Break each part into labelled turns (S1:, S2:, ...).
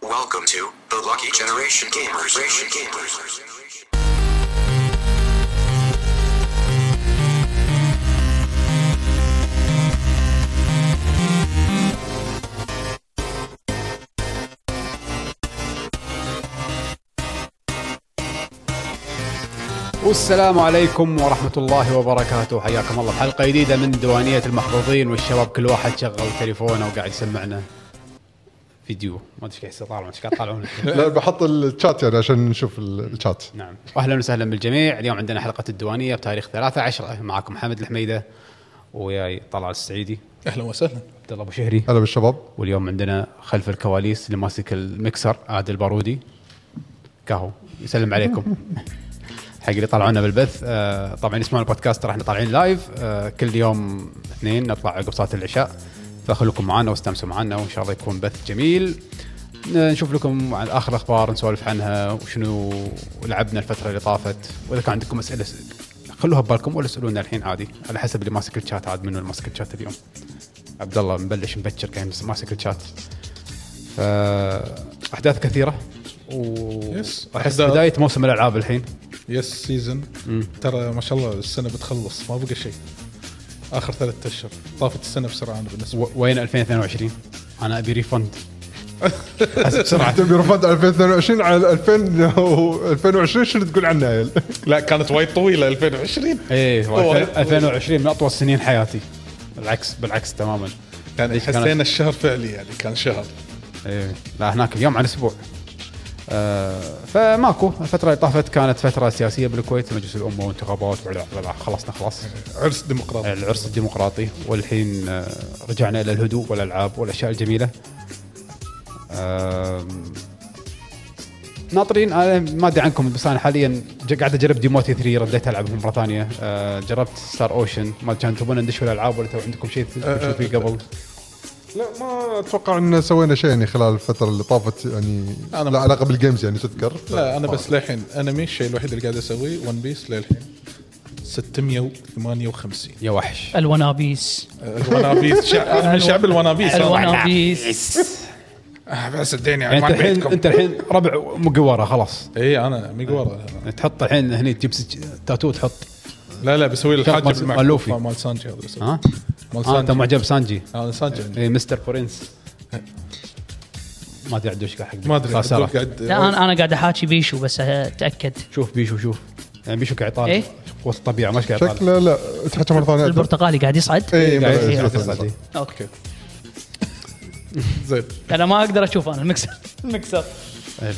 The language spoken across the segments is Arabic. S1: Welcome to the Lucky Generation Gamers. Generation Gamers.
S2: والسلام عليكم ورحمة الله وبركاته حياكم الله بحلقة جديدة من دوانية المحظوظين والشباب كل واحد شغل تليفونه وقاعد يسمعنا فيديو ما ادري ايش قاعد يصير طالع ما ادري ايش قاعد يطالعون
S3: لا بحط الشات يعني عشان نشوف ال- الشات
S2: نعم واهلا وسهلا بالجميع اليوم عندنا حلقة الديوانية بتاريخ 3 10 معكم حمد الحميدة وياي طلال السعيدي
S4: اهلا وسهلا
S2: عبد الله ابو شهري
S3: هلا بالشباب
S2: واليوم عندنا خلف الكواليس اللي ماسك المكسر عادل بارودي كاهو يسلم عليكم حق اللي طلعونا بالبث آه، طبعا يسمعون البودكاست راح طالعين لايف آه، كل يوم اثنين نطلع عقب صلاه العشاء فخلوكم معنا واستمسوا معنا وان شاء الله يكون بث جميل ن- نشوف لكم عن اخر الاخبار نسولف عنها وشنو لعبنا الفتره اللي طافت واذا كان عندكم اسئله س- خلوها ببالكم ولا اسالونا الحين عادي على حسب اللي ماسك الشات عاد منو اللي ماسك الشات اليوم عبد الله مبلش مبكر كان بس ماسك الشات فاحداث كثيره و
S4: Yes.
S2: احس
S4: أحداث.
S2: بدايه موسم الالعاب الحين
S4: يس سيزون ترى ما شاء الله السنه بتخلص ما بقى شيء اخر ثلاثة اشهر طافت السنه بسرعه انا بالنسبه
S2: و- وين 2022 انا ابي ريفند أحس بسرعه
S3: تبي رفض 2022 على 2000 و 2020 شنو تقول يعني؟ عنه يا عيل؟
S4: لا كانت وايد طويله 2020
S2: ايه هو
S4: طوال.
S2: 2020 من اطول سنين حياتي بالعكس بالعكس تماما
S4: يعني
S2: ليش
S4: حسينا
S2: إيه، كانت-
S4: الشهر فعلي يعني كان شهر
S2: ايه لا هناك اليوم عن اسبوع آه فماكو الفترة اللي طافت كانت فترة سياسية بالكويت مجلس الأمة وانتخابات وعلا- وعلا- خلصنا خلاص
S4: عرس ديمقراطي
S2: العرس الديمقراطي والحين آه، رجعنا الى الهدوء والالعاب والاشياء الجميله آم، ناطرين انا ما ادري عنكم بس انا حاليا ج- قاعد اجرب ديموتي 3 رديت العبها مره ثانيه آه، جربت ستار اوشن ما كان تبون ندش الالعاب ولا تو عندكم شيء تشوفون فيه قبل
S3: لا ما اتوقع ان سوينا شيء يعني خلال الفتره اللي طافت يعني
S4: أنا-
S3: لا علاقه بالجيمز يعني تذكر
S4: لا انا بس للحين انمي الشيء الوحيد اللي قاعد اسويه ون بيس للحين 658
S2: يا وحش
S5: الونابيس
S4: الونابيس شعب من شعب الونابيس
S5: الونابيس
S4: آه، بس اديني
S2: يعني
S4: عنوان
S2: انت الحين
S4: بيتكم
S2: انت الحين ربع مقوره خلاص
S4: اي انا ميقورة
S2: تحط الحين هني تجيب سج- تاتو تحط
S4: لا لا بسوي له
S2: شوف
S4: الحاجب
S2: مال-
S4: المعكوفة
S2: مال لوفي.
S4: مال سانجي هذا بسوي.
S2: ها
S4: مال آه،
S2: آه، انت
S4: سانجي.
S2: معجب سانجي
S4: انا سانجي
S2: اي إيه، مستر برنس ما ادري عدوش قاعد حق
S4: ما ادري
S2: خسارة.
S4: أقول قاعد
S5: لا انا انا قاعد احاكي بيشو بس أه، اتاكد
S2: شوف بيشو شوف يعني بيشو قاعد يطالع
S5: إيه؟
S2: قوة الطبيعة مش قاعد يطالع
S3: شكله لا تحكي مره ثانيه
S5: البرتقالي قاعد يصعد
S3: اي
S2: قاعد
S3: مرة-
S2: يصعد،
S3: مرة-
S2: يصعد، إيه.
S5: اوكي
S4: زين
S5: انا ما اقدر اشوف انا المكسر المكسر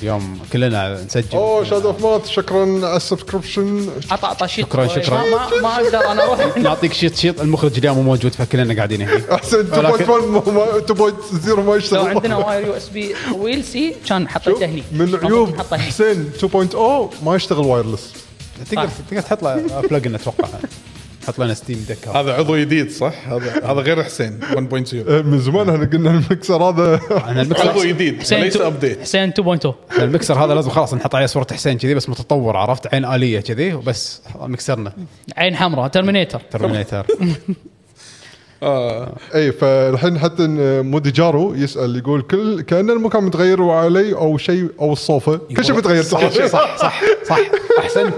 S2: اليوم كلنا نسجل
S3: اوه شاد اوف مات شكرا على السبسكربشن
S5: عطى عطى شيت
S2: شكراً، شكراً.
S5: ما- ما, ما اقدر انا اروح
S2: نعطيك شيط شيط المخرج اليوم مو موجود فكلنا قاعدين هنا
S3: احسن 2.1
S2: ولكن-
S3: ما- 2.0 ما
S5: لو
S3: يشتغل
S5: عندنا واير يو اس بي ويل سي كان حطيته هني
S3: من
S5: المفروض
S3: عيوب
S5: نحطه هني.
S3: حسين 2.0 ما يشتغل وايرلس
S2: تقدر تقدر تحط له بلجن اتوقع حط لنا ستيم ديك
S4: هذا عضو جديد صح؟ هذا هذا غير حسين 1.0
S3: آه، من زمان احنا قلنا المكسر هذا
S2: احنا
S4: عضو
S2: المكسر
S4: جديد
S5: حسين
S4: ليس
S5: تو-
S4: ابديت
S5: حسين 2.0
S2: إحنا المكسر هذا لازم خلاص نحط عليه صورة حسين كذي بس متطور عرفت عين آلية كذي وبس مكسرنا
S5: عين حمراء ترمينيتر
S2: ترمينيتر
S4: آه
S3: اي إيه، فالحين حتى إن مودي جارو يسال يقول كل كان المكان متغير وعلي او شيء او الصوفه كل شيء متغير صح
S2: صح صح صح احسنت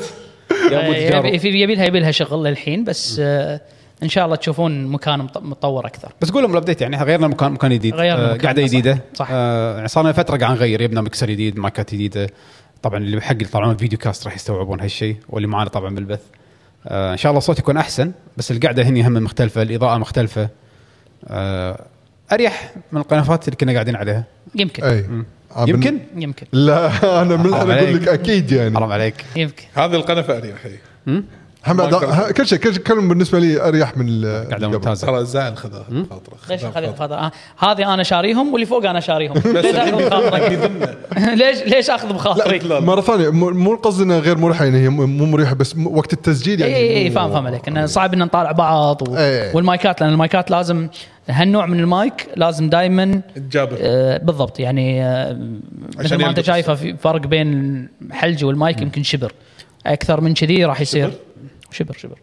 S2: يا
S5: إيه،
S2: أبو تجارب.
S5: يبي يبي- يبي لها يبي لها شغل للحين بس آه، ان شاء الله تشوفون مكان مط- متطور اكثر
S2: بس قول لهم الابديت يعني غيرنا مكان مكان جديد
S5: غيرنا
S2: آه،
S5: مكان،
S2: قاعده
S5: صح.
S2: جديده
S5: صح.
S2: آه، يعني صار لنا فتره قاعد نغير يبنا مكسر جديد مايكات جديده طبعا اللي حق اللي يطلعون فيديو كاست راح يستوعبون هالشيء واللي معانا طبعا بالبث آه، ان شاء الله الصوت يكون احسن بس القعده هني هم مختلفه الاضاءه مختلفه آه، اريح من القنفات اللي كنا قاعدين عليها
S5: يمكن
S3: اي عم-
S2: يمكن
S5: يمكن
S3: إيه. لا انا من
S2: حرام
S3: انا اقول
S2: عليك.
S3: لك اكيد يعني
S2: حرام عليك
S5: يمكن
S4: هذه القنفه اريح هي
S3: هم
S4: ما
S3: أدا-
S4: أقدر.
S3: ها- كل شيء كل شيء كلهم بالنسبه لي اريح من ال-
S2: قاعده
S3: قبل.
S2: ممتازه
S4: ترى زعل خذها خاطره
S5: ليش خلي بخاطر آه، هذه انا شاريهم واللي فوق انا شاريهم ليش اخذ بخاطرك ليش ليش اخذ بخاطري
S3: مره ثانيه مو مو القصد انها غير مريحه يعني هي مو مو مريحه بس م- وقت التسجيل
S5: اي
S3: يعني
S5: اي اي إيه، فاهم فاهم عليك انه صعب ان نطالع بعض و...
S3: إي.
S5: والمايكات لان المايكات لازم هالنوع من المايك لازم دائما
S4: تجابر
S5: آه بالضبط يعني آه مثل ما انت
S4: يلقط.
S5: شايفه في فرق بين الحلج والمايك يمكن شبر اكثر من كذي راح يصير شبر شبر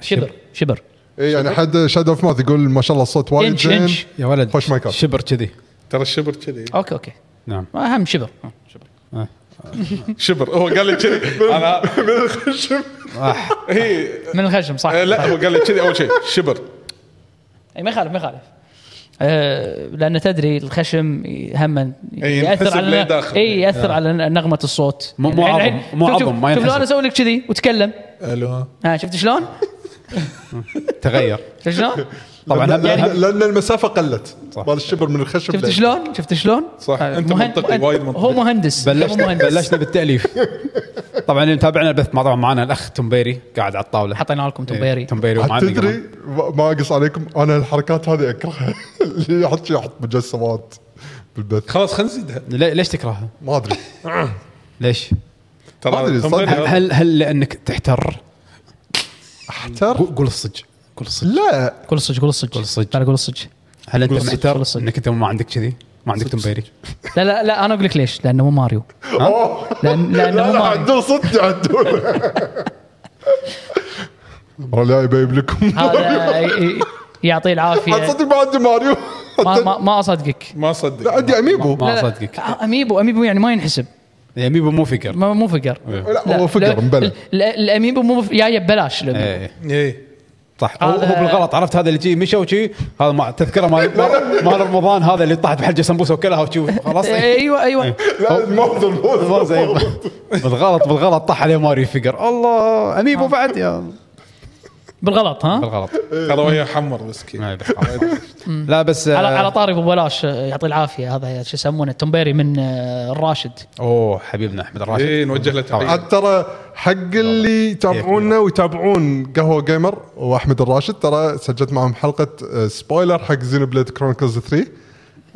S5: شبر شبر
S3: إي يعني حد شاد اوف ماوث يقول ما شاء الله الصوت وايد
S5: إنش-
S3: زين
S5: إنش.
S2: يا ولد
S3: خوش مايكات.
S2: شبر كذي
S4: ترى الشبر كذي
S5: اوكي اوكي
S2: نعم
S5: اهم شبر آه، شبر
S4: شبر هو قال لي كذي انا من الخشب
S2: آه.
S4: هي
S5: من الخشم صح
S4: آه، لا هو قال لي كذي اول شيء شبر
S5: اي ما يخالف ما يخالف آه، لان تدري الخشم هم
S4: إي، ينحسب
S5: ياثر
S4: ليه
S5: على
S4: داخل.
S5: اي ياثر على نغمه الصوت
S2: آه. مو- مو
S5: يعني
S2: عظم،
S5: الحين-
S2: مو
S5: شوف- شوف-
S2: عظم، ما
S5: شوف لو
S2: ينحسب.
S5: انا اسوي لك كذي وتكلم
S4: الو
S5: ها شفت شلون؟
S2: تغير
S5: شفت شلون؟
S2: طبعا
S3: لأن-
S2: هم-
S3: لأن- لأن المسافه قلت
S2: صح.
S3: مال الشبر من الخشب
S5: شفت
S3: لأن-
S5: شلون؟ شفت شلون؟
S4: صح،
S5: آه،
S4: أنت
S5: مهن-
S4: منطقي،
S5: مهن-
S4: وايد منطقي.
S5: هو مهندس
S2: بلشنا
S5: هو مهندس.
S2: بلشنا بالتاليف طبعا اللي متابعنا البث طبعا معنا الاخ تومبيري قاعد على الطاوله
S5: حطينا لكم تومبيري
S2: إيه، تومبيري
S3: عاد
S2: ومعنا
S3: تدري ما- ما اقص عليكم انا الحركات هذه اكرهها اللي يحط شي يحط مجسمات بالبث
S4: خلاص خلينا نزيدها
S2: لي- ليش تكرهها؟
S3: ما ادري
S2: ليش؟
S3: ما أدري،
S4: ترى
S3: صدق.
S2: هل
S4: تنبيه-
S2: هل, هل لانك تحتر؟
S3: احتر
S2: قول قول الصج قول الصج
S3: لا
S5: قول الصج قول الصج
S2: قول الصج.
S5: تعال قول الصج
S2: هل انت
S5: قول الصج، قول
S2: محتر
S5: الصج.
S2: انك انت ما عندك كذي؟ ما عندك تومبيري؟
S5: لا لا لا انا اقول لك ليش لانه مو ماريو
S3: أوه.
S5: لأن- لأنه
S3: لا،
S5: مو
S3: لا،
S5: ماريو.
S3: عدول صدق عدول والله لا يبيب لكم
S5: هذا ي- ي- يعطيه العافيه
S3: تصدق ما عندي ماريو
S5: ما ما, ما اصدقك
S4: ما إيه. اصدق
S3: لا عندي اميبو
S2: ما
S5: لا، لا.
S2: اصدقك
S5: آه، اميبو اميبو يعني ما ينحسب
S2: الاميبو مو فيجر
S5: ما- مو فقر
S2: إيه.
S3: لا هو
S5: لا،
S3: فقر مبلى
S5: ال- ال- الاميبو مو ف- جايه ببلاش الأميبو.
S2: ايه
S3: إيه.
S4: ايه
S2: صح هو هو
S5: هذا-
S2: بالغلط عرفت هذا اللي جي مشى وشي هذا ما تذكره مال مال رمضان هذا اللي طاحت بحلقه سمبوسه وكلها وشي خلاص
S5: ايوه ايوه
S2: إيه.
S3: لا الموضوع
S2: ما زي
S3: الموضوع
S2: بالغلط بالغلط طاح عليه ماريو فيجر الله اميبو بعد يا
S5: بالغلط ها
S2: بالغلط
S4: ترى وهي حمر مسكين
S2: ما يبي خلاص. لا بس
S5: على على
S2: آه،
S5: طاري ابو بلاش آه، يعطيه العافيه هذا شو يسمونه التمبيري من آه، الراشد
S2: اوه حبيبنا احمد الراشد
S4: إيه، نوجه له تحية.
S2: طبعاً.
S3: عاد ترى حق اللي يتابعونا ويتابعون قهوه جيمر واحمد الراشد ترى سجلت معهم حلقه آه، سبويلر حق زينوبليد كرونيكلز 3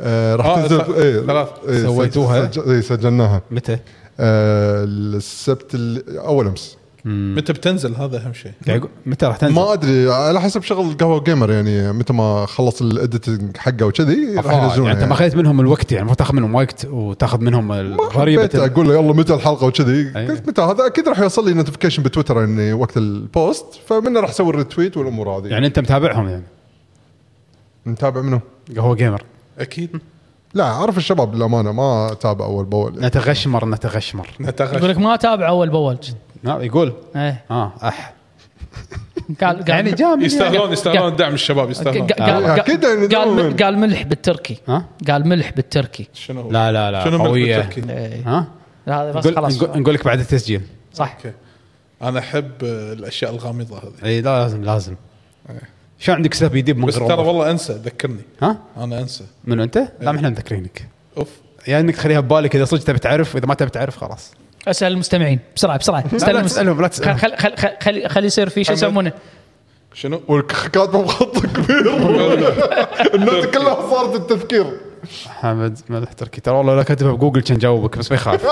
S3: آه، راح
S4: آه،
S3: تنزل
S4: ث-
S3: إيه،
S4: ثلاث.
S3: إيه،
S2: سويتوها؟
S3: سجل- إيه، سجلناها
S2: متى؟
S3: آه، السبت ال- اول امس
S4: متى بتنزل هذا اهم شيء
S2: قاعد يعني يقول- متى راح تنزل؟
S3: ما ادري على حسب شغل قهوه جيمر يعني متى ما خلص الاديتنج حقه وكذي راح
S2: آه،
S3: ينزلونه
S2: يعني انت ما
S3: يعني.
S2: اخذت منهم الوقت يعني المفروض تاخذ منهم وقت وتاخذ منهم ال- ضريبه
S3: حبيت
S2: ال-
S3: اقول له يلا متى الحلقه وكذي
S2: أي.
S3: قلت متى هذا اكيد راح يوصل لي نوتيفيكيشن بتويتر اني وقت البوست فمنه راح اسوي الريتويت والامور هذه
S2: يعني انت متابعهم يعني
S3: نتابع منه
S2: قهوه جيمر
S4: اكيد
S3: لا اعرف الشباب للامانه ما اتابع اول باول
S2: نتغشمر نتغشمر
S5: يقول
S4: نتغش
S5: لك ما اتابع اول باول
S2: لا، يقول
S5: إيه.
S2: اه اح
S5: قال قال
S2: يعني جامد
S4: يستاهلون يستاهلون
S5: قاعد-
S4: دعم الشباب يستاهلون
S5: قال- قال-
S3: آه. أكيد يعني
S5: قال
S3: دائماً.
S5: قال ملح بالتركي
S2: ها؟
S5: قال ملح بالتركي
S4: شنو هو؟
S2: لا لا لا
S4: شنو ملك
S2: قويه
S4: بالتركي؟
S5: إيه.
S2: ها؟
S5: هذا بس
S2: نقول
S5: خلاص
S2: نقول- نقول لك بعد التسجيل
S5: صح
S4: اوكي انا احب آه، الاشياء الغامضه هذه
S2: اي لا لازم لازم شو عندك سب يديب من
S4: بس
S2: غير
S4: ترى
S2: وظيفة؟
S4: والله انسى ذكرني
S2: ها؟
S4: انا انسى
S2: منو انت؟ لا ما احنا مذكرينك
S4: اوف
S2: يا انك تخليها ببالك اذا صدق تبي تعرف واذا ما تبي تعرف خلاص
S5: اسال المستمعين بسرعه بسرعه
S2: لا
S5: استلم-
S2: تسألهم، لا تسألهم.
S5: خل خل خل- خل خلي يصير في شو
S4: محمد.
S5: يسمونه
S4: شنو؟
S3: والكاتبه بخط كبير النوت كلها صارت التفكير
S2: حمد ملح تركي ترى والله لو كاتبها بجوجل كان جاوبك بس ما يخاف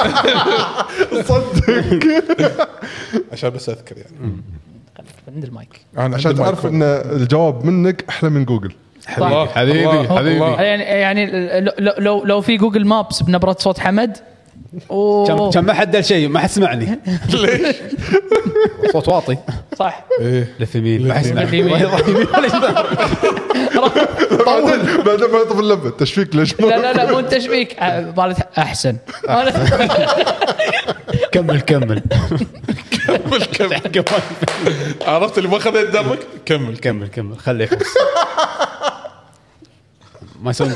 S3: صدق
S4: عشان بس اذكر يعني
S5: عند المايك
S4: انا
S3: عشان
S4: عندي
S3: تعرف
S4: مايكرو.
S3: ان الجواب منك احلى من جوجل
S2: حبيبي
S4: الله،
S2: حبيبي
S4: الله،
S2: حبيبي
S4: الله.
S5: يعني يعني لو- لو لو, لو في جوجل مابس بنبره صوت حمد و
S2: كم كم ما حد دل شيء ما حد سمعني ليش؟ صوت واطي
S5: صح
S4: ايه
S2: لف يمين ما حد
S5: لف يمين.
S2: يسمعني
S3: بعدين بعدين ما يطب اللمبه تشفيك ليش
S5: لا لا لا مو انت شبيك أه، مالت احسن مالت-
S2: كمل كمل
S4: عرفت اللي ما خذيت دربك كمل
S2: كمل كمل خليه يخلص ما يسوون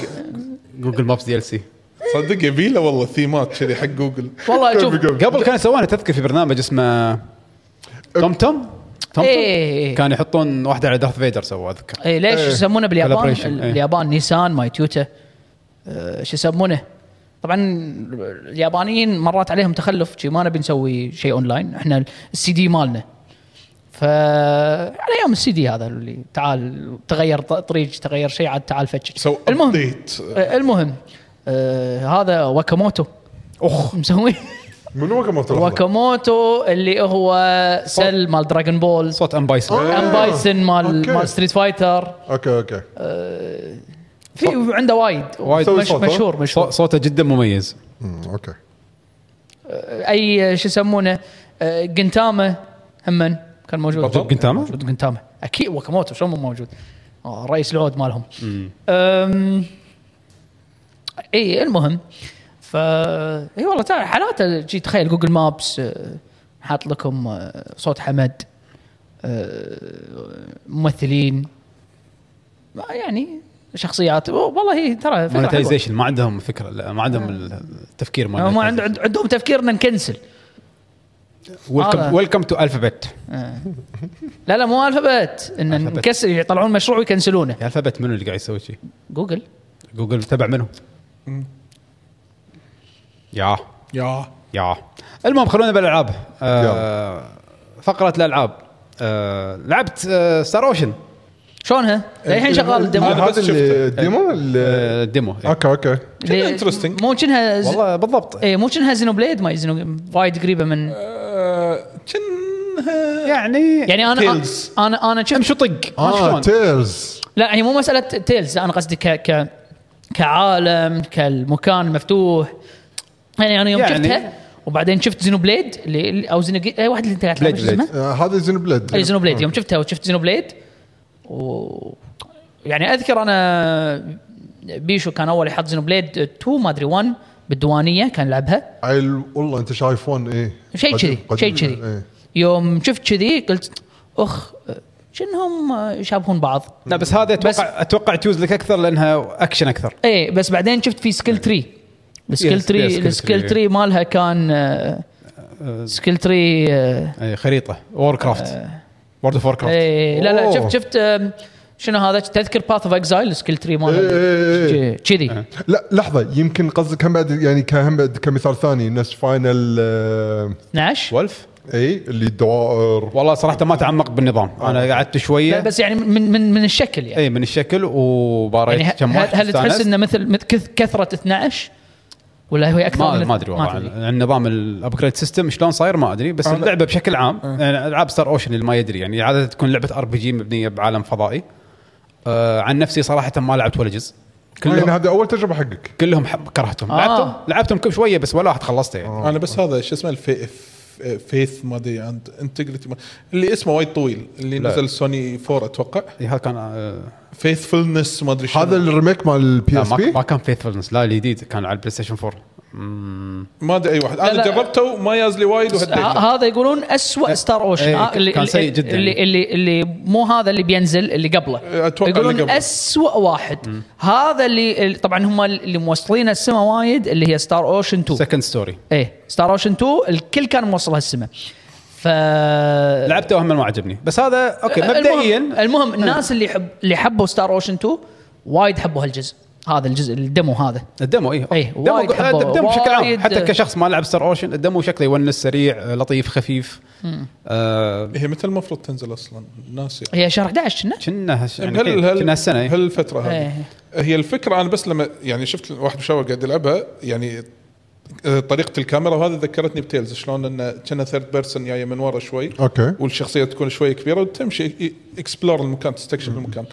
S2: جوجل مابس دي ال سي
S4: صدق يبي له والله ثيمات كذي حق جوجل
S5: والله شوف
S3: قبل-
S2: قبل كان سوونا تذكر في برنامج اسمه توم توم توم
S5: إيه.
S2: كان يحطون واحده على دارث فيدر سووها اذكر
S5: اي إيه، ليش يسمونه باليابان
S2: Collaboration، إيه.
S5: اليابان نيسان ماي تويوتا أه، شو يسمونه طبعا اليابانيين مرات عليهم تخلف شي ما نبي نسوي شيء اونلاين احنا السي دي مالنا ف على يوم السي دي هذا اللي تعال تغير ط- طريق تغير شيء عاد تعال فتش
S4: سو
S5: المهم
S4: update.
S5: أه، المهم أه، هذا واكاموتو اخ مسوي
S3: من وقت ما تروح
S5: واكاموتو اللي هو سيل مال دراجون بول
S2: صوت ام بايسون
S5: ام بايسن مال
S3: أوكي.
S5: مال ستريت فايتر
S3: اوكي اوكي
S5: في عنده وايد
S2: وايد.
S5: مش
S3: صوت، ها؟
S5: مشهور مشهور
S2: صوته جدا مميز
S3: أمم، اوكي
S5: اي شو يسمونه آه، جنتاما همن كان موجود
S4: بالضبط.
S2: جنتاما؟
S5: موجود جنتاما اكيد واكاموتو شلون مو موجود آه، رئيس العود مالهم أم، اي المهم ف ف اي والله تعال حالاته جي تخيل جوجل مابس آه، حاط لكم آه، صوت حمد آه، ممثلين ما يعني شخصيات والله هي ترى فكره حلوه
S2: مونتايزيشن ما عندهم فكره لا ما عندهم التفكير مال
S5: هم عند- عند- عندهم تفكير ان نكنسل هذا.
S2: ويلكم تو الفابت
S5: لا لا مو الفابت ان
S2: ألفابت.
S5: نكسل يطلعون مشروع ويكنسلونه
S2: الفابت منو اللي قاعد يسوي شيء؟
S5: جوجل
S2: جوجل تبع منو؟ يا
S4: يا
S2: يا المهم خلونا بالالعاب آه فقره الالعاب آه لعبت آه ستار اوشن
S5: شلونها؟
S2: إيه،
S5: للحين شغال الديمو
S4: هذا بس
S3: هذا اللي الديمو اللي- آه،
S2: آه الديمو إيه.
S3: اوكي اوكي
S5: ليه-
S4: interesting.
S5: مو كأنها ز-
S2: والله بالضبط
S5: اي مو كأنها زينو بليد ما زينو وايد قريبه من
S2: إيه،
S4: آه، كنها
S2: يعني
S5: يعني انا
S4: Tales.
S5: انا انا شفت
S2: امشي طق ما
S3: اه
S2: شلون.
S3: تيرز
S5: لا هي مو مساله تيلز لا، انا قصدي ك ك كعالم كالمكان مفتوح يعني انا يوم
S2: يعني-
S5: شفتها وبعدين شفت زينو بليد اللي اللي- او زينو اي واحد اللي انت قاعد تلعب
S2: Blade-
S5: شو اسمه؟
S3: آه، هذا زينو بليد
S5: اي زينو بليد يوم شفتها وشفت زينو بليد و يعني اذكر انا بيشو كان اول يحط زينو بليد 2 ما ادري 1 بالديوانيه كان يلعبها
S3: عيل والله انت شايفون ايه
S5: شيء
S3: قديم-
S5: كذي شيء
S3: قديم،
S5: كذي
S3: إيه.
S5: يوم شفت كذي قلت اخ شنهم يشابهون بعض
S2: لا بس هذا اتوقع
S5: بس-
S2: بس اتوقع تجوز لك اكثر لانها اكشن اكثر
S5: اي إيه، بس بعدين شفت في سكيل
S3: إيه.
S5: تري السكيل
S2: Yes, yes,
S5: تري
S2: skill
S5: السكيل
S2: tree.
S5: تري مالها كان آه،
S3: آه،
S5: سكيل تري
S2: أي خريطه وور كرافت
S5: آه.
S2: وورد اوف وور كرافت
S5: اي إيه، لا لا
S3: أوه.
S5: شفت شفت آم، شنو هذا تذكر باث اوف اكزايل السكيل تري
S3: إيه، إيه،
S5: مالها كذي
S3: لا لحظه يمكن قصدك هم بعد يعني كهم بعد كمثال ثاني نفس فاينل آه،
S5: 12
S2: ولف
S3: اي اللي آه، الدوائر
S2: والله صراحه ما تعمقت بالنظام انا قعدت
S5: لا
S2: شويه
S5: بس يعني من من من الشكل يعني
S2: اي من الشكل وباريت
S5: يعني
S2: إيه، كم
S5: هل,
S2: واحد
S5: هل تحس
S2: استانست.
S5: انه مثل مثل كث- كثره 12 ولا هو اكثر
S2: ما
S5: من
S2: ما ادري والله
S5: تدري.
S2: النظام الابجريد سيستم شلون صاير ما ادري
S5: آه،
S2: بس اللعبه بشكل عام يعني العاب ستار اوشن اللي ما يدري يعني عاده تكون لعبه ار بي جي مبنيه بعالم فضائي آه عن نفسي صراحه ما لعبت ولا جزء
S3: يعني
S2: كلهم
S3: هذا اول تجربه حقك
S2: كلهم حب كرهتهم
S5: آه.
S2: لعبتهم لعبتهم كم شويه بس ولا واحد خلصته يعني
S3: آه.
S4: انا بس هذا شو اسمه الفي فيث ما ادري عند انتجريتي اللي اسمه وايد طويل اللي
S2: لا.
S4: نزل سوني 4 اتوقع
S2: إي، هذا كان آه
S4: فيثفولنس ما ادري شنو.
S3: هذا الريميك مال البي
S2: لا
S3: اس
S2: ما,
S3: بي
S2: ما كان فيثفولنس لا الجديد كان على البلاي ستيشن 4
S4: ما ادري اي واحد
S5: لا، آه،
S4: انا
S5: لا.
S4: جربته وما يازلي وايد وهديت
S5: ه-
S4: له.
S5: هذا يقولون أسوأ ستار اوشن
S2: إيه،
S5: آه،
S2: كان سيء جداً.
S5: اللي اللي اللي مو هذا اللي بينزل اللي قبله
S4: أتوقع اللي
S5: يقولون
S4: قبله.
S5: أسوأ واحد هذا اللي اللي- طبعا هم اللي موصلين السما وايد اللي هي ستار اوشن 2
S2: سكند ستوري
S5: ايه ستار اوشن 2 الكل كان موصل هالسما ف
S2: لعبته وهم ما عجبني بس هذا اوكي
S5: المهم,
S2: مبدئيا
S5: المهم الناس اللي حب اللي حبوا ستار اوشن 2 وايد حبوا هالجزء هذا الجزء الدمو هذا
S2: الدمو اي
S5: إيه،
S2: دمو
S5: وايد حبه،
S2: الدمو بشكل عام
S5: وايد-
S2: حتى كشخص ما لعب ستار اوشن الدمو شكله يونس سريع لطيف خفيف آه،
S4: هي متى المفروض تنزل يعني. اصلا ناسي
S5: هي شهر 11 كنا
S2: كنا
S4: يعني
S2: يعني كنا هالسنه إيه.
S4: هالفتره هذه
S5: إيه.
S4: هي الفكره انا بس لما يعني شفت واحد مشاور قاعد يلعبها يعني آه، طريقه الكاميرا وهذا ذكرتني بتيلز شلون انه كنا ثيرد بيرسون جايه من ورا شوي
S3: أوكي.
S4: والشخصيه تكون شوي كبيره وتمشي اكسبلور المكان تستكشف المكان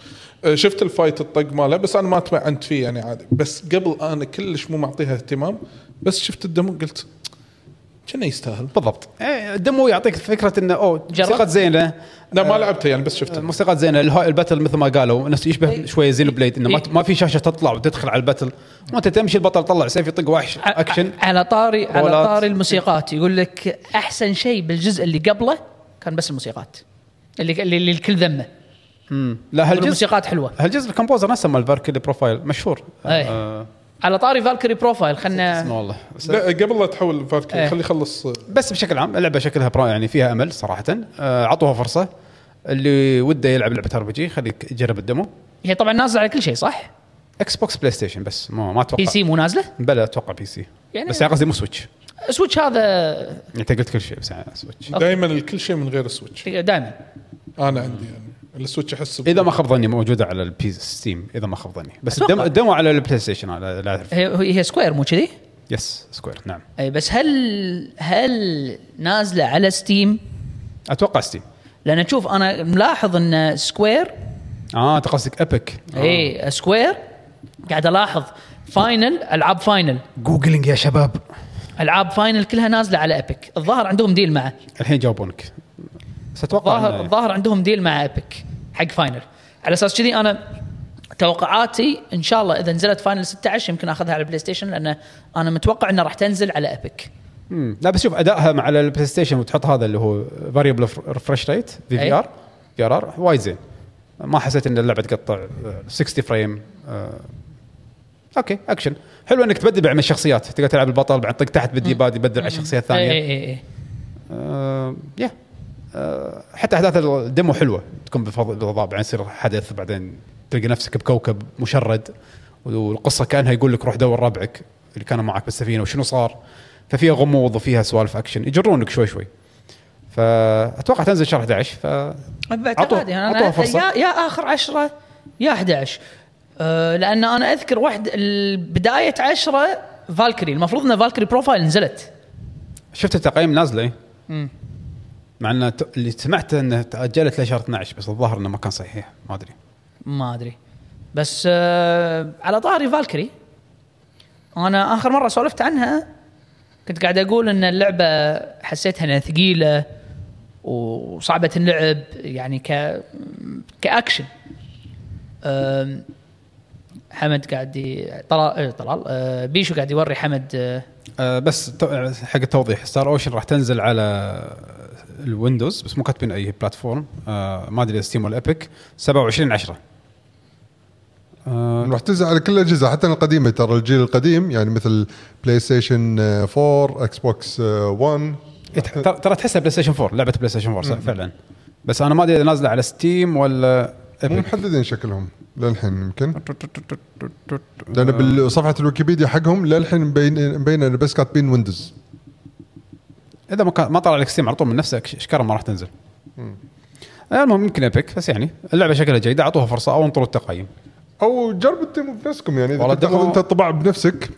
S4: آه، شفت الفايت الطق ماله بس انا ما تمعنت فيه يعني عادي بس قبل انا كلش مو معطيها اهتمام بس شفت الدمو قلت كنا يستاهل
S2: بالضبط إيه، الدمو يعطيك فكره انه اوه
S5: جربت؟
S2: موسيقى زينه
S4: لا ما لعبته يعني بس شفته
S2: موسيقى زينه الها- الباتل مثل ما قالوا نفس يشبه شويه زين بليد انه ما-
S5: إيه.
S2: ما في شاشه تطلع وتدخل على الباتل وانت تمشي البطل طلع سيف يطق وحش
S5: ع-
S2: اكشن
S5: ع- على طاري على
S2: رولات.
S5: طاري الموسيقات يقول لك احسن شيء بالجزء اللي قبله كان بس الموسيقات اللي اللي اللي الكل ذمه
S2: لا هالجزء
S5: الموسيقات حلوه
S2: هالجزء الكمبوزر نفسه مال فالكري بروفايل مشهور
S5: إيه.
S2: آه،
S5: على طاري فالكري بروفايل
S2: اسمه
S5: خلنا
S2: والله بس-
S4: لا قبل لا تحول فالكري
S5: إيه.
S4: خلي يخلص آه،
S2: بس بشكل عام اللعبه شكلها برا يعني فيها امل صراحه آه، عطوها فرصه اللي وده يلعب لعبه ار بي جي خليك يجرب الدمو
S5: هي طبعا نازله على كل شيء صح؟
S2: اكس بوكس بلاي ستيشن بس ما ما اتوقع
S5: بي سي مو نازله؟
S2: بلا اتوقع بي سي
S5: يعني-
S2: يعني بس يعني قصدي مو سويتش
S5: سويتش هذا
S2: انت قلت كل شيء بس يعني سويتش
S4: دائما الكل شيء من غير السويتش
S5: دائما
S4: انا عندي يعني السويتش احس ب-
S2: اذا ما خاب ظني موجوده على البي ستيم اذا ما خاب ظني بس
S5: أتوقع.
S2: الدمو, الدمو على البلاي ستيشن على لا اعرف
S5: هي, هي سكوير مو كذي؟
S2: يس سكوير نعم
S5: اي بس هل هل نازله على ستيم؟
S2: اتوقع ستيم
S5: لان شوف انا ملاحظ ان سكوير
S2: اه انت قصدك ابيك
S5: اي سكوير إيه، قاعد الاحظ فاينل العاب فاينل
S2: جوجلينج يا شباب
S5: العاب فاينل كلها نازله على ابيك الظاهر عندهم ديل معه
S2: الحين جاوبونك بس اتوقع
S5: الظاهر
S2: إنه-
S5: الظاهر عندهم ديل مع ابيك حق فاينل على اساس كذي انا توقعاتي ان شاء الله اذا نزلت فاينل 16 يمكن اخذها على البلاي ستيشن لان انا متوقع انها راح تنزل على ايبك
S2: مم. لا بس شوف ادائها مع البلاي ستيشن وتحط هذا اللي هو فاريبل ريفرش ريت في في
S5: أي.
S2: ار في ار ار وايد زين ما حسيت ان اللعبه تقطع آه، 60 فريم آه، اوكي اكشن حلو انك تبدل مع الشخصيات تقدر تلعب البطل بعد طق تحت بالدي باد يبدل على الشخصيه
S5: اي
S2: الثانيه
S5: اي اي
S2: آه، يا آه، حتى احداث الديمو حلوه تكون بفضل بالضبط بعدين يصير حدث بعدين تلقى نفسك بكوكب مشرد والقصه كانها يقول لك روح دور ربعك اللي كانوا معك بالسفينه وشنو صار ففيها غموض وفيها سوالف اكشن يجرونك شوي شوي فاتوقع تنزل شهر 11 ف
S5: باعتقادي
S2: عطوه-
S5: انا
S2: عطوه
S5: يعني أنا
S2: فرصة.
S5: يا يا اخر عشرة يا 11 أه لان انا اذكر واحد ال- بدايه عشرة فالكري المفروض ان فالكري بروفايل نزلت
S2: شفت التقييم نازله إيه؟ مع ان ت- اللي سمعته انها تاجلت لشهر 12 بس الظاهر انه ما كان صحيح ما ادري
S5: ما ادري بس أه على طاري فالكري انا اخر مره سولفت عنها كنت قاعد اقول ان اللعبه حسيتها انها ثقيله وصعبه اللعب يعني ك كاكشن أم، حمد قاعد ي- طلال إيه، طلال أه، بيشو قاعد يوري حمد أه،
S2: آه، بس تو- حق التوضيح ستار اوشن راح تنزل على الويندوز بس مو كاتبين اي بلاتفورم آه، ما ادري ستيم ولا ايبك 27 10 آه،
S3: راح تنزل على كل الاجهزه حتى القديمه ترى الجيل القديم يعني مثل بلاي ستيشن آه، 4 اكس بوكس آه، 1
S2: يتح- إيه، ترى ترى تحسها بلاي ستيشن 4 لعبه بلاي ستيشن 4 صح فعلا بس انا ما ادري اذا نازله على ستيم ولا
S3: مو
S2: ايبك
S3: محددين شكلهم للحين يمكن لان
S2: آه.
S3: بصفحه الويكيبيديا حقهم للحين مبين مبين إنه بس كاتبين ويندوز
S2: اذا ما كان ما طلع لك ستيم على طول من نفسه إيش- اشكال ما راح تنزل آه، المهم يمكن ايبك بس يعني اللعبه شكلها جيده اعطوها فرصه او انطروا التقييم
S3: او جرب الديمو بنفسكم يعني اذا
S2: والله
S3: كنت تاخذ
S2: الديمو-
S3: انت الطباع بنفسك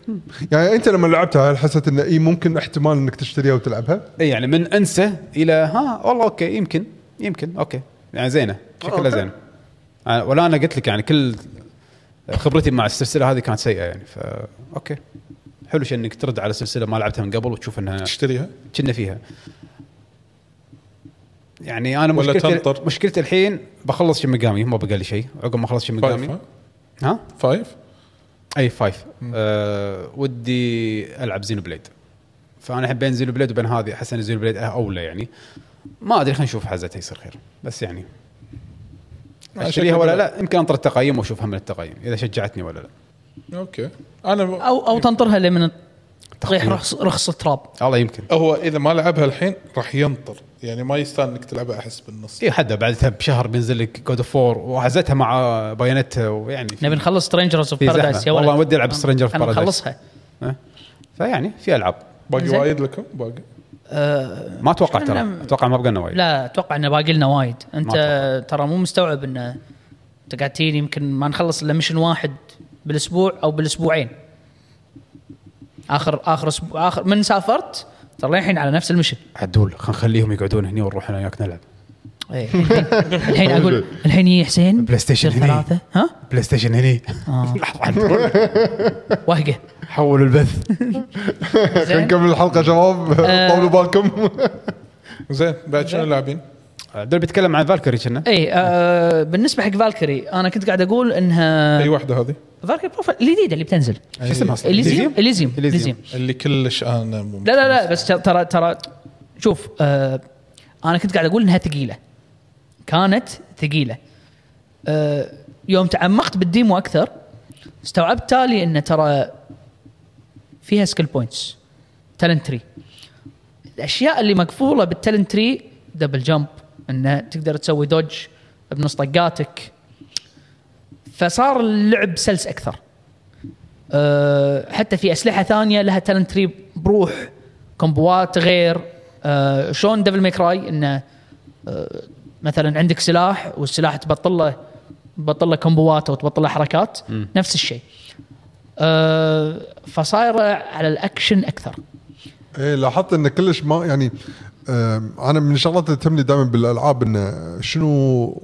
S3: يعني انت لما لعبتها هل حسيت انه اي ممكن احتمال انك تشتريها وتلعبها؟
S5: إيه.
S2: اي يعني من انسى الى ها والله اوكي يمكن يمكن اوكي يعني زينه شكلها
S3: أوكي.
S2: زين يعني ولا انا قلت لك يعني كل خبرتي مع السلسله هذه كانت سيئه يعني فا اوكي حلو شيء انك ترد على سلسله ما لعبتها من قبل وتشوف انها
S4: تشتريها
S2: كنا فيها يعني انا
S4: ولا
S2: مشكلتي
S4: تنطر.
S2: مشكلتي الحين بخلص شمقامي ما بقى لي شيء عقب ما اخلص
S4: فايف
S2: شمقامي
S4: طيب، ها؟
S2: ها
S4: فايف
S2: اي فايف أه ودي العب زينو بليد فانا الحين بين زينو بليد وبين هذه احس ان زينو بليد اولى يعني ما ادري خلينا نشوف حزتها يصير خير بس يعني اشتريها ولا لا يمكن انطر التقييم واشوفها من التقييم اذا شجعتني ولا لا
S4: اوكي انا
S5: او او تنطرها لمن تطيح رخص رخص تراب
S2: الله يمكن
S4: هو اذا ما لعبها الحين راح ينطر يعني ما يستاهل انك تلعبها احس بالنص
S2: اي حدا بعدها إيه، بشهر بينزل لك جود اوف 4 وحزتها مع بايونيتا ويعني في-
S5: نبي نخلص سترينجرز اوف
S2: في زحمة.
S5: بارادايس يا ولد
S2: والله ودي ألعب Stranger of
S5: خلنا
S2: Paradise.
S5: نخلصها
S2: أه؟ فيعني في العاب
S4: باقي
S5: زين.
S4: وايد لكم باقي
S5: آه،
S2: ما اتوقع
S5: مشكلة
S2: ترى
S5: إنه-
S2: اتوقع ما بقى لنا وايد
S5: لا اتوقع انه باقي لنا وايد انت
S2: ما
S5: ترى مو مستوعب انه انت قاعد تجيني يمكن ما نخلص الا مشن واحد بالاسبوع او بالاسبوعين اخر اخر اسبوع اخر من سافرت ترى للحين على نفس المشن
S2: عدول خلينا نخليهم يقعدون هنا ونروح انا وياك نلعب
S5: إيه. الحين اقول الحين يجي حسين
S2: بلاي ستيشن
S5: يصير
S2: هني.
S5: ثلاثه ها
S2: بلاي ستيشن هني
S5: آه.
S2: لحظه عدول
S5: وهقه
S2: حولوا البث
S5: زين.
S3: نكمل الحلقه شباب
S5: آه.
S3: طولوا بالكم
S4: زين بعد شنو لاعبين؟
S2: دول بيتكلم عن فالكري كنا
S5: اي آه بالنسبه حق فالكري انا كنت قاعد اقول انها
S2: أيوه.
S4: اي واحده هذه
S5: فالكري بروفايل الجديده اللي بتنزل
S2: شو اسمها اصلا؟
S5: اليزيوم اليزيوم
S2: Elysium.
S5: اليزيوم
S4: اللي كلش انا مو-
S5: لا لا لا بس ترى ترى شوف آه انا كنت قاعد اقول انها ثقيله كانت ثقيله آه يوم تعمقت بالديمو اكثر استوعبت تالي ان ترى فيها سكيل بوينتس تالنت تري الاشياء اللي مقفوله بالتالنت تري دبل جمب انه تقدر تسوي دوج بنص طقاتك فصار اللعب سلس اكثر أه، حتى في اسلحه ثانيه لها تالنت تري بروح كومبوات غير أه، شلون ديفل ميك راي انه أه، مثلا عندك سلاح والسلاح تبطل له تبطل له كومبوات او تبطل له حركات نفس الشيء أه، فصايره على الاكشن اكثر
S3: ايه لاحظت انه كلش ما يعني آم، انا من الشغلات اللي تهمني دائما بالالعاب انه شنو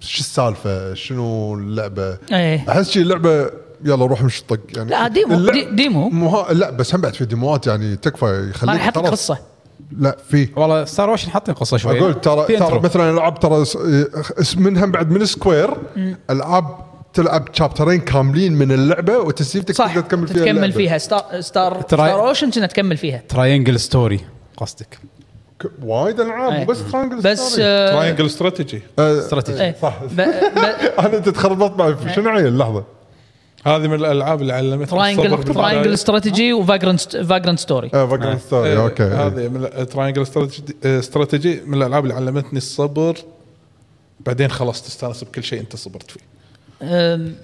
S3: شو السالفه شنو اللعبه
S5: ايه
S3: احس شي اللعبه يلا روح مش طق يعني
S5: لا ديمو
S3: اللعب-
S5: دي ديمو
S3: مو ها- لا بس هم بعد في ديموات يعني تكفى
S5: ما
S3: يخليك
S5: راح يحط لك
S3: خلاص.
S5: قصه
S3: لا في
S2: والله ستار اوشن حاطين قصه شوي
S3: اقول ترى
S2: في
S3: ترى
S2: intro.
S3: مثلا العاب ترى س- إيه، من هم بعد من سكوير العاب تلعب شابترين كاملين من اللعبه وتسيفتك
S5: صح
S3: تقدر تكمل فيها
S5: تكمل
S3: اللعبة.
S5: فيها ستار ستار,
S2: تراي-
S5: ستار اوشن كنا تكمل فيها
S2: تراينجل ستوري قصدك
S3: ك- وايد العاب
S5: إيه.
S3: مو بس ترانجل
S5: بس آه،
S4: تراينجل استراتيجي
S3: آه
S2: استراتيجي
S5: إيه.
S3: صح.
S5: ب- ب-
S3: انا انت تخربطت معي شنو عيل لحظه
S4: هذه من الالعاب اللي علمتني الصبر
S5: تراينجل تراينجل استراتيجي وفاجرنت فاجرنت ستوري
S3: آه فاجرنت ستوري
S4: آه،
S3: اوكي إيه.
S4: هذه من تراينجل استراتيجي آه، استراتيجي من الالعاب اللي علمتني الصبر بعدين خلاص تستانس بكل شيء انت صبرت فيه
S5: أم،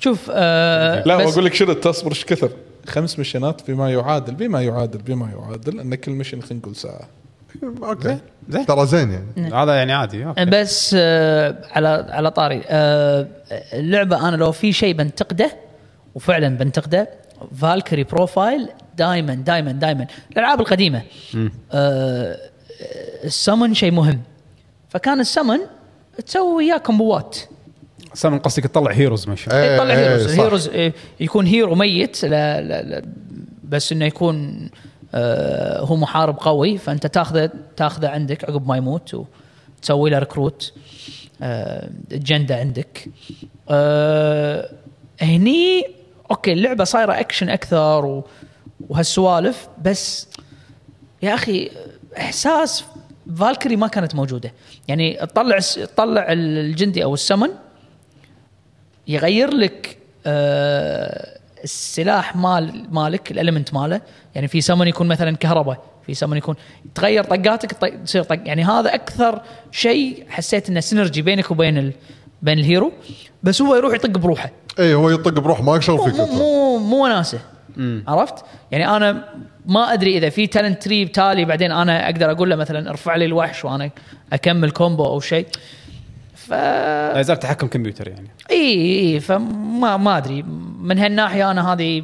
S5: شوف آه
S4: لا
S5: بس
S4: اقول لك شنو تصبر ايش كثر خمس مشينات بما يعادل بما يعادل بما يعادل ان كل مشين خلينا نقول ساعه
S3: اوكي
S2: زين.
S3: ترى زين يعني
S2: هذا يعني عادي أوكي.
S5: بس آه على على طاري آه اللعبه انا لو في شيء بنتقده وفعلا بنتقده فالكري بروفايل دائما دائما دائما الالعاب القديمه آه السمن شيء مهم فكان السمن تسوي وياه كومبوات
S2: سامن قصدك تطلع هيروز ما شاء الله.
S3: إيه،
S5: يطلع
S3: إيه،
S5: هيروز
S3: صح.
S5: الهيروز إيه، يكون هيرو ميت لا لا لا بس انه يكون آه، هو محارب قوي فانت تاخذه تاخذه عندك عقب ما يموت وتسوي له ريكروت اجنده عندك آه، هني اوكي اللعبه صايره اكشن اكثر و- وهالسوالف بس يا اخي احساس فالكري ما كانت موجوده يعني تطلع تطلع الجندي او السمن يغير لك آه السلاح مال مالك الالمنت ماله يعني في سمن يكون مثلا كهرباء في سمن يكون تغير طقاتك طي- تصير طق يعني هذا اكثر شيء حسيت انه سينرجي بينك وبين ال... بين الهيرو بس هو يروح يطق بروحه
S3: اي إيه، هو يطق بروح ما يشغل
S5: مو
S3: فيك
S5: مو
S3: أنت.
S5: مو, مو وناسه عرفت؟ يعني انا ما ادري اذا في تالنت تري تالي بعدين انا اقدر اقول له مثلا ارفع لي الوحش وانا اكمل كومبو او شيء ف
S2: لا يزال تحكم كمبيوتر يعني
S5: اي اي فما ما ادري من هالناحيه انا هذه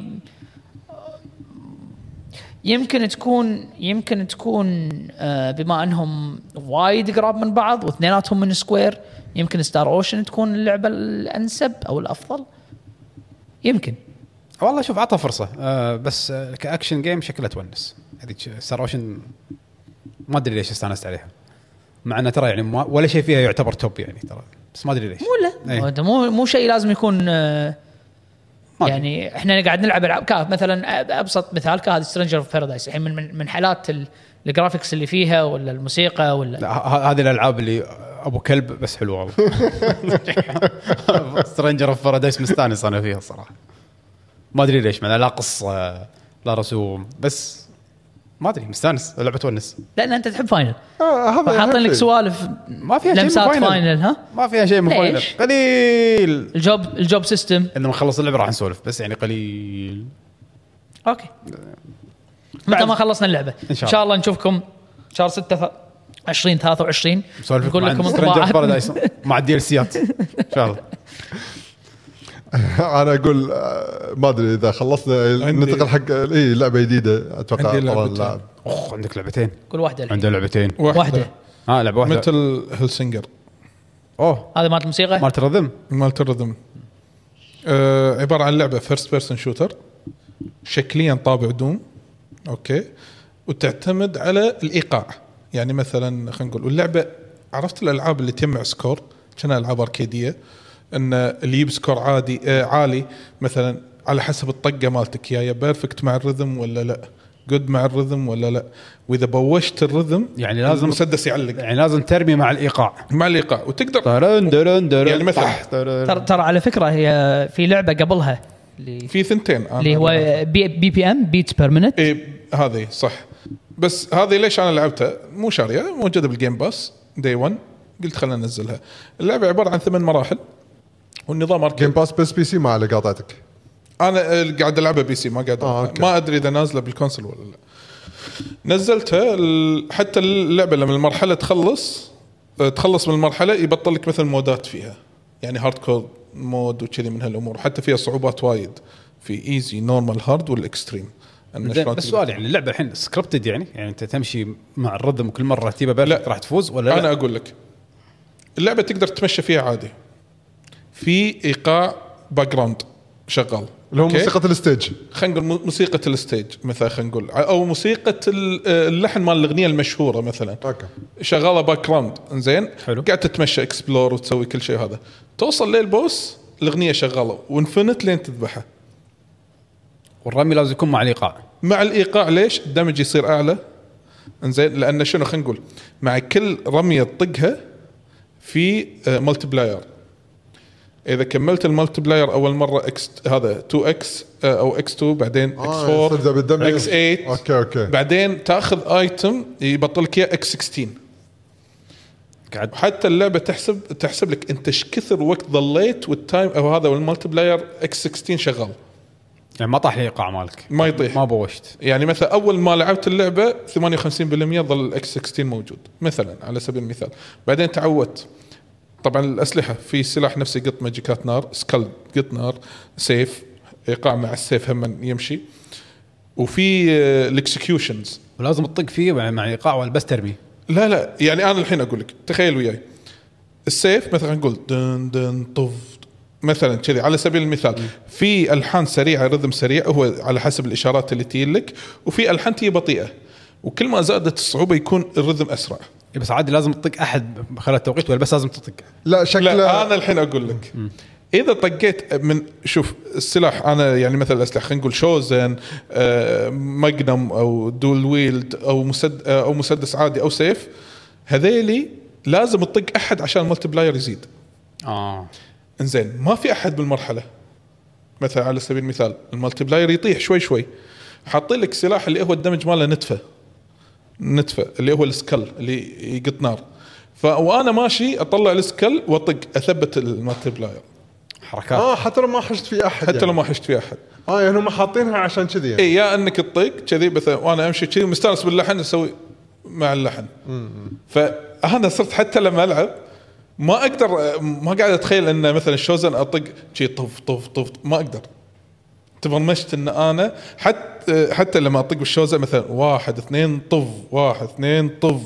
S5: يمكن تكون يمكن تكون آه، بما انهم وايد قراب من بعض واثنيناتهم من سكوير يمكن ستار اوشن تكون اللعبه الانسب او الافضل يمكن
S2: والله شوف عطها فرصه آه بس آه كاكشن جيم شكلها تونس هذيك ستار اوشن ما ادري ليش استانست عليها مع انها ترى يعني ما ولا شيء فيها يعتبر توب يعني ترى بس ما ادري ليش
S5: مو
S2: إيه.
S5: لا مو مو شيء لازم يكون آه،
S2: ما أدري.
S5: يعني احنا قاعد نلعب العاب كهف مثلا أب- ابسط مثال كهذا سترينجر اوف بارادايس الحين من من, من حالات ال- الجرافيكس اللي فيها ولا الموسيقى ولا
S2: لا ه- ه- هذه الالعاب اللي ابو كلب بس حلوه والله سترينجر اوف بارادايس مستانس انا فيها الصراحه ما ادري ليش معناها لا قصه لا رسوم بس ما ادري مستانس اللعبه تونس
S5: لان انت تحب فاينل
S3: آه، هذا-
S5: فحاطين لك
S3: هذا-
S5: سوالف
S2: ما فيها شيء من
S5: لمسات
S2: فاينل.
S5: فاينل ها
S2: ما فيها شيء من فاينل
S5: ليش؟
S2: قليل
S5: الجوب الجوب سيستم
S2: عندما نخلص اللعبه راح نسولف بس يعني قليل
S5: اوكي متى ما خلصنا اللعبه
S2: إن شاء
S5: ان شاء الله نشوفكم شهر 6 20 23
S2: سولفك
S5: نقول
S2: مع
S5: لكم
S2: سترينجر اوف
S5: انطباعات
S2: بارادايس مع الدي ال سيات ان شاء الله
S3: انا اقول آه، ما ادري اذا خلصنا
S4: عندي-
S3: ننتقل حق إيه، اي لعبه جديده اتوقع
S4: عندي
S3: طبعاً
S4: لعبتين.
S3: لعب.
S2: اخ عندك لعبتين
S5: كل واحده الحين.
S2: عنده لعبتين
S5: واحده
S2: ها لعبه واحده
S4: مثل هلسنجر
S2: اوه
S5: هذا مالت الموسيقى
S2: مالت الرذم
S4: مالت الرذم آه عباره عن لعبه فيرست بيرسون شوتر شكليا طابع دوم اوكي وتعتمد على الايقاع يعني مثلا خلينا نقول واللعبه عرفت الالعاب اللي تجمع سكور كانها العاب اركيديه ان اللي يجيب سكور عادي آه عالي مثلا على حسب الطقه مالتك يا يا بيرفكت مع الرذم ولا لا جود مع الرذم ولا لا واذا بوشت الرذم
S2: يعني لازم-
S4: المسدس يعلق
S2: يعني طيب. لازم ترمي مع الايقاع
S4: مع الايقاع وتقدر
S2: درن درن درن
S4: يعني مثلا-
S2: طح، درن.
S5: ترى ترى على فكره هي في لعبه قبلها اللي
S4: في ثنتين أنا
S5: اللي هو بي بي بي ام بيت بير
S2: إيه.
S5: مينت
S4: اي إيه، هذه صح بس هذه ليش انا لعبتها مو شاريه موجوده بالجيم باس دي 1 قلت خلينا ننزلها اللعبه عباره عن ثمان مراحل والنظام
S3: جيم
S4: اركيد
S3: باس بس بي سي ما على قاطعتك
S4: انا آه، قاعد العبها بي سي ما قاعد
S3: آه، أوكي.
S4: ما ادري اذا نازله بالكونسل ولا لا نزلتها ال- حتى اللعبه لما المرحله تخلص آه، تخلص من المرحله يبطل لك مثل مودات فيها يعني هارد كور مود وكذي من هالامور حتى فيها صعوبات وايد في ايزي نورمال هارد والاكستريم
S2: زين
S4: إن شلون
S2: بس
S4: تقدر-
S2: سؤال يعني اللعبه الحين سكريبتد يعني يعني انت تمشي مع الرذم وكل مره تجيبه بيرفكت
S4: لا.
S2: راح تفوز ولا
S4: انا
S2: لا؟
S4: اقول لك اللعبه تقدر تتمشى فيها عادي في ايقاع باك جراوند شغال
S3: اللي هو
S4: أوكي؟
S3: موسيقى الستيج
S4: خلينا نقول مو- موسيقى الستيج مثلا خلينا نقول او موسيقى ال- اللحن مال الاغنيه المشهوره مثلا
S3: اوكي
S4: شغاله باك جراوند انزين
S2: حلو.
S4: قاعد تتمشى اكسبلور وتسوي كل شيء هذا توصل للبوس الاغنيه شغاله وانفنت لين تذبحه
S2: والرمي لازم يكون مع الايقاع
S4: مع الايقاع ليش؟ الدمج يصير اعلى انزين لان شنو خلينا نقول مع كل رميه تطقها في ملتي بلاير اذا كملت الملتي بلاير اول مره اكس هذا آه، 2 اكس او اكس 2 بعدين اكس
S3: آه،
S4: 4
S3: يصير بالدم.
S4: اكس 8
S3: اوكي اوكي
S4: بعدين تاخذ ايتم يبطل لك اياه اكس 16
S2: قاعد
S4: حتى اللعبه تحسب تحسب لك انت ايش كثر وقت ظليت والتايم او هذا والملتي بلاير اكس 16 شغال
S2: يعني ما طاح الايقاع مالك
S4: ما يطيح
S2: ما بوشت
S4: يعني مثلا اول ما لعبت اللعبه 58% ظل الاكس 16 موجود مثلا على سبيل المثال بعدين تعودت طبعا الاسلحه في سلاح نفسي قط ماجيكات نار سكال قط نار سيف ايقاع مع السيف هم يمشي وفي آه، الاكسكيوشنز
S2: ولازم تطق فيه مع مع الايقاع ولا بس ترمي
S4: لا لا يعني انا الحين اقول لك تخيل وياي السيف مثلا نقول دن دن طف مثلا كذي على سبيل المثال في الحان سريعه رذم سريع هو على حسب الاشارات اللي تجي لك وفي الحان تجي بطيئه وكل ما زادت الصعوبه يكون الرذم اسرع
S2: إي إيه، بس عادي لازم تطق احد خلال التوقيت ولا بس لازم تطق
S3: لا
S4: لا
S3: شكله
S4: انا الحين اقول لك اذا طقيت من شوف السلاح انا يعني مثلا الاسلحه خلينا نقول شوزن آه، ماجنم او دول ويلد او مسد آه، او مسدس عادي او سيف هذيلي لازم تطق احد عشان الملتي بلاير يزيد
S2: اه
S4: انزين ما في احد بالمرحله مثلا على سبيل المثال الملتي بلاير يطيح شوي شوي حاطين لك سلاح اللي هو الدمج ماله نتفه نتفه اللي هو السكل اللي يقط نار فوانا ماشي اطلع السكل واطق اثبت الملتي بلاير
S2: حركات
S3: اه حتى لو ما حشت في احد
S4: حتى لو
S3: يعني.
S4: ما إيه. حشت في احد
S3: اه يعني هم حاطينها عشان كذي يعني.
S4: اي يا انك تطيق كذي مثلا وانا امشي كذي مستانس باللحن اسوي مع اللحن فانا صرت حتى لما العب ما اقدر ما قاعد اتخيل ان مثلا شوزن اطق شي طف طف طف ما اقدر تبرمجت ان انا حتى حتى لما اطق بالشوزن مثلا واحد اثنين طف واحد اثنين طف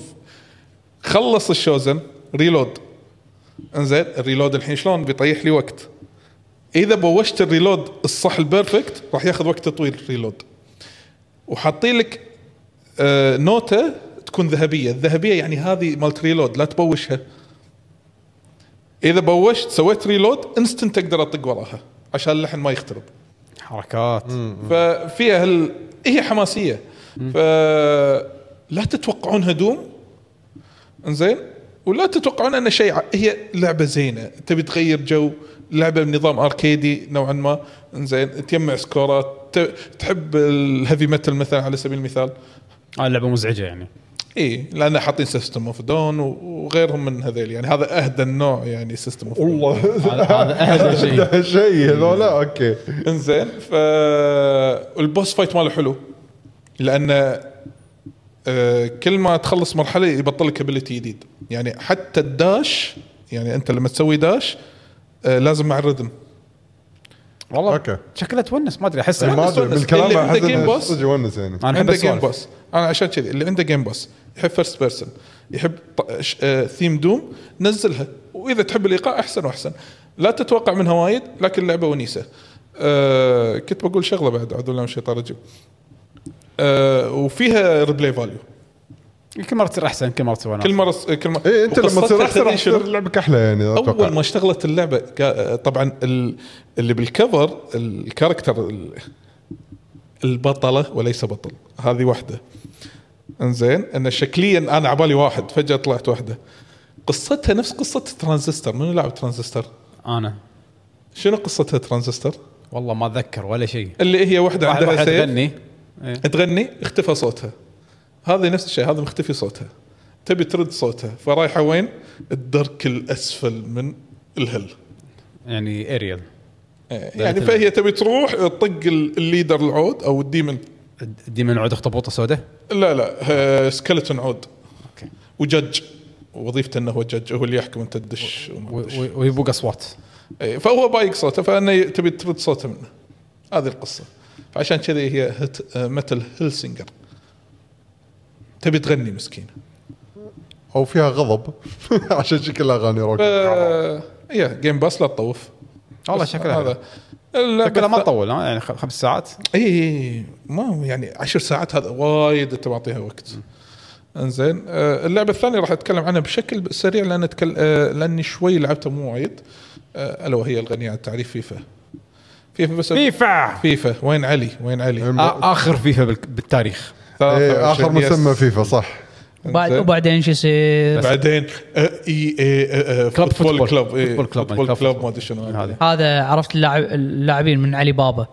S4: خلص الشوزن ريلود انزين الريلود الحين شلون بيطيح لي وقت اذا بوشت الريلود الصح البيرفكت راح ياخذ وقت طويل الريلود وحاطين لك آه، نوته تكون ذهبيه، الذهبيه يعني هذه مالت ريلود لا تبوشها. اذا بوشت سويت ريلود انستنت اقدر اطق وراها عشان اللحن ما يخترب.
S2: حركات
S4: ففيها هال... هي حماسيه فلا تتوقعون هدوم انزين ولا تتوقعون انه شيء ع- هي لعبه زينه تبي تغير جو لعبه بنظام اركيدي نوعا ما انزين تجمع سكورات ت- تحب الهيفي ميتال مثلا على سبيل المثال
S2: آه اللعبه مزعجه يعني
S4: اي لان حاطين سيستم اوف دون وغيرهم من هذيل يعني هذا اهدى النوع يعني سيستم اوف دون
S3: والله
S2: هذا هذا اهدى شيء
S3: ده شيء هذولا اوكي
S4: انزين ف البوس فايت ماله حلو لان آه، كل ما تخلص مرحله يبطل لك ابيلتي جديد يعني حتى الداش يعني انت لما تسوي داش آه، لازم مع الرذم
S2: والله
S3: أوكي. إيه،
S2: شكلها تونس ما ادري احس
S3: ما ادري
S4: بس
S3: بالكلام
S4: اللي
S3: احس
S4: عنده Game
S3: انه
S4: Boss؟
S3: صدق يونس يعني
S2: انا احب
S4: عنده جيم
S2: السوالف
S4: بوس انا عشان كذي اللي عنده جيم بوس يحب فيرست بيرسون يحب ثيم دوم نزلها واذا تحب الايقاع احسن واحسن لا تتوقع منها وايد لكن اللعبه ونيسه أه كنت بقول شغله بعد اعوذ بالله من الشيطان الرجيم أه وفيها ريبلاي فاليو
S2: كل مره تصير احسن كل مره تصير
S4: كل
S2: وناسة.
S4: مره كل مره
S3: اي انت إيه، لما تصير
S4: وقصتها
S3: احسن راح
S4: تدري شنو؟
S3: تصير لعبك احلى يعني اتوقع
S4: اول ما اشتغلت اللعبه كا- طبعا ال- اللي بالكفر الكاركتر ال- البطله وليس بطل هذه واحده انزين ان شكليا انا عبالي واحد فجاه طلعت واحده قصتها نفس قصه ترانزستور منو لاعب ترانزستور
S2: انا
S4: شنو قصتها ترانزستور
S2: والله ما اتذكر ولا شيء
S4: اللي هي واحده
S2: واحد
S4: عندها
S2: واحد
S4: سيف
S2: تغني
S4: تغني اختفى صوتها هذا نفس الشيء هذا مختفي صوتها تبي ترد صوتها فرايحه وين الدرك الاسفل من الهل
S2: يعني اريال
S4: يعني فهي تبي تروح تطق ال- الليدر العود او الديمن
S2: الديمن عود اخطبوطه سوداء
S4: لا لا سكلتون عود
S2: اوكي
S4: وجج وظيفته انه هو جج هو اللي يحكم انت تدش وما
S2: و-
S4: تدش.
S2: و- ويبوق اصوات
S4: إيه، فهو بايق صوته فانه تبي ترد صوته منه هذه القصه فعشان كذي هي هت متل هيل سينجر تبي تغني مسكينه
S3: او فيها غضب عشان شكل اغاني روك
S4: ف... يا جيم باس لا تطوف
S2: والله
S4: بس
S2: شكلها
S4: هذا اللعبة
S2: شكلها ما
S4: الث-
S2: تطول ها يعني خ- خمس ساعات
S4: اي ما يعني عشر ساعات هذا وايد انت معطيها وقت انزين آه، اللعبه الثانيه راح اتكلم عنها بشكل سريع لان أتكل... آه، لاني شوي لعبتها مو وايد آه، الا وهي الغنيه عن التعريف فيفا فيفا بس
S2: فيفا
S4: فيفا وين علي وين علي آه،
S2: اخر فيفا بالك- بالتاريخ
S3: إيه، اخر
S4: 23 يس.
S3: مسمى فيفا صح
S5: بعد
S4: إنزين.
S5: وبعدين شو يصير؟
S4: بعدين آه، اي اي
S2: كلوب فوتبول.
S4: آه، فوتبول كلوب إيه،
S2: فوتبول كلوب،
S4: فوتبول
S2: كلوب
S4: كلوب
S2: فوتبول.
S4: ما ادري شنو
S2: هذا
S5: هذا عرفت اللاعب اللاعبين من علي بابا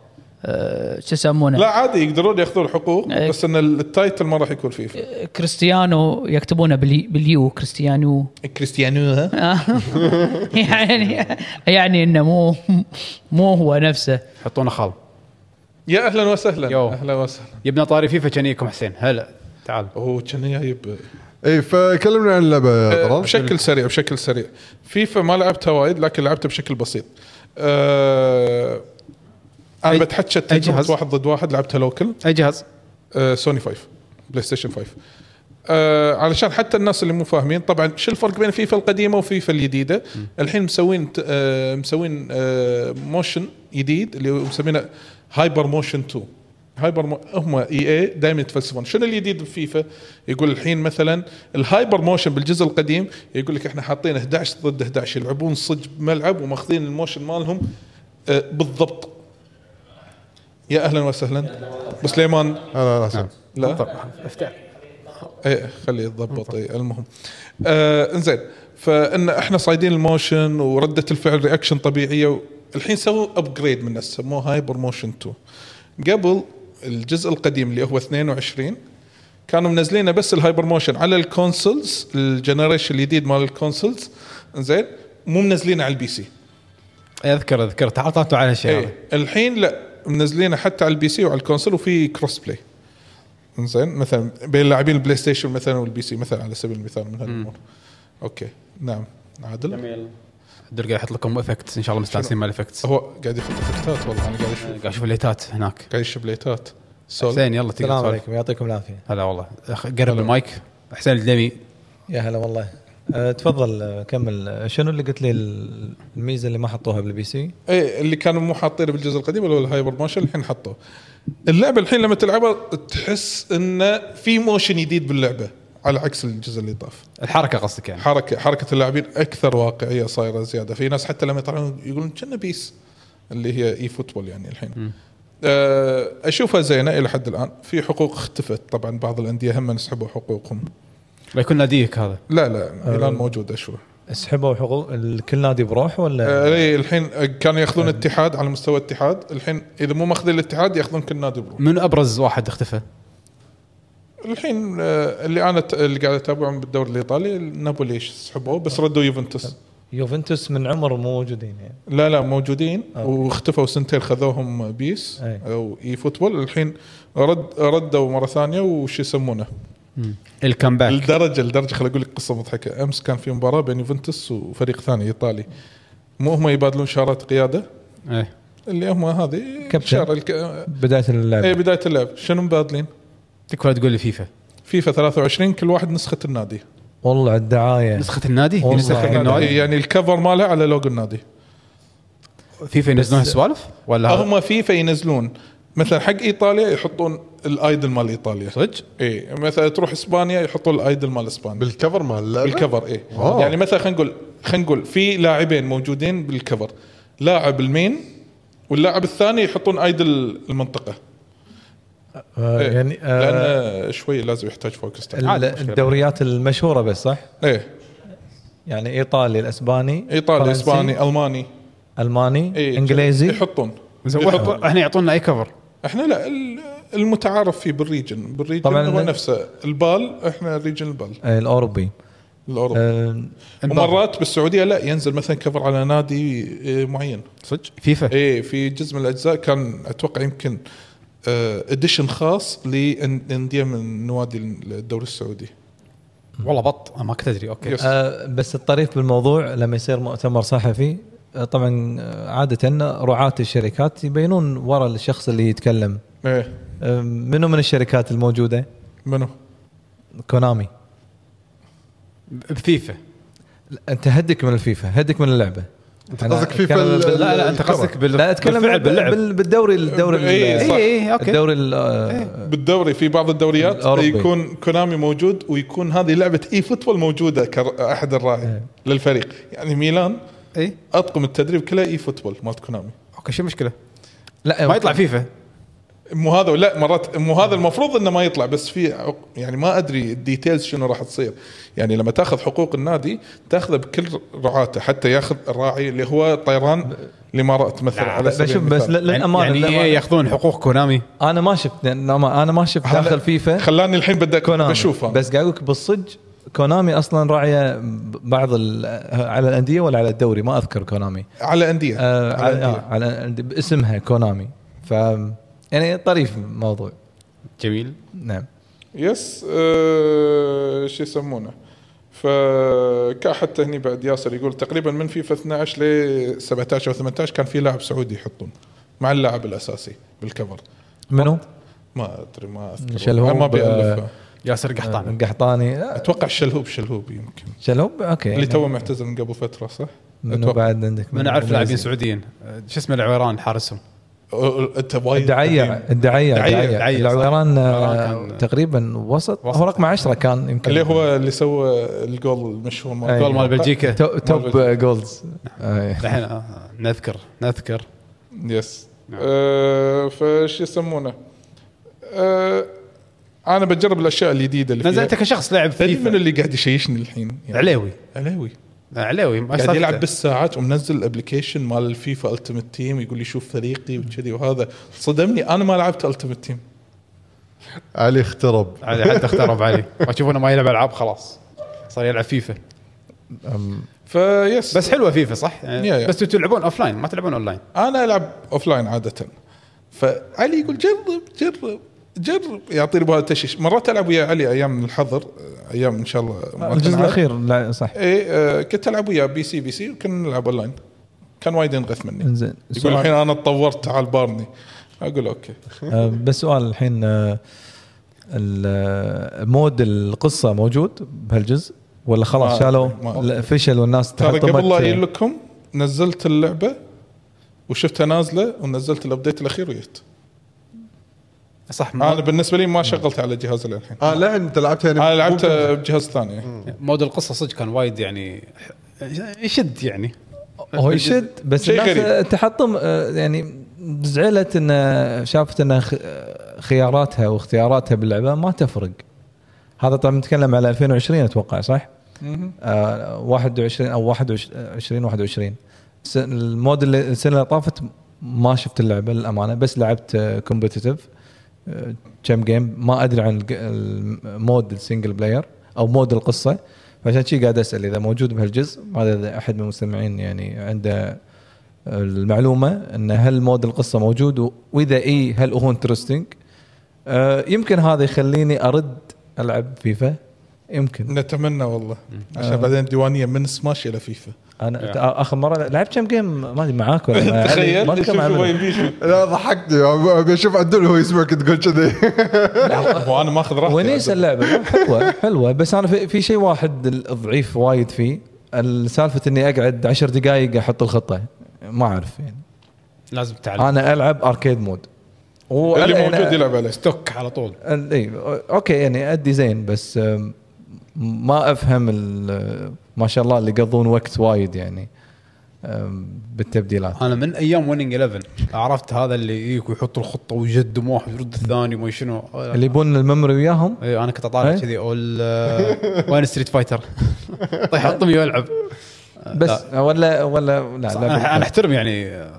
S5: آه، شو يسمونه؟
S4: لا عادي يقدرون ياخذون الحقوق
S5: إيه.
S4: بس ان التايتل ما راح يكون فيفا
S5: كريستيانو يكتبونه بالي- باليو كريستيانو
S4: كريستيانو ها
S5: آه. يعني يعني انه مو مو هو نفسه
S2: حطونا خال
S4: يا اهلا وسهلا
S2: يو.
S4: اهلا وسهلا
S2: يبنا طاري فيفا كان يجيكم حسين هلا تعال
S4: هو كان جايب
S3: اي فكلمنا إيه، عن اللعبه يا طلال.
S4: آه، بشكل سريع بشكل سريع فيفا ما لعبتها وايد لكن لعبتها بشكل بسيط أه انا
S2: أي-
S4: بتحكى
S2: أي
S4: تجربه
S2: جهاز؟
S4: واحد ضد واحد لعبتها لوكل
S2: اي جهاز
S4: أه سوني 5 بلاي ستيشن 5 أه علشان حتى الناس اللي مو فاهمين طبعا شو الفرق بين فيفا القديمه وفيفا الجديده الحين مسوين ت- أه مسوين أه موشن جديد اللي هو مسمينه هايبر موشن 2 هايبر مو... هم اي اي دائما يتفلسفون شنو الجديد بفيفا يقول الحين مثلا الهايبر موشن بالجزء القديم يقول لك احنا حاطين 11 ضد 11 يلعبون صج بملعب وماخذين الموشن مالهم أه بالضبط يا اهلا وسهلا بسليمان
S3: هلا هلا حسين
S4: لا
S2: طب افتح
S4: اي خليه يتضبط اي المهم آه انزين فان احنا صايدين الموشن ورده الفعل رياكشن طبيعيه الحين سووا ابجريد من نفسه سموه هايبر موشن 2 قبل الجزء القديم اللي هو 22 كانوا منزلينه بس الهايبر موشن على الكونسولز الجنريشن الجديد مال الكونسولز انزين مو منزلينه على البي سي
S2: اذكر اذكر تعاطفتوا على هالشيء
S4: ايه
S2: هذا
S4: الحين لا منزلينه حتى على البي سي وعلى الكونسول وفي كروس بلاي زين مثلا بين لاعبين البلاي ستيشن مثلا والبي سي مثلا على سبيل المثال من هالامور اوكي نعم عادل
S2: الدر قاعد يحط لكم افكتس ان شاء الله مستانسين مال افكتس
S4: هو قاعد يحط افكتات والله انا قاعد اشوف
S2: قاعد اشوف الليتات هناك
S4: قاعد يشوف ليتات سول
S2: حسين يلا تقدر
S6: السلام
S2: تسولف.
S6: عليكم يعطيكم العافيه
S2: هلا والله أخ- قرب المايك حسين الدمي
S6: يا هلا والله أه تفضل أه، كمل أه، شنو اللي قلت لي ال- الميزه اللي ما حطوها بالبي سي
S4: اي إيه، اللي كانوا مو حاطينه بالجزء القديم اللي هو الهايبر موشن الحين حطوه اللعبه الحين لما تلعبها تحس انه في موشن جديد باللعبه على عكس الجزء اللي طاف
S2: الحركه قصدك يعني
S4: حركه حركه اللاعبين اكثر واقعيه صايره زياده في ناس حتى لما يطلعون يقولون كنا بيس اللي هي اي فوتبول يعني الحين آه، اشوفها زينه الى حد الان في حقوق اختفت طبعا بعض الانديه هم سحبوا حقوقهم
S2: بيكون ناديك هذا
S4: لا لا الان موجود اشوف
S6: سحبوا حقوق ال- كل نادي بروح ولا
S4: آه، إيه، الحين كانوا ياخذون اتحاد على مستوى اتحاد الحين اذا مو ماخذين الاتحاد ياخذون كل نادي بروح
S2: من ابرز واحد اختفى
S4: الحين آه، اللي انا ت- اللي قاعد اتابعهم بالدوري الايطالي نابولي سحبوه بس ردوا يوفنتوس
S6: يوفنتوس من عمر مو موجودين يعني
S4: لا لا موجودين
S6: أوكي.
S4: واختفوا سنتين خذوهم بيس
S6: آه. أي.
S4: او اي فوتبول الحين رد ردوا مره ثانيه وش يسمونه
S2: الكامباك
S4: الدرجه الدرجه خل اقول لك قصه مضحكه امس كان في مباراه بين يوفنتوس وفريق ثاني ايطالي مو هم يبادلون شارات قياده
S2: إيه.
S4: اللي هم هذه
S6: كابتن.
S4: شارة الك...
S6: بدايه
S4: اي
S6: اللعب
S4: بدايه اللعب شنو مبادلين؟
S2: تكفى لا تقول لي فيفا
S4: فيفا 23 كل واحد نسخه النادي
S6: والله على الدعايه
S2: نسخه النادي
S6: والله.
S2: نسخة
S6: حق
S4: النادي.
S2: النادي
S4: يعني الكفر ماله على لوجو النادي
S2: فيفا ينزلون هالسوالف ولا هذا؟
S4: هم فيفا ينزلون مثلا حق ايطاليا يحطون الايدل مال ايطاليا
S2: صدق
S4: اي مثلا تروح اسبانيا يحطوا الايدل مال اسبانيا
S3: بالكفر مال اللعبه
S4: بالكفر اي
S3: واو.
S4: يعني مثلا خلينا نقول خلينا نقول في لاعبين موجودين بالكفر لاعب المين واللاعب الثاني يحطون ايدل المنطقه
S6: آه،
S4: إيه.
S6: يعني آه،
S4: لان آه، شوي لازم يحتاج فوكس
S6: ال-
S4: تعال.
S6: الدوريات المشهوره بس صح
S4: ايه
S6: يعني ايطالي الاسباني
S4: ايطالي
S6: فرنسي،
S4: اسباني الماني
S6: الماني
S4: إيه
S6: انجليزي
S4: يحطون
S2: زين
S4: يحطون.
S2: واحد- احنا يعطونا اي كفر
S4: احنا لا ال- المتعارف فيه بالريجن بالريجن
S6: طبعاً
S4: هو
S6: ال-
S4: نفسه البال احنا ريجن البال
S6: آه، الاوروبي
S4: الاوروبي
S6: آه،
S4: ومرات بالسعوديه لا ينزل مثلا كفر على نادي آه، معين
S2: صدق فيفا
S4: ايه في جزء من الاجزاء كان اتوقع يمكن اديشن خاص لانديه من نوادي الدوري السعودي
S2: والله بط أنا ما كنت ادري اوكي
S4: يس.
S6: آه، بس الطريف بالموضوع لما يصير مؤتمر صحفي آه، طبعا آه، عاده رعاه الشركات يبينون ورا الشخص اللي يتكلم
S4: ايه
S6: آه، منو من الشركات الموجوده؟
S4: منو؟
S6: كونامي
S2: بفيفا
S6: انت هدك من الفيفا هدك من اللعبه
S3: انت قصدك فيفا
S7: أتكلم
S3: ال-
S7: بال-
S2: لا لا انت
S3: الكرة.
S2: قصدك بال...
S7: لا اتكلم
S2: بالفعل باللعب
S7: بال- بالدوري الدوري ال-
S4: إيه،
S8: اي
S4: صح.
S8: اي اوكي
S7: الدوري ال-
S6: إيه.
S7: آه،
S4: بالدوري في بعض الدوريات
S7: الأوروبي.
S4: يكون كونامي موجود ويكون هذه لعبه اي فوتبول موجوده كاحد الراعي للفريق يعني ميلان
S2: اي
S4: اطقم التدريب كله اي فوتبول مالت كونامي
S2: اوكي إيه. شو المشكله؟
S7: إيه، لا
S2: ما يطلع فيفا
S4: مو هذا لا مرات مو هذا المفروض انه ما يطلع بس في عق- يعني ما ادري الديتيلز شنو راح تصير يعني لما تاخذ حقوق النادي تاخذه بكل رعاته حتى ياخذ الراعي اللي هو طيران الامارات مثلا على سبيل
S7: بشوف بس
S4: المثال.
S7: ل- للامانه
S2: يعني
S7: للأمانة.
S2: ايه ياخذون حقوق كونامي
S7: انا ما شفت لأن أما- انا ما شفت داخل فيفا
S4: خلاني الحين بدك
S7: كونامي
S4: بشوفها
S7: بس قاعد اقول لك بالصدق كونامي اصلا راعيه ب- بعض ال- على الانديه ولا على الدوري ما اذكر كونامي
S4: على انديه
S7: آه
S4: على
S7: على,
S4: أندية.
S7: آه على الأندية باسمها كونامي ف يعني طريف الموضوع
S2: جميل
S7: نعم
S4: يس آه، شو يسمونه فكا حتى هني بعد ياسر يقول تقريبا من فيفا 12 ل 17 او 18 كان في لاعب سعودي يحطون مع اللاعب الاساسي بالكفر
S7: منو؟
S4: ما ادري ما اذكر
S7: شلهوب،
S4: ما
S2: آه،
S4: بيألفها
S2: ياسر قحطان
S7: قحطاني آه،
S4: اتوقع الشلهوب شلهوب يمكن
S7: شلوب اوكي
S4: اللي توه معتزل من قبل فتره صح؟
S7: منو بعد عندك
S2: يعني من اعرف لاعبين
S7: مميزين؟
S2: سعوديين أه، شو اسمه العويران حارسهم
S4: أه، انت وايد
S7: الدعيع
S4: قديم.
S7: الدعيع
S4: دعيع،
S7: الدعيع
S2: دعيع، صح.
S7: العويران
S2: العويران
S7: آه،
S2: كان-
S7: تقريبا وسط
S2: وسط.
S7: هو رقم 10 كان يمكن
S4: اللي هو اللي سوى الجول المشهور
S7: أي.
S2: جول أيوة. مال بلجيكا
S7: تو- توب
S4: مال
S7: جولز آه، أي.
S2: الحين أه، نذكر نذكر
S4: يس آه، فش يسمونه؟ آه، انا بجرب الاشياء الجديدة اللي
S2: نزل
S4: فيها
S2: انت كشخص لاعب
S4: تدري من
S2: فيفا
S4: اللي قاعد يشيشني الحين؟ يعني
S2: عليوي
S4: علوي
S2: أه، عليوي ما
S4: قاعد
S2: صار
S4: يلعب
S2: فيفا.
S4: بالساعات ومنزل الابلكيشن مال الفيفا التيمت تيم يقول لي شوف فريقي وكذي وهذا صدمني انا ما لعبت التيمت تيم
S3: علي اخترب
S2: علي حتى اخترب علي اشوف انه ما يلعب العاب خلاص صار يلعب فيفا
S4: فيس
S2: بس حلوه فيفا صح؟
S4: يا- يا.
S2: يعني بس انتوا تلعبون اوف لاين ما تلعبون اون لاين
S4: انا العب اوف لاين عاده فعلي يقول جرب جرب جرب يعطيني بهذا التشيش مرات العب ويا علي ايام من الحظر ايام ان شاء الله
S2: نعم.
S4: مرات
S7: الجزء
S4: نلعب.
S7: الاخير لا صح
S4: اي آه، كنت العب ويا بي سي بي سي وكنا نلعب اونلاين كان وايد ينغث مني
S7: انزين
S4: يقول
S7: سؤال-
S4: الحين انا تطورت تعال بارني اقول اوكي
S7: آه، بس سؤال الحين آه، ال- آه، مود القصه موجود بهالجزء ولا
S4: ما-
S7: خلاص
S4: آه، ما-
S7: شالوا لا، فشل والناس
S4: ترى قبل لا اقول
S7: تحطمت
S4: لكم نزلت اللعبه وشفتها نازله ونزلت الابديت الاخير وجيت
S2: صح
S4: انا
S2: مود,
S4: بالنسبه لي ما شغلت على جهازي للحين
S3: اه لا انت لعبتها يعني
S4: انا لعبت بجهاز ثاني
S2: مود القصه صدق كان وايد يعني يشد يعني
S7: هو يشد بس
S4: شيء
S7: الناس
S4: غريب.
S7: آه، تحطم آه، يعني زعلت ان شافت ان خ- آه، خياراتها واختياراتها باللعبه ما تفرق هذا طبعا نتكلم على 2020 اتوقع صح؟ آه 21 او 21 21 س- المود اللي السنه اللي طافت ما شفت اللعبه للامانه بس لعبت آه، كومبتيتف كم جيم ما ادري عن الج- المود السنجل بلاير او مود القصه فعشان شي قاعد اسال اذا موجود بهالجزء ما ادري اذا احد من المستمعين يعني عنده المعلومه ان هل مود القصه موجود و- واذا اي هل هو انترستنج يمكن هذا يخليني ارد العب فيفا يمكن
S4: نتمنى والله
S7: آه.
S4: عشان بعدين الديوانيه من سماش الى فيفا
S7: انا آه. اخر مره لعبت كم جيم ما ادري معاك ولا مع علي؟ ما
S4: تخيل شوف
S7: أذكر مع
S4: هو
S7: منو.
S4: يبي
S3: لا ضحكتني ابي اشوف عدول هو يسمعك تقول كذي
S4: هو انا ماخذ راحتي
S7: ونيس اللعبه حلوه حلوه بس انا في, في شيء واحد ضعيف وايد فيه سالفه اني اقعد عشر دقائق احط الخطه ما اعرف يعني
S2: لازم تعلم
S7: انا العب اركيد مود و-
S4: اللي
S7: أنا-
S4: موجود يلعب عليه
S2: ستوك على طول
S7: أنا- اي اوكي يعني ادي زين بس أم، ما افهم ال- ما شاء الله اللي يقضون وقت وايد يعني أم، بالتبديلات
S2: انا من ايام ويننج 11 عرفت هذا اللي يجيك ويحط الخطه ويقدم واحد يرد الثاني وما شنو
S7: اللي يبون الميموري وياهم
S2: اي انا كنت اطالع
S7: إيه؟
S2: كذي آه، اول وين ستريت فايتر طيح حطني والعب
S7: بس ولا ولا لا, لا
S2: انا أنا احترم يعني آه،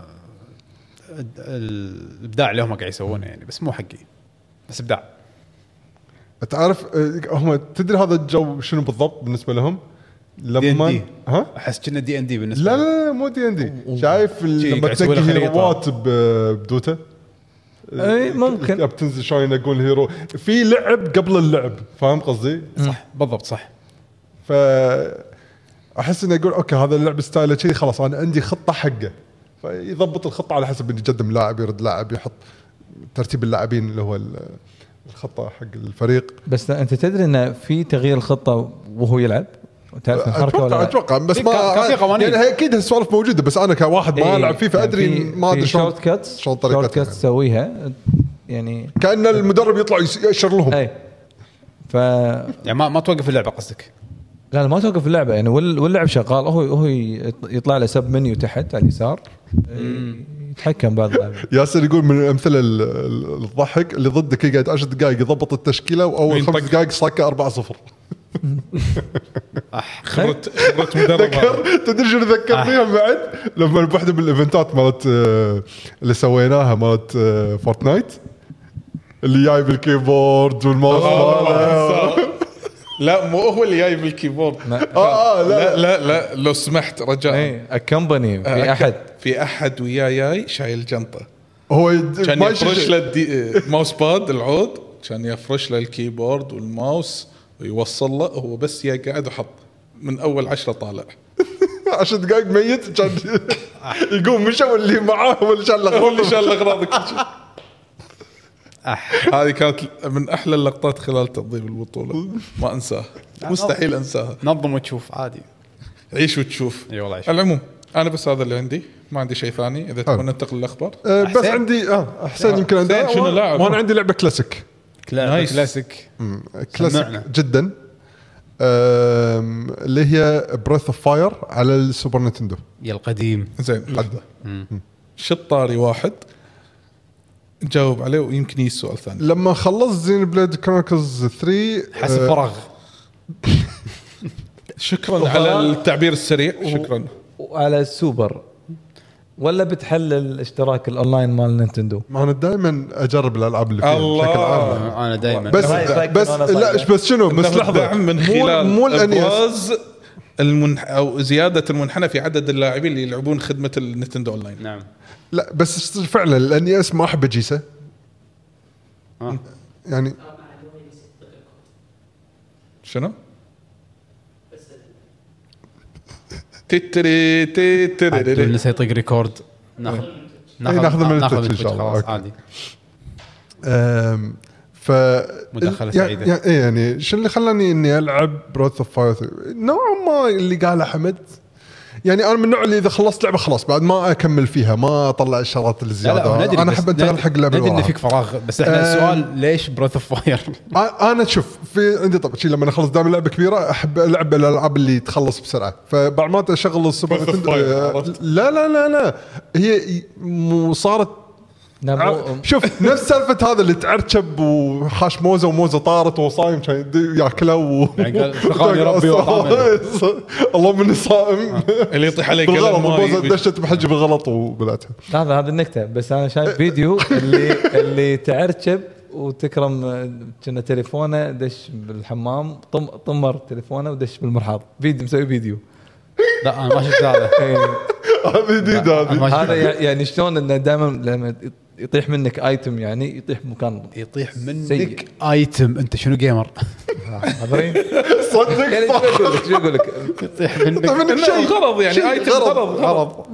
S2: ال- الابداع اللي هم قاعد يسوونه يعني بس مو حقي بس ابداع
S3: تعرف آه، هم تدري هذا الجو شنو بالضبط بالنسبه لهم؟ لما
S2: D&D.
S3: ها؟
S2: احس كنا دي ان دي بالنسبه
S3: لا
S2: لي.
S3: لا لا مو دي ان دي شايف ال-
S2: شي
S3: لما
S2: قاعد يسوي
S3: تنقي
S2: له خريطة. إيه،
S3: هيروات ب- بدوتا
S7: اي ممكن
S3: بتنزل شلون ينقون الهيرو في لعب قبل اللعب فاهم قصدي؟
S2: صح بالضبط صح
S3: ف احس اني اقول اوكي هذا اللعب ستايله كذي خلاص انا عندي خطه حقه فيضبط الخطه على حسب اللي يقدم لاعب يرد لاعب يحط ترتيب اللاعبين اللي هو ال- الخطه حق الفريق
S7: بس انت تدري انه في تغيير الخطه وهو يلعب تعرف الحركه
S3: اتوقع
S7: ولا
S3: اتوقع بس
S2: في
S3: ما
S2: كان- كان في قوانين.
S3: يعني هي اكيد هالسوالف موجوده بس انا كواحد
S7: إيه،
S3: ما العب فيه
S7: يعني
S3: فادري ما ادري شلون
S7: شورت كاتس
S3: شلون
S7: شورت كاتس
S3: طريقتها
S7: تسويها يعني
S3: كان المدرب يطلع يس- يأشر لهم
S7: اي ف لا
S2: يعني ما, ما توقف اللعبه قصدك
S7: لا، ما توقف اللعبه يعني وال- واللعب شغال هو هو يطلع له سب منيو تحت على اليسار إيه، يتحكم بعض اللعبة.
S3: ياسر يقول من الامثله ال- ال- الضحك اللي ضدك يقعد 10 دقائق يضبط التشكيله واول
S4: وينطق.
S3: خمس دقائق صكه 4 0
S4: خبره خبره مدرب هذا.
S3: تذكر تدري شنو
S4: آه.
S3: ذكرني هم بعد لما بوحده من الايفنتات مالت آه، اللي سويناها مالت آه، فورتنايت اللي جايب الكيبورد والماوس
S4: آه،
S3: ماله.
S4: لا مو هو اللي جاي بالكيبورد
S3: اه آه، لا
S4: لا لا لا لو سمحت رجاء
S7: اي اكمبني إيه، في احد
S4: في احد وياه جاي شايل جنطه
S3: هو
S4: كان
S3: ما
S4: يفرش
S3: يشوف-
S4: له الدي- الماوس باد العود كان يفرش له الكيبورد والماوس ويوصل له هو بس يا قاعد وحط من اول عشرة طالع
S3: 10 دقائق ميت كان يقوم مشى واللي معاه هو اللي شال
S4: هو اللي
S3: الأغراض.
S4: شال الاغراض وكل شيء.
S2: أح.
S4: هذه كانت من احلى اللقطات خلال تنظيم البطوله ما انساها مستحيل انساها
S2: نظم وتشوف عادي
S4: عيش وتشوف
S2: اي والله عيش.
S4: العموم انا بس هذا اللي عندي ما عندي شيء ثاني اذا تبون ننتقل للاخبار
S3: آه، بس
S2: حسين.
S3: عندي اه حسين يمكن
S4: آه. حسين
S3: عنده
S4: شنو لاعب؟
S3: وانا عندي لعبه كلاسيك
S2: كلا-
S4: نايس.
S2: كلاسيك
S3: مم، كلاسيك
S2: سمعنا.
S3: جدا آم، اللي هي بريث اوف فاير على السوبر نتندو
S2: يا القديم
S4: زين لحظه شط طاري واحد جاوب عليه ويمكن يجي سؤال ثاني
S3: لما خلصت زين بليد كرونيكلز 3
S2: حس
S3: آه،
S2: فراغ
S4: شكرا على التعبير السريع شكرا
S7: وعلى السوبر ولا بتحلل اشتراك الاونلاين مال نينتندو
S3: ما انا دائما اجرب الالعاب اللي فيها
S4: الله.
S3: بشكل عام
S2: انا دائما
S3: بس
S7: رأيك رأيك
S3: بس
S7: إنه أنا صاير.
S3: لا إيش بس شنو بس
S4: إنه
S3: لحظه
S4: الدعم من
S3: مو-
S4: خلال
S3: مو الانيس
S4: ابراز المنح او زياده المنحنى في عدد اللاعبين اللي يلعبون خدمه النتندو اونلاين
S2: نعم
S3: لا بس فعلا الانيس ما احب اجيسه
S2: آه.
S3: يعني
S4: شنو؟ تتري
S2: عبد
S4: تتري
S2: لسه يطق ريكورد ناخذ
S3: ناخذ من
S2: ناخذ
S3: التتش إن
S2: التتش
S3: شاء الله.
S2: خلاص
S3: أوكي.
S2: عادي
S3: أم، ف
S2: مداخلة سعيدة.
S3: يعني, يعني, يعني شنو اللي خلاني اني العب بروث اوف فاير نوعا ما اللي قاله حمد يعني انا من النوع اللي اذا خلصت لعبه خلاص بعد ما اكمل فيها ما اطلع الشغلات
S2: لا
S3: الزياده
S2: لا هو ندري
S3: انا
S2: بس
S3: احب انتقل
S2: ندري-
S3: حق اللعبه
S2: ندري ان
S3: اللي
S2: فيك فراغ بس احنا
S3: آه.
S2: السؤال ليش بروث اوف فاير؟
S3: وراها. انا آه، شوف في عندي طبعا شي لما اخلص دام لعبه كبيره احب العب الالعاب اللي تخلص بسرعه فبعض ما اشغل السوبر
S4: Breath of
S3: نتندو-
S4: Fire،
S3: آه،
S4: عرفت؟
S3: لا لا لا لا هي مو- صارت
S7: نعم،
S3: شوف نفس سالفه هذا اللي تعرشب وحاش موزه وموزه طارت وهو صايم كان يدي- ياكله و
S2: يعني قال، فقاني ربي وطعمه.
S3: اللهم اني صائم
S4: اللي يطيح عليه
S3: بالغلط
S4: قلم
S3: الموزه
S4: ماي
S3: دشت بحجي بالغلط وبلعتها
S7: لحظه هذه النكته بس انا
S3: أه،
S7: شايف فيديو اللي اللي تعرشب وتكرم آه، كنا تليفونه دش بالحمام طم طمر تليفونه ودش بالمرحاض فيديو مسوي فيديو يعني
S2: لا انا ما شفت هذا
S3: هذه
S2: أنا
S3: جديدة هذه
S2: ما شفت
S7: هذا يع- يعني شلون انه دائما لما يطيح منك ايتم يعني يطيح بمكان
S2: يطيح
S7: سيء.
S2: منك ايتم انت شنو جيمر؟
S7: حاضرين
S3: صدق
S7: يعني شو
S3: صح
S7: اقول لك شو اقول لك
S2: يطيح منك
S3: طيب منك شيء
S4: غرض يعني ايتم غرض
S2: غرض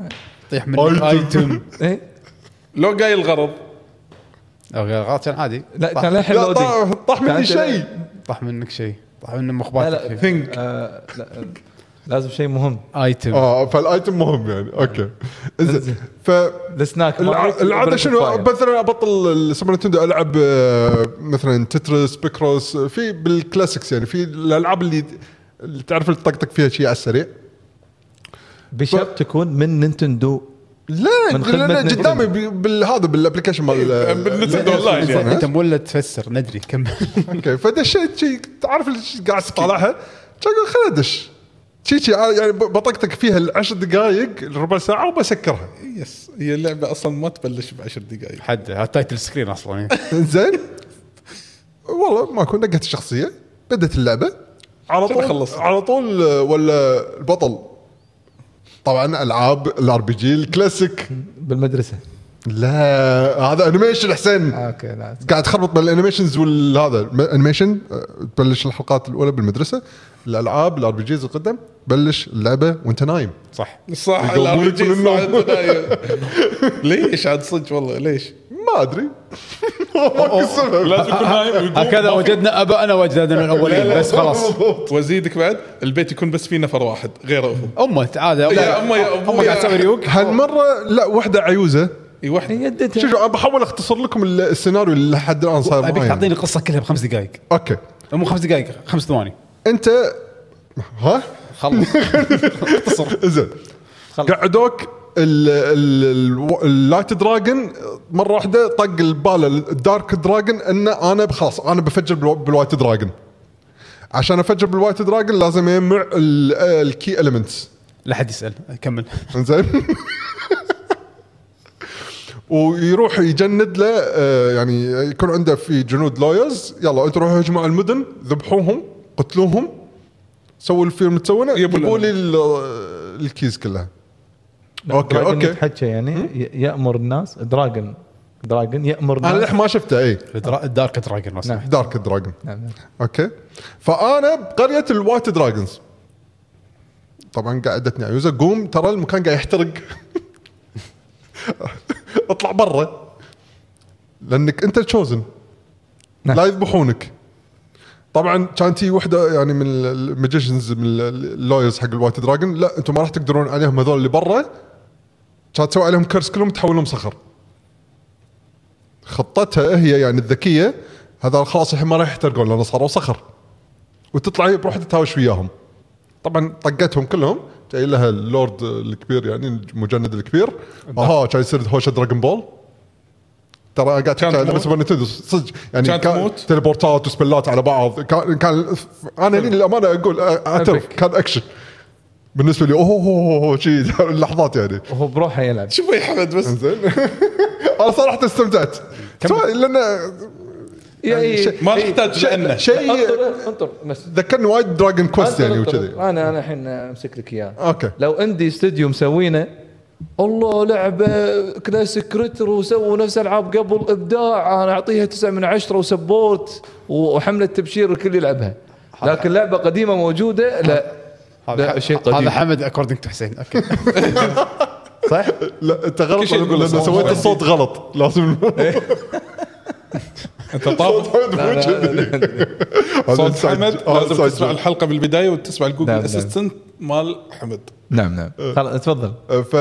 S2: يطيح منك
S3: آيتم.
S2: ايتم
S7: إيه؟
S4: لو قايل غرض
S2: أو غلط كان عادي
S7: لا كان
S2: طاح-
S7: للحين
S3: لا طيب.
S7: لودينج.
S3: طاح- طاح مني
S7: كانت-
S3: شيء
S2: طاح منك شيء طاح من
S7: لا
S2: مخباتك
S7: لا
S2: شيء.
S7: ثينك آه لا لازم شيء مهم
S2: ايتم
S3: اه فالايتم مهم يعني اوكي انزين ف
S7: السناك
S3: الع- العاده شنو مثلا ابطل السوبر نتندو العب آه، مثلا تترس بيكروس آه، في بالكلاسيكس يعني في الالعاب اللي اللي تعرف اللي تطقطق فيها شيء على السريع
S7: بشرط تكون من نينتندو
S3: لا
S7: من
S3: لا
S7: خدمة
S3: لا
S7: نتندو.
S3: قدامي بي- بالهذا بالابلكيشن مال آه،
S4: بالنتندو اونلاين
S2: انت
S4: يعني
S2: انت مولد تفسر ندري كمل
S3: اوكي فدشيت شيء تعرف اللي قاعد تطالعها شي اقول خليني ادش شي شي يعني ب- بطقطق فيها العشر دقائق الربع ساعه وبسكرها
S4: يس هي اللعبه اصلا ما تبلش بعشر دقائق
S2: حد هذا تايتل سكرين اصلا
S3: زين والله ما كنت نقت الشخصيه بدت اللعبه على طول
S4: خلصت.
S3: على طول آه، ولا البطل طبعا العاب الار بي جي الكلاسيك
S7: بالمدرسه
S3: لا هذا انيميشن حسين
S7: اوكي لا
S3: قاعد تخربط بين الانيميشنز والهذا الانيميشن أه، تبلش الحلقات الاولى بالمدرسه الالعاب الار بي جيز القدم بلش اللعبه وانت نايم
S2: صح
S4: صح
S3: يقومونك
S4: الار
S3: من النوم.
S4: أيوه. ليش عاد صدق والله ليش؟
S3: ما ما ادري ماكو سبب
S4: لازم يكون نايم ويقوم.
S2: هكذا
S4: ما في-
S2: وجدنا ابائنا واجدادنا الاولين بس خلاص
S4: وازيدك بعد البيت يكون بس فيه نفر واحد غير هو
S2: امه عاده
S4: يا أمه- يا أمه-
S2: امه قاعد تسوي ريوق
S3: هالمره لا وحده عيوزه
S4: اي واحد
S6: يدته
S3: شوف شوف، انا بحاول اختصر لكم ال- السيناريو اللي لحد الان صاير
S2: ابيك
S3: معي
S2: تعطيني القصه كلها بخمس دقائق
S3: اوكي
S2: مو خمس دقائق خمس ثواني
S3: انت ها
S2: خلص
S3: زين قعدوك ال- ال- ال- اللايت دراجون مره واحده طق البالة الدارك دراجون ان انا خلاص انا بفجر بالوا- بالوايت دراجون عشان افجر بالوايت دراجون لازم اجمع الكي المنتس
S2: لا حد يسال كمل
S3: انزين ويروح يجند له آه، يعني يكون عنده في جنود لويرز يلا انتوا روحوا اجمعوا المدن ذبحوهم قتلوهم سووا اللي فيهم تسوونه
S4: يبوا
S3: يبوا لي
S4: لنا.
S3: ال- الكيز كلها اوكي
S6: دراجون
S3: اوكي
S6: يتحكى يعني ي- يامر الناس دراجون دراجون يامر
S3: انا
S6: الناس
S3: للحين ما شفته إيه. اي
S2: الدارك دراجون لو
S4: إيه.
S2: سمحت.
S3: دارك دراجون
S6: نعم، نعم.
S3: اوكي فانا بقريه الوايت دراجونز طبعا قعدتني عيوزه قوم ترى المكان قاعد يحترق اطلع برا لانك انت تشوزن
S6: نعم.
S3: لا يذبحونك طبعا كانت هي وحده يعني من الماجيشنز من اللويرز حق الوايت دراجون لا انتم ما راح تقدرون عليهم هذول اللي برا كانت تسوي عليهم كرس كلهم تحولهم صخر خطتها هي يعني الذكيه هذا خلاص الحين ما راح يحترقون لان صاروا صخر وتطلع هي بروحها تتهاوش وياهم طبعا طقتهم كلهم جاي لها اللورد الكبير يعني المجند الكبير اها كان يصير هوشه دراجون بول ترى قاعد تحكي على لعبه
S4: تموت؟
S3: سوبر نتندو صدق يعني
S4: كانت
S3: كان
S4: تموت؟
S3: تليبورتات وسبلات على بعض كان كان انا هني للامانه اقول اعترف
S6: Epic.
S3: كان اكشن بالنسبه لي اوه أوه، أوه أوه، شي اللحظات يعني
S6: وهو بروحه يلعب
S4: شوف يا حمد بس
S3: زين انا صراحه استمتعت سواء لان
S6: يعني
S3: شيء-
S4: إيه. ما تحتاج لانه
S3: شيء
S6: انطر انطر بس
S3: ذكرني وايد دراجون كويست يعني وكذي
S6: انا انا الحين امسك لك اياه
S3: اوكي
S6: لو عندي استوديو مسوينه الله لعبه كلاسيك ريترو وسووا نفس العاب قبل ابداع انا اعطيها 9 من 10 وسبورت وحمله تبشير الكل يلعبها لكن لعبه قديمه موجوده لا لا،
S2: هذا
S6: شيء
S2: ح-
S6: قديم.
S2: هذا حمد اكوردنج تو حسين اوكي
S6: صح؟
S3: لا انت غلط
S4: شيء
S3: لان
S4: بالصوت.
S3: سويت الصوت غلط لازم
S4: إيه. انت طاف
S3: صوت وايد مو كذي. هذا
S4: صوت
S3: السايد-
S4: حمد
S3: هذا
S4: لازم
S3: السايد
S4: تسمع
S3: جوب.
S4: الحلقه بالبدايه وتسمع الجوجل
S6: نعم، نعم.
S4: اسيستنت مال حمد
S6: نعم نعم خلاص تفضل
S3: ف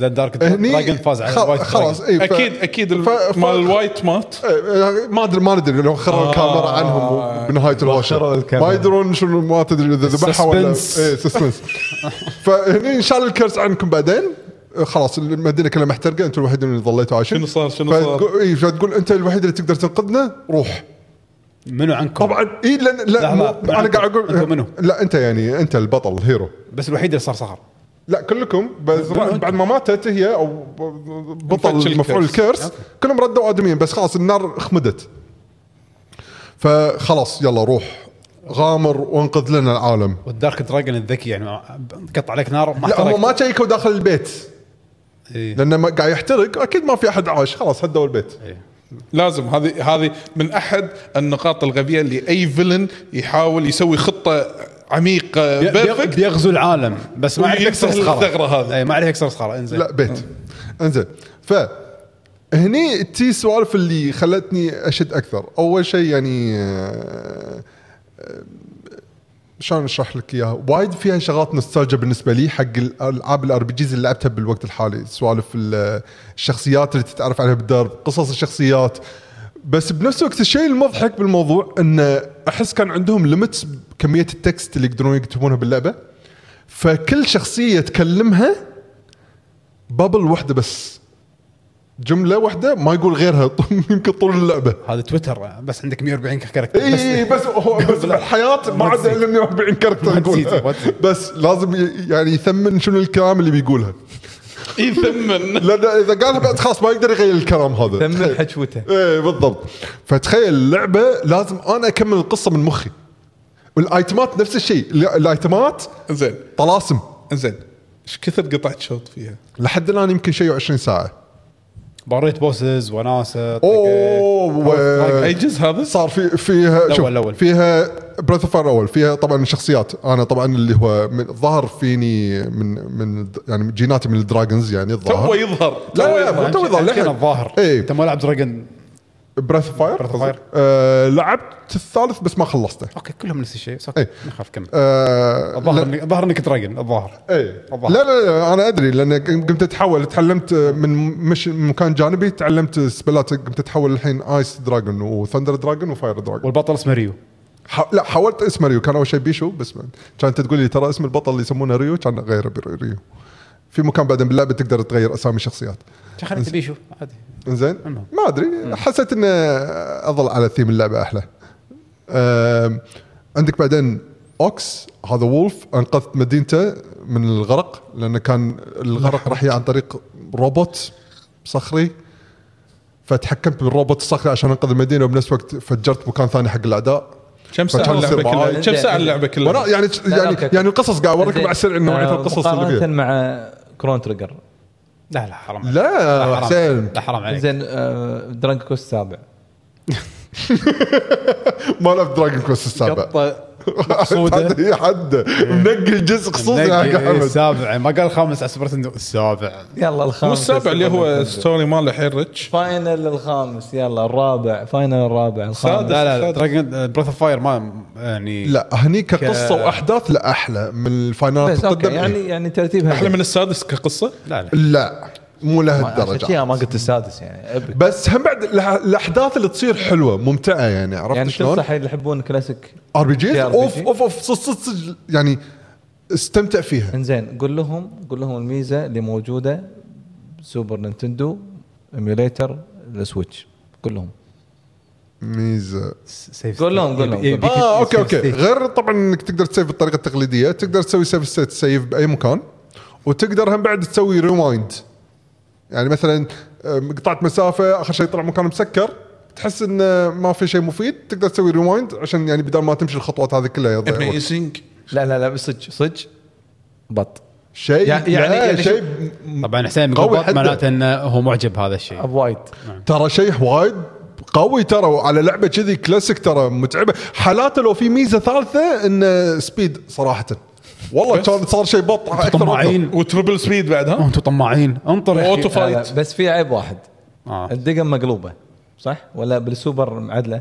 S2: زين دارك
S3: هني
S2: دراجون فاز على
S3: خل-
S2: وايد
S3: إيه، خلاص
S2: دراجون.
S3: اي ف-
S4: اكيد اكيد ال-
S3: ف- ف-
S4: مال الوايت مات
S3: إيه، ما ادري ما ندري لو
S4: آه،
S3: خروا الكاميرا عنهم بنهايه
S6: وخروا
S3: الهوشه
S6: الكاميرا.
S3: ما يدرون شنو ما تدري اذا ذبحها ولا اي
S2: Suspense.
S3: سسبنس فهني شال الكرس عنكم بعدين آه، خلاص المدينه كلها محترقه انتم الوحيدين اللي ظليتوا عايشين إيه،
S4: شنو صار- شنو صار؟
S3: فتقول- اي فتقول انت الوحيد اللي تقدر تنقذنا روح
S2: منو عنكم؟
S3: طبعا اي لان لا
S2: لحظة،
S3: مو-
S2: أنتم-
S3: انا قاعد اقول
S2: أنتم منو؟
S3: لا انت يعني انت البطل الهيرو
S2: بس الوحيد اللي صار صخر
S3: لا كلكم بس بعد ما ماتت هي او ب-
S4: انفتش
S3: بطل
S4: الكرس.
S3: مفعول الكرس كلهم ردوا ادميين بس خلاص النار خمدت فخلاص يلا روح غامر وانقذ لنا العالم
S2: والدارك دراجون الذكي يعني ما- قط عليك نار ما
S3: لا هم
S2: احترقت.
S3: ما شيكوا داخل البيت
S2: إيه.
S3: لانه ما- قاعد يحترق اكيد ما في احد عاش خلاص هدوا البيت
S4: لازم هذه هذه من احد النقاط الغبيه اللي اي فيلن يحاول يسوي خطه عميقه
S2: بي- بي-
S4: بيرفكت
S2: بيغزو العالم بس ما عليك يكسر
S4: ويكسر
S2: صخره
S4: الثغرة هذه.
S2: اي ما عليك يكسر صخره انزين
S3: لا بيت انزين ف هني تي سوالف اللي خلتني اشد اكثر اول شيء يعني آه، آه، شلون اشرح لك اياها وايد فيها شغلات نوستالجيا بالنسبه لي حق الالعاب الار بي جيز اللي لعبتها بالوقت الحالي سوالف ال- الشخصيات اللي تتعرف عليها بالدرب قصص الشخصيات بس بنفس الوقت الشيء المضحك بالموضوع انه احس كان عندهم ليمتس بكميه التكست اللي يقدرون يكتبونها باللعبه فكل شخصيه تكلمها بابل واحده بس جمله واحده ما يقول غيرها يمكن طول اللعبه
S2: هذا تويتر بس عندك 140 كاركتر
S3: اي إي، بس هو بس الحياه ما عدا الا 140 كاركتر
S2: ما تزيد، ما
S3: يقولها
S2: تزيد.
S3: بس لازم ي- يعني يثمن شنو الكلام اللي بيقولها
S4: يثمن
S3: لان اذا قالها بعد خلاص ما يقدر يغير الكلام هذا
S6: ثمن حشوته
S3: ايه بالضبط فتخيل اللعبه لازم انا اكمل القصه من مخي والايتمات نفس الشيء ال- الايتمات
S4: زين
S3: طلاسم
S4: زين ايش كثر قطعت شوط فيها؟
S3: لحد الان يمكن شيء 20 ساعه
S2: باريت بوسز وناسه طقت.
S3: اوه و-
S4: اي جزء هذا؟
S3: صار في فيها شوف
S2: الأول.
S3: فيها بريث اوف الاول فيها طبعا الشخصيات انا طبعا اللي هو من ظهر فيني من من يعني جيناتي من الدراجونز يعني الظاهر
S4: تو يظهر
S3: لا لا لا
S2: أهم
S3: مو تو
S2: شيء-
S3: يظهر
S2: أهم شيء
S3: لحد.
S2: الظاهر
S3: إيه.
S2: انت ما لعب دراجون
S3: بريث اوف فاير
S2: Breath of Fire.
S3: آه لعبت الثالث بس ما خلصته
S2: اوكي كلهم نفس الشيء بس
S3: إيه.
S2: اوكي ما اخاف كمل
S3: آه
S2: الظاهر
S3: لا-
S2: إنك- الظاهر انك دراجون الظاهر
S3: ايه لا
S2: الظاهر.
S3: لا لا انا ادري لان قمت اتحول تعلمت من مش من مكان جانبي تعلمت سبلات قمت اتحول الحين ايس دراجون وثندر دراجون وفاير دراجون
S2: والبطل اسمه ريو
S3: ح... لا حاولت اسم ريو كان اول شيء بيشو بس ما- كانت تقول لي ترى اسم البطل اللي يسمونه ريو كان غيره بريو في مكان بعدين باللعبه تقدر تغير اسامي الشخصيات
S2: شو خليك بيشو عادي
S3: انزين
S2: المهم.
S3: ما ادري حسيت انه اظل على ثيم اللعبه احلى أم، عندك بعدين اوكس هذا وولف انقذت مدينته من الغرق لانه كان الغرق راح يجي عن طريق روبوت صخري فتحكمت بالروبوت الصخري عشان انقذ المدينه وبنفس الوقت فجرت مكان ثاني حق الاعداء
S4: كم ساعه
S3: فكان يصير
S4: اللعبه
S3: معاي.
S4: كلها؟ كم ساعه اللعبه
S3: وانا
S4: كلها؟
S3: يعني
S6: لا،
S3: يعني
S6: أوكي.
S3: يعني القصص قاعد اوريك
S6: زين.
S3: مع سر انه نوعيه
S6: آه،
S3: القصص اللي
S6: مقارنة
S3: فيها
S6: مع كرون تريجر
S2: لا لا حرام عليك.
S3: لا
S2: حرام.
S3: حسين
S2: لا حرام عليك
S6: زين آه، درانك كوست السابع
S3: ما لعب دراجون كويست السابع
S2: قطه مقصوده
S3: هي حد منقي الجزء خصوصا
S2: منقي
S3: حق احمد
S2: السابع إيه، ما قال خامس على سوبر نتندو السابع
S6: يلا الخامس
S4: مو السابع اللي هو ستوري ماله حيل ريتش
S6: فاينل الخامس يلا الرابع فاينل الرابع الخامس
S4: سادس.
S2: لا لا
S4: السادس.
S2: دراجون بريث اوف فاير ما يعني
S3: لا هني كقصه واحداث لا احلى من الفاينالات
S6: بس اوكي
S3: تقدم
S6: يعني يعني ترتيبها
S4: احلى من السادس كقصه
S2: لا لا
S3: لا مو لهالدرجه
S6: ما قلت السادس يعني أبي.
S3: بس هم بعد الأح- الاحداث اللي تصير حلوه ممتعه يعني عرفت
S6: يعني
S3: شلون؟
S6: تنصح اللي يحبون كلاسيك
S3: ار بي جي
S6: في RPG.
S3: اوف اوف اوف صج- صج- صج- يعني استمتع فيها
S6: انزين قول لهم قول لهم الميزه اللي موجوده سوبر نينتندو ايميوليتر السويتش قول لهم
S3: ميزه
S2: سيف
S6: قول لهم، قول لهم.
S3: اه اوكي اوكي غير طبعا انك تقدر تسيف بالطريقه التقليديه تقدر تسوي سيف ستيت سيف باي مكان وتقدر هم بعد تسوي ريوايند يعني مثلا آم، قطعت مسافه اخر شيء طلع مكان مسكر تحس ان آه، ما في شيء مفيد تقدر تسوي ريوايند عشان يعني بدل ما تمشي الخطوات هذه كلها يضيع وقت.
S4: اميزنج
S6: لا لا لا بس صدق صدق بط
S3: شيء يعني,
S6: يعني- يعني-
S3: يعني
S6: يعني
S3: شيء
S2: طبعا حسين يقول
S3: قوي
S2: بط،
S3: حده.
S2: معناته انه هو معجب هذا الشيء
S6: وايد
S3: ترى شيء وايد قوي ترى وعلى لعبه كذي كلاسيك ترى متعبه حالاته لو في ميزه ثالثه انه سبيد صراحه والله
S4: بس.
S3: كان صار شيء بط أكثر وأكثر.
S2: طماعين
S4: وتربل سبيد بعد
S2: أوه،
S4: ها؟
S2: انتم طماعين انطر يا
S4: واوتو
S2: أخي.
S6: لا، لا،
S4: فايت
S6: بس في عيب واحد
S2: آه.
S6: الدقم مقلوبه صح ولا بالسوبر معدله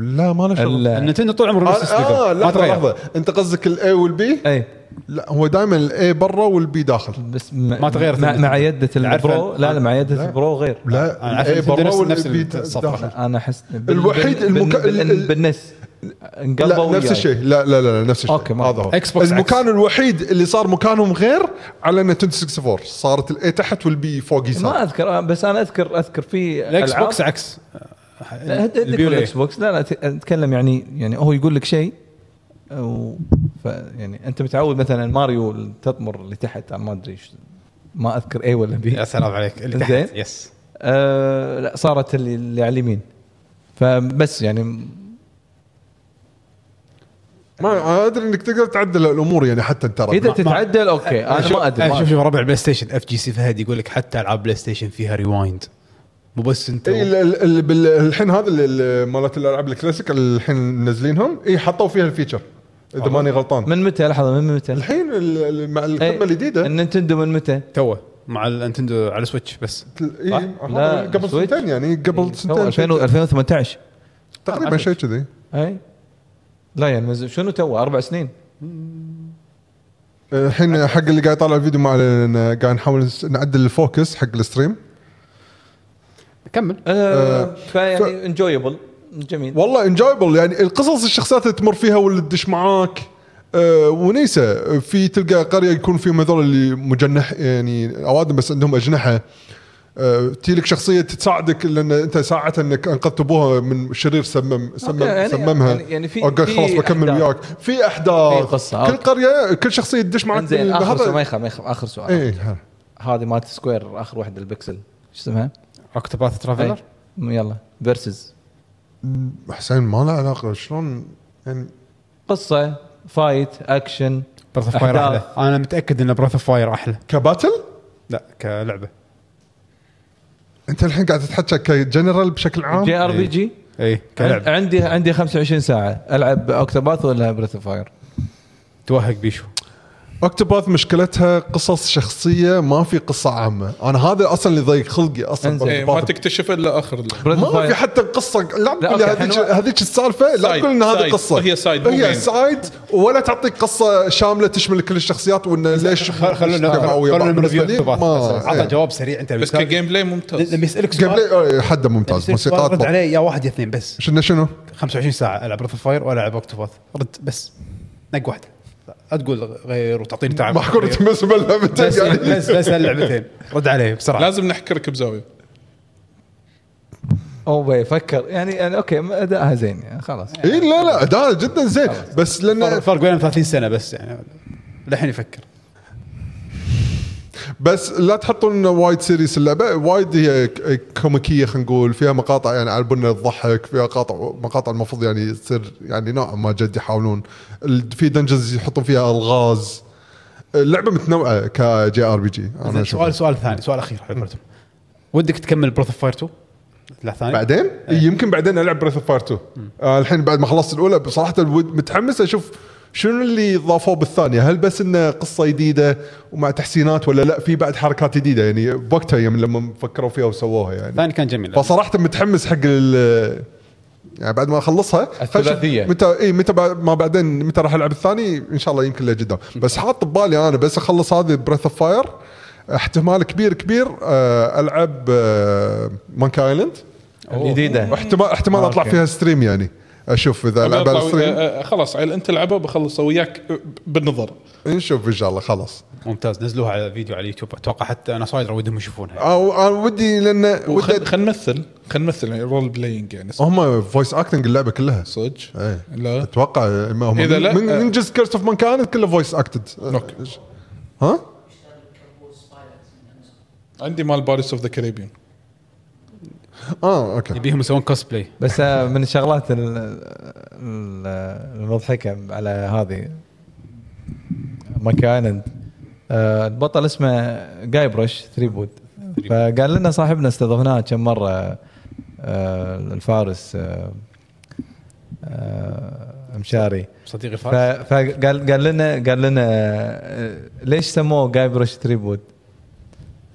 S3: لا ما له شغل
S6: ال-
S2: النتندو طول عمره نفس السليبر.
S3: اه
S2: ما
S3: لحظه
S2: تغير
S3: لحظه انت قصدك الاي والبي
S6: اي
S3: لا هو دائما الاي برا والبي داخل
S6: بس م-
S2: ما تغيرت
S6: مع, مع
S2: النتندو.
S6: يده
S2: عارفة-
S6: البرو لا لا مع يده البرو غير
S3: لا
S2: أنا عارف
S3: الاي
S2: إن
S3: برا
S2: نفس- نفس
S3: والبي
S2: الصفحة.
S3: داخل
S6: انا احس بال-
S3: الوحيد
S6: بال-
S3: المك-
S6: بال-
S3: ال- ال-
S6: بالنس
S3: لا
S6: انقلبوا
S3: نفس
S6: وياي.
S3: الشيء لا لا لا لا، نفس الشيء
S6: أوكي، ما-
S3: هذا هو
S2: Xbox X.
S3: المكان الوحيد اللي صار مكانهم غير على نتندو 64 صارت الاي تحت والبي فوق
S6: ما
S3: يسار
S6: اذكر بس انا اذكر اذكر في
S2: الاكس
S6: ألعاب- أه،
S2: بوكس عكس
S6: لا هد- هدك
S2: البيولي.
S6: الاكس بوكس لا لا ت- اتكلم يعني يعني هو يقول لك شيء او ف يعني انت متعود مثلا ماريو تطمر اللي تحت ما ادري ايش ما اذكر اي ولا بي
S2: يا سلام عليك اللي تحت
S6: زين.
S2: يس
S6: آه لا صارت اللي, اللي على اليمين فبس يعني
S3: ما ادري انك تقدر تعدل الامور يعني حتى ترى
S6: اذا
S3: ما-
S6: تتعدل اوكي انا ما ادري ما
S2: شوف
S6: أدري.
S2: شوف ربع البلاي ستيشن اف جي سي فهد يقول لك حتى العاب بلاي ستيشن فيها ريوايند مو بس انت
S3: إيه، ال- ال- ال- بال- الحين هذا اللي- اللي مالت الالعاب الكلاسيك اللي الحين منزلينهم اي حطوا فيها الفيتشر اذا ماني غلطان
S6: من متى لحظه من متى؟
S3: الحين ال- ال- مع
S6: إيه،
S3: الخدمه الجديده
S6: النينتندو من متى؟
S2: توه مع النتندو على سويتش بس
S3: إيه،
S6: صح؟
S3: آه،
S6: لا،
S3: قبل
S6: سويتش. إيه،
S3: سنتين يعني
S6: تو
S3: قبل سنتين
S6: 2000
S3: شيء-
S6: 2018
S3: تقريبا شيء كذي
S6: اي إيه؟ لا يعني مز- شنو تو اربع سنين
S3: الحين حق اللي قاعد يطالع الفيديو ما علينا قاعد نحاول نس- نعدل الفوكس حق الستريم
S2: كمل
S6: آه فيعني انجويبل جميل
S3: والله انجويبل يعني القصص الشخصيات اللي تمر فيها واللي تدش معاك آه، ونيسه آه، في تلقى قريه يكون فيهم هذول اللي مجنح يعني اوادم بس عندهم اجنحه آه، تجي لك شخصيه تساعدك لان انت ساعدت انك انقذت ابوها من شرير سمم سمم
S6: أوكي، يعني-
S3: سممها
S6: يعني- يعني في-
S3: أوكي،
S6: في
S3: خلاص بكمل
S6: أحداث.
S3: وياك في احداث
S6: في قصة،
S3: كل
S6: أوكي.
S3: قريه كل شخصيه تدش معك
S6: زين
S3: بهذا-
S6: اخر سؤال ما يخاف ما يخاف اخر سؤال
S3: ايه ها.
S6: هذه مالت سكوير اخر واحده البكسل شو اسمها؟
S2: اوكتوباث
S6: أي.
S2: ترافلر
S6: م- يلا فيرسز
S3: حسين ما له علاقه شلون يعني
S6: قصه فايت اكشن
S2: بريث اوف فاير
S6: أحداث.
S2: احلى انا متاكد ان بريث اوف فاير احلى
S3: كباتل
S2: لا كلعبه
S3: انت الحين قاعد تتحكى كجنرال بشكل عام
S6: جي ار بي جي
S2: اي كلعب
S6: عندي عندي 25 ساعه العب اوكتوباث ولا بريث فاير
S2: توهق بيشو
S3: اوكتوباث مشكلتها قصص شخصيه ما في قصه عامه انا هذا اصلا اللي ضيق خلقي اصلا
S6: انزين.
S4: إيه، ما
S3: بأوكتوباث.
S4: تكتشف الا اخر ال-
S3: ما في حتى قصه لا
S6: لا،
S3: تقول لي
S6: أوكي،
S3: هذيك
S6: حنو-
S3: هذيك السالفه لا
S4: سايد،
S3: تقول ان هذه
S4: سايد.
S3: قصه
S4: هي سايد، مو
S3: هي
S4: مين.
S3: سايد ولا تعطيك قصه شامله تجمل كل الشخصيات وان ليش
S2: خلونا
S3: اجتمعوا ويا بعض.
S2: خلونا
S3: بالنسبة
S2: نرفيو
S3: لي
S2: اكتوباث
S3: ما-
S2: بس. عطى
S3: إيه.
S2: جواب سريع انت
S4: بس كجيم بلاي ممتاز
S2: لما يسالك
S3: جيم
S2: سؤال
S3: بلاي آه، حده ممتاز
S2: يسألك سؤال، رد
S3: موسيقات
S2: عليه يا واحد يا اثنين بس
S3: شنو شنو
S2: 25 ساعه العب ريث فاير ولا العب اوكتوباث رد بس نق واحده لا تقول غير وتعطيني تعب
S3: ما اقول
S2: بس
S3: تمس باللعبتين يعني
S2: إيه. بس بس هاللعبتين رد عليه بسرعه
S4: لازم نحكرك بزاويه
S6: اوه فكر يعني يعني اوكي ما ادائها زين يعني خلاص
S3: اي إيه، لا لا اداء جدا زين بس لان
S2: فرق- فرق بينهم 30 سنه بس يعني للحين يفكر
S3: بس لا تحطون وايد سيريس اللعبه وايد هي ك- كوميكيه خلينا نقول فيها مقاطع يعني على البنى الضحك فيها قاطع مقاطع المفروض يعني تصير يعني نوعا ما جد يحاولون ال- في دنجنز يحطون فيها الغاز اللعبه متنوعه كجي ار بي جي انا
S2: زين،
S3: اشوف
S2: سؤال سؤال ثاني سؤال اخير على قولتهم ودك تكمل بروث اوف فاير 2؟ لا ثاني
S3: بعدين
S2: إيه.
S3: يمكن بعدين العب بريث اوف فاير 2 آه، الحين بعد ما خلصت الاولى بصراحه ود- متحمس اشوف شنو اللي ضافوه بالثانيه؟ هل بس انه قصه جديده ومع تحسينات ولا لا في بعد حركات جديده يعني بوقتها يوم لما فكروا فيها وسووها يعني
S2: ثاني كان جميل
S3: فصراحه متحمس حق ال يعني بعد ما اخلصها
S6: الثلاثية.
S3: فشوف متى اي متى بع- ما بعدين متى راح العب الثاني ان شاء الله يمكن له قدام بس حاط ببالي انا بس اخلص هذه بريث اوف فاير احتمال كبير كبير آه، العب مانكا ايلاند
S6: جديده
S3: احتمال احتمال اطلع
S6: أوكي.
S3: فيها ستريم يعني اشوف اذا العب على
S4: أطلع وي-
S3: ستريم
S4: آه، آه، خلاص عيل انت العبها بخلصها وياك آه، بالنظر
S3: نشوف ان شاء الله خلاص
S2: ممتاز نزلوها على فيديو على اليوتيوب اتوقع حتى انا صاير ودهم يشوفونها
S3: او أنا ودي لان ودي
S4: وخل خل نمثل خل نمثل يعني رول بلاينج يعني
S3: هم فويس اكتنج اللعبه كلها
S4: صدق
S3: إيه.
S4: لا
S3: اتوقع ما هم
S4: إذا
S3: إذا
S4: لا- آه.
S3: لا من, من جزء كيرس اوف مانكايند كله فويس اكتد
S4: أوكي.
S3: ها؟
S4: عندي مال باريس اوف ذا كاريبيان
S3: اه اوكي
S2: يبيهم يسوون كوسبلاي
S6: بس آه، من الشغلات ال- ال- المضحكه على هذه مكان آه، البطل اسمه جاي برش ثريبود فقال لنا صاحبنا استضفناه كم مره آه، الفارس آه، آه، مشاري
S2: صديقي
S6: ف-
S2: فارس
S6: فقال قال لنا قال لنا آه، ليش سموه جاي برش تريبود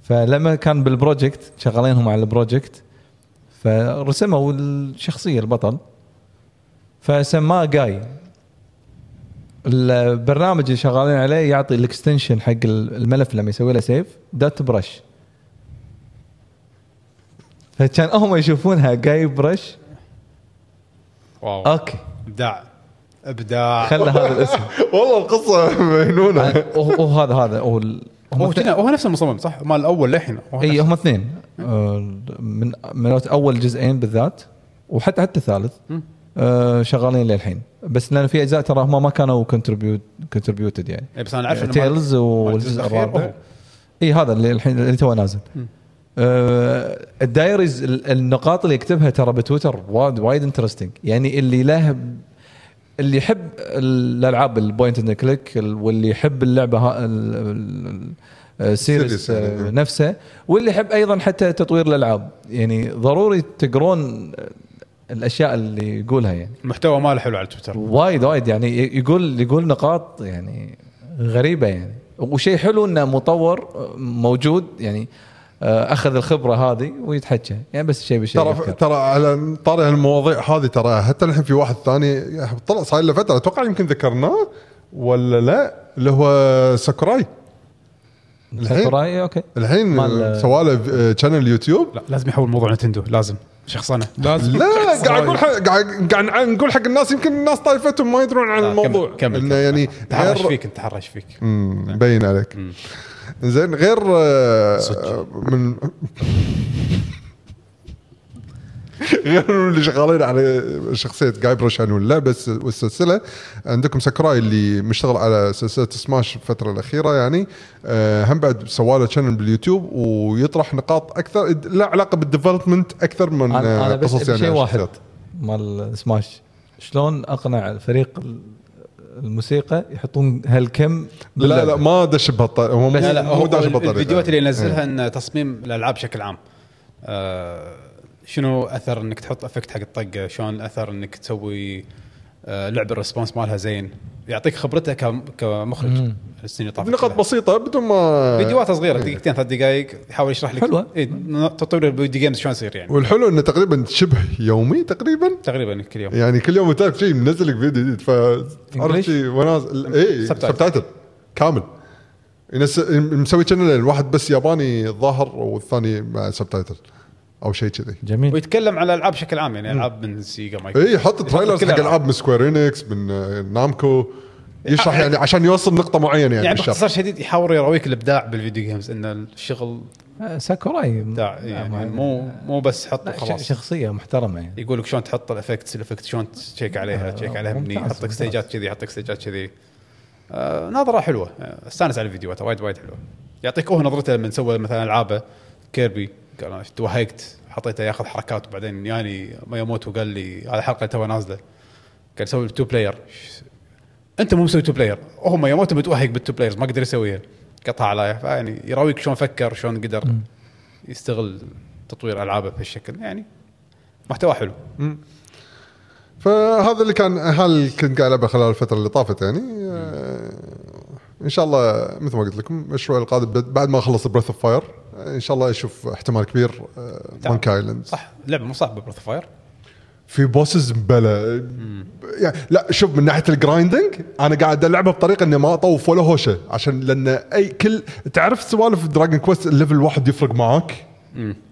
S6: فلما كان بالبروجكت شغالينهم على البروجكت فرسموا الشخصيه البطل فسماه جاي البرنامج اللي شغالين عليه يعطي الاكستنشن حق الملف لما يسوي له سيف دوت برش فكان هم يشوفونها جاي برش
S2: واو
S6: اوكي
S2: ابداع ابداع
S6: خلى هذا الاسم آه،
S3: والله القصه مجنونه
S6: هو هو هذا هذا هو ال- هم
S2: هو
S6: اثنين-
S2: كنا- هو نفس المصمم صح مال الاول للحين
S3: إيه،
S2: هو
S6: اي
S2: نفس-
S6: هم اثنين آه، من من اول جزئين بالذات وحتى حتى الثالث آه، شغالين للحين بس لان في اجزاء ترى هم ما كانوا كونتربيوت كونتربيوتد يعني
S2: إي بس انا عارف إنه مال-
S6: تيلز
S2: مال
S6: والجزء
S2: الأخير
S6: الرابع
S2: هو.
S6: اي هذا اللي الحين اللي تو نازل آه، الدايريز ال- النقاط اللي يكتبها ترى بتويتر وايد وايد انترستنج يعني اللي له اللي يحب الالعاب البوينت اند كليك واللي يحب اللعبه ها ال- ال- ال-
S3: السيريس
S6: السيريس
S3: يعني.
S6: آه، نفسه واللي يحب ايضا حتى تطوير الالعاب يعني ضروري تقرون الاشياء اللي يقولها يعني
S2: المحتوى ماله حلو على تويتر
S6: وايد وايد يعني يقول يقول نقاط يعني غريبه يعني وشيء حلو انه مطور آه، موجود يعني آه، اخذ الخبره هذه ويتحكى يعني بس شيء بشيء
S3: ترى
S6: يذكر.
S3: ترى على طاري هالمواضيع هذه ترى حتى الحين في واحد ثاني طلع صاير له فتره اتوقع يمكن ذكرناه ولا لا اللي هو ساكوراي الحين-
S6: ساكوراي اوكي
S3: الحين آه،
S6: مال-
S3: سواله شانل يوتيوب
S2: لا لازم يحول موضوع نتندو لازم شخصنه
S4: لازم
S3: لا قاعد اقول حق- قاعد قاعد نقول حق الناس يمكن الناس طايفتهم ما يدرون عن الموضوع
S2: كمل كمل
S3: انه يعني
S2: تحرش
S3: غير-
S2: فيك انت تحرش فيك
S3: مم، مبين عليك زين غير آه،
S2: صدق.
S3: من غير اللي شغالين على شخصيه جاي بروشان ولا بس والسلسله عندكم ساكوراي اللي مشتغل على سلسله سماش الفتره الاخيره يعني آه، هم بعد سواله شانل باليوتيوب ويطرح نقاط اكثر لا علاقه بالديفلوبمنت اكثر من
S6: انا
S3: آه،
S6: انا بس
S3: قصص
S6: أبي
S3: يعني
S6: شيء
S3: على
S6: واحد
S3: الشخصيات.
S6: مال سماش شلون اقنع فريق ال- الموسيقى يحطون هالكم
S3: لا لا
S6: باللعبة؟
S3: ما دش بهالطريقه هو يعني. مو-
S2: لا لا
S3: مو
S2: هو
S3: داش بهالطريقه
S2: الفيديوهات اللي ينزلها ان تصميم الالعاب بشكل عام آه، شنو اثر انك تحط افكت حق الطقه شلون اثر انك تسوي آه، لعب الريسبونس مالها زين يعطيك خبرته كم- كمخرج السنين اللي طافت
S3: نقط
S2: كلها.
S3: بسيطه بدون ما
S2: فيديوهات صغيره
S3: إيه.
S2: دقيقتين ثلاث دقائق يحاول يشرح لك
S6: حلوة.
S2: اي تطوير الفيديو جيمز شلون يصير يعني
S3: والحلو انه تقريبا شبه يومي تقريبا
S2: تقريبا كل يوم
S3: يعني كل يوم تعرف شيء منزل لك فيديو جديد ف عرفت
S6: English؟
S3: شي وناس اي
S2: Subtitle.
S3: سبتايتل كامل ينس- مسوي شانل الواحد بس ياباني الظاهر والثاني مع سبتايتل او شيء كذي
S6: جميل
S2: ويتكلم على الالعاب بشكل عام يعني العاب من سيجا مايكرو
S3: اي حط تريلرز
S2: كل
S3: إيه،
S2: ألعاب.
S3: حق العاب من سكوير انكس من آه، نامكو يشرح يعني عشان يوصل نقطه معينه يعني,
S2: يعني
S3: بالشرح.
S2: باختصار شديد يحاول يرويك الابداع بالفيديو جيمز ان الشغل
S6: آه، ساكوراي
S2: ابداع
S6: ما-
S2: يعني مو مو بس حط
S6: لا، ش-
S2: وخلاص
S6: شخصية محترمة يعني
S2: يقول لك شلون تحط الافكتس الافكت شلون تشيك عليها تشيك عليها مني
S6: آه، ممتاز،
S2: يحطك
S6: ممتاز.
S2: ستيجات كذي يحطك ستيجات كذي آه نظره حلوه آه، استانس على الفيديوهات وايد وايد حلوه يعطيك هو نظرته لما سوى مثلا العابه كيربي قال انا توهقت حطيته ياخذ حركات وبعدين يعني ما يموت وقال لي هذه الحلقه توها نازله قال سوي تو بلاير انت مو مسوي تو بلاير هم يموت متوهق بالتو بلايرز ما قدر يسويها قطع عليه فيعني يعني يراويك شلون فكر شلون قدر يستغل تطوير العابه بهالشكل يعني محتوى حلو
S3: فهذا اللي كان هل كنت قاعد العبه خلال الفتره اللي طافت يعني آه، ان شاء الله مثل ما قلت لكم الاسبوع القادم بد- بعد ما اخلص بريث اوف فاير ان شاء الله اشوف احتمال كبير آه، مانك ايلاند
S2: صح لعبه مو صعبه بريث فاير
S3: في بوسز مبلا يعني لا شوف من ناحيه الجرايندنج انا قاعد العبها بطريقه اني ما اطوف ولا هوشه عشان لان اي كل تعرف سوالف دراجون كويست الليفل واحد يفرق معاك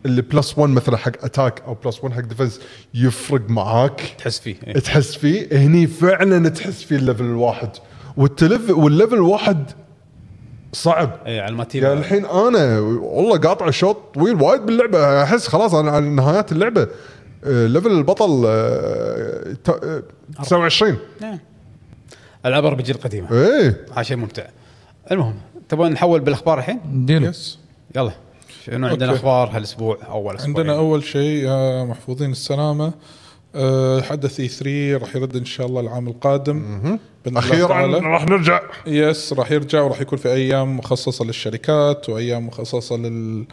S3: اللي بلس 1 مثلا حق اتاك او بلس 1 حق ديفنس يفرق معاك
S2: تحس فيه إيه.
S3: تحس فيه هني فعلا تحس فيه الليفل الواحد والتلف والليفل الواحد صعب
S2: إيه على
S3: يعني
S2: الماتيريال
S3: الحين انا والله قاطع شوط طويل وايد باللعبه احس خلاص انا على نهايات اللعبه آه، ليفل البطل آه، ت- آه، 29
S2: إيه. العاب ار بي جي القديمه
S4: إيه.
S3: ايه
S2: هذا شيء ممتع المهم تبون نحول بالاخبار الحين
S6: ديلو
S4: يس
S2: يلا شنو عندنا
S4: أوكي.
S2: اخبار هالاسبوع اول اسبوع
S4: عندنا اول شيء يا محفوظين السلامه أه، حدث اي 3 راح يرد ان شاء الله العام القادم بإذن الله
S3: اخيرا
S4: تعالى.
S3: راح نرجع
S4: يس راح يرجع وراح يكون في ايام مخصصه للشركات وايام مخصصه لل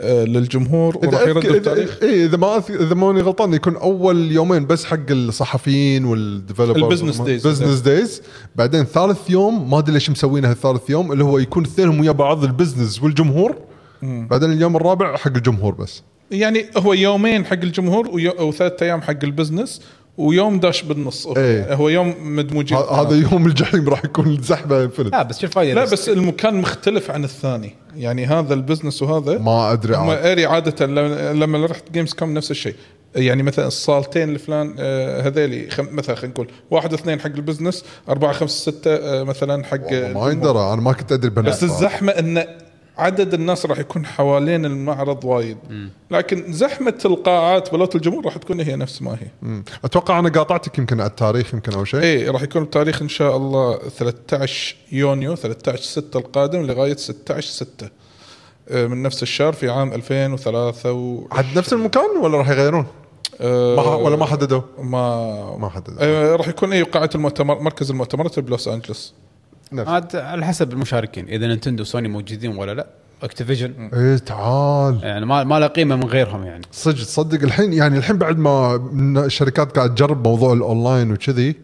S4: آه، للجمهور وراح
S3: اذا
S4: يرد
S3: أذكر-
S4: التاريخ
S3: إذا- إيه، اذا ما أذك- اذا ماني غلطان يكون اول يومين بس حق الصحفيين والديفلوبرز
S4: البزنس days.
S3: بزنس دايز بعدين ثالث يوم ما ادري ليش مسوينها الثالث يوم اللي هو يكون اثنينهم ويا بعض البزنس والجمهور بعدين اليوم الرابع حق الجمهور بس
S4: يعني هو يومين حق الجمهور ويو- وثلاث ايام حق البزنس ويوم داش بالنص
S3: إيه.
S4: هو يوم مدموجين آه.
S3: ه- هذا يوم الجحيم راح يكون زحمه انفنت
S2: لا بس شوف فايدة
S4: لا بس المكان مختلف عن الثاني يعني هذا البزنس وهذا
S3: ما ادري
S4: هم
S3: عاد.
S4: اري عاده لما- لما رحت جيمز كوم نفس الشيء يعني مثلا الصالتين الفلان آه، هذيلي خم مثلا خلينا نقول واحد اثنين حق البزنس اربعه خمسه سته آه، مثلا حق
S3: والله ما
S4: الجمهور.
S3: يندرى انا ما كنت ادري بنات
S4: بس الزحمه ان عدد الناس راح يكون حوالين المعرض وايد لكن زحمه القاعات بلوت الجمهور راح تكون هي نفس ما هي
S3: اتوقع انا قاطعتك يمكن على التاريخ يمكن او شيء
S4: اي إيه، راح يكون التاريخ ان شاء الله 13 يونيو 13 6 القادم لغايه 16 6 آه، من نفس الشهر في عام 2003 و... إيه،
S3: عاد نفس المكان ولا راح يغيرون؟ ما ح- ولا ما حددوا؟
S4: أه. ما
S3: ما حددوا.
S4: آه، راح يكون اي قاعه المؤتمر مركز المؤتمرات بلوس انجلس
S2: عاد على حسب المشاركين اذا نينتندو وسوني موجودين ولا لا اكتيفيجن
S3: ايه تعال
S2: يعني ما ما له قيمه من غيرهم يعني
S3: صدق تصدق الحين يعني الحين بعد ما من الشركات قاعد تجرب موضوع الاونلاين وكذي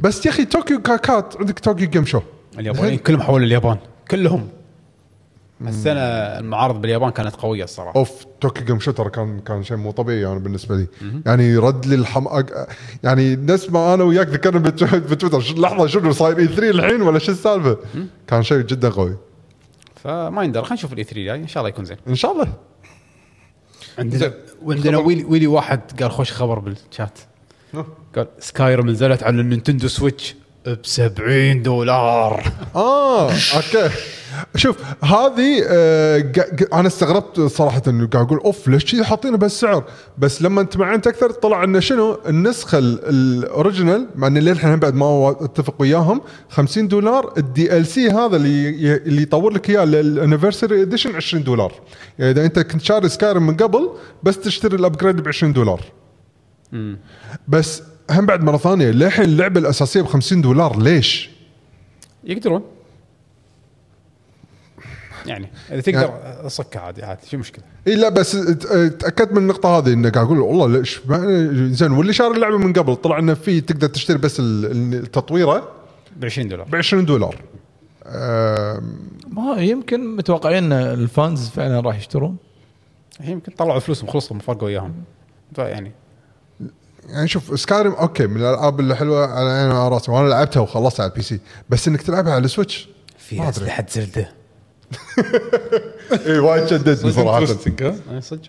S3: بس يا اخي طوكيو كاكات عندك طوكيو جيم شو
S2: اليابانيين كلهم حولوا اليابان كلهم السنه المعارض باليابان كانت قويه الصراحه
S3: اوف طوكيو جيم شو ترى كان كان شيء مو طبيعي يعني بالنسبه لي يعني رد لي الحم أق- يعني نفس ما انا وياك ذكرنا بتو- بتويتر شو- لحظه شنو صاير اي 3 الحين ولا شو السالفه؟ كان شيء جدا قوي
S2: فما يندر خلينا نشوف الاي 3 جاي ان شاء الله يكون زين
S3: ان شاء الله
S2: عندنا
S4: زين.
S2: وعندنا
S4: خبر.
S2: ويلي, ويلي واحد قال خوش خبر بالشات قال سكايرم نزلت على النينتندو سويتش ب 70 دولار
S3: اه اوكي شوف هذه آه، قا- قا- انا استغربت صراحه انه قاعد اقول اوف ليش كذي حاطينه بهالسعر بس لما تمعنت اكثر طلع انه شنو النسخه ال- الاوريجينال مع ان للحين بعد ما وا- اتفق وياهم 50 دولار الدي ال سي هذا اللي ي- اللي يطور لك اياه للانيفرساري اديشن 20 دولار يعني اذا انت كنت شاري سكايرم من قبل بس تشتري الابجريد ب 20 دولار بس هم بعد مره ثانيه للحين اللعبه الاساسيه ب 50 دولار ليش؟
S2: يقدرون يعني اذا تقدر صكه عادي عادي شو مشكله
S3: اي إيه، لا بس ت- تاكدت من النقطه هذه انه قاعد اقول والله لا إيش معنى- زين واللي شاري اللعبه من قبل طلع انه في تقدر تشتري بس ال- ال- التطويره
S2: ب 20 دولار
S3: ب 20 دولار آم،
S6: ما يمكن متوقعين ان الفانز فعلا راح يشترون
S2: يمكن طلعوا فلوسهم خلصهم فرقوا وياهم يعني
S3: يعني شوف سكاريم اوكي من الالعاب الحلوه على عيني وعلى راسي وانا لعبتها وخلصت على البي سي بس انك تلعبها على السويتش ما
S2: في
S3: أدري.
S2: اسلحه زلده
S3: اي إيه، وايد شدتني صراحه
S4: Interesting، ها؟
S2: صدق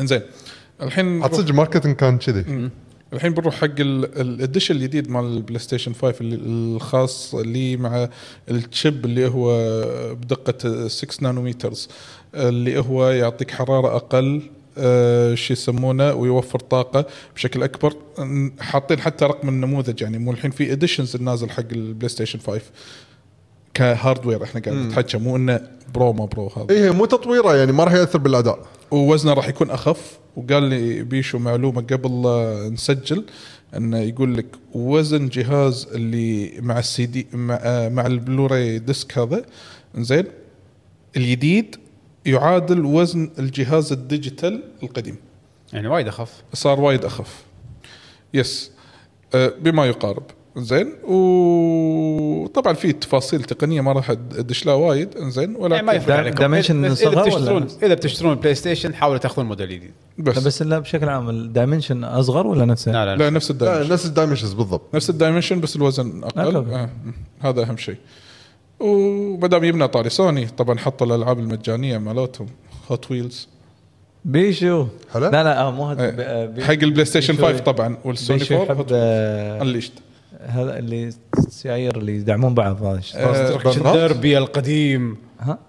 S4: انزين الحين
S3: عاد
S4: بنروح-
S3: صدق ماركتنج كان كذي
S4: الحين بنروح حق ال- الاديشن الجديد مال البلاي ستيشن 5 اللي- الخاص اللي مع التشيب اللي هو بدقه 6 نانومترز اللي هو يعطيك حراره اقل آه، شو يسمونه ويوفر طاقه بشكل اكبر ن- حاطين حتى رقم النموذج يعني مو الحين في اديشنز نازل حق البلاي ستيشن 5 كهاردوير احنا قاعد نتحكى مو انه برو ما برو هذا
S3: اي هي مو تطويره يعني ما راح ياثر بالاداء
S4: ووزنه راح يكون اخف وقال لي بيشو معلومه قبل لا نسجل انه يقول لك وزن جهاز اللي مع السي دي مع, آه، مع البلوراي ديسك هذا زين الجديد يعادل وزن الجهاز الديجيتال القديم
S2: يعني وايد اخف
S4: صار وايد اخف يس آه، بما يقارب زين وطبعا في تفاصيل تقنيه ما راح ادش لها وايد زين
S2: يعني ما
S4: ولكن
S2: يفرق
S6: دام-
S2: عليكم
S6: دايمنشن
S2: إذا-
S6: صغر
S2: اذا
S6: ولا
S2: بتشترون
S6: نفس؟
S2: اذا بتشترون بلاي ستيشن حاولوا تاخذون موديل جديد
S6: لا،
S4: بس
S6: بس اللعب بشكل عام الدايمنشن اصغر ولا نفسه؟
S2: لا لا,
S4: لا
S2: لا.
S4: نفس الدائرة
S3: آه، نفس الدايمنشنز بالضبط
S4: نفس الدايمنشن بس الوزن اقل
S6: أقل.
S4: آه. هذا اهم شيء ومدام يبنى طاري سوني طبعا حطوا الالعاب المجانيه مالتهم هوت ويلز
S6: بيشو
S3: حلو.
S6: لا لا آه، مو
S3: إيه.
S6: هذا ب- آه، بي-
S4: حق البلاي ستيشن
S6: بيشو-
S4: 5 طبعا والسوني
S6: بيشو
S4: 4
S6: يحب
S4: Hot-
S6: آه،
S4: انليشت
S6: هذا اللي السيايير اللي يدعمون بعض هذا شو اسمه؟
S4: آه،
S2: الدربي القديم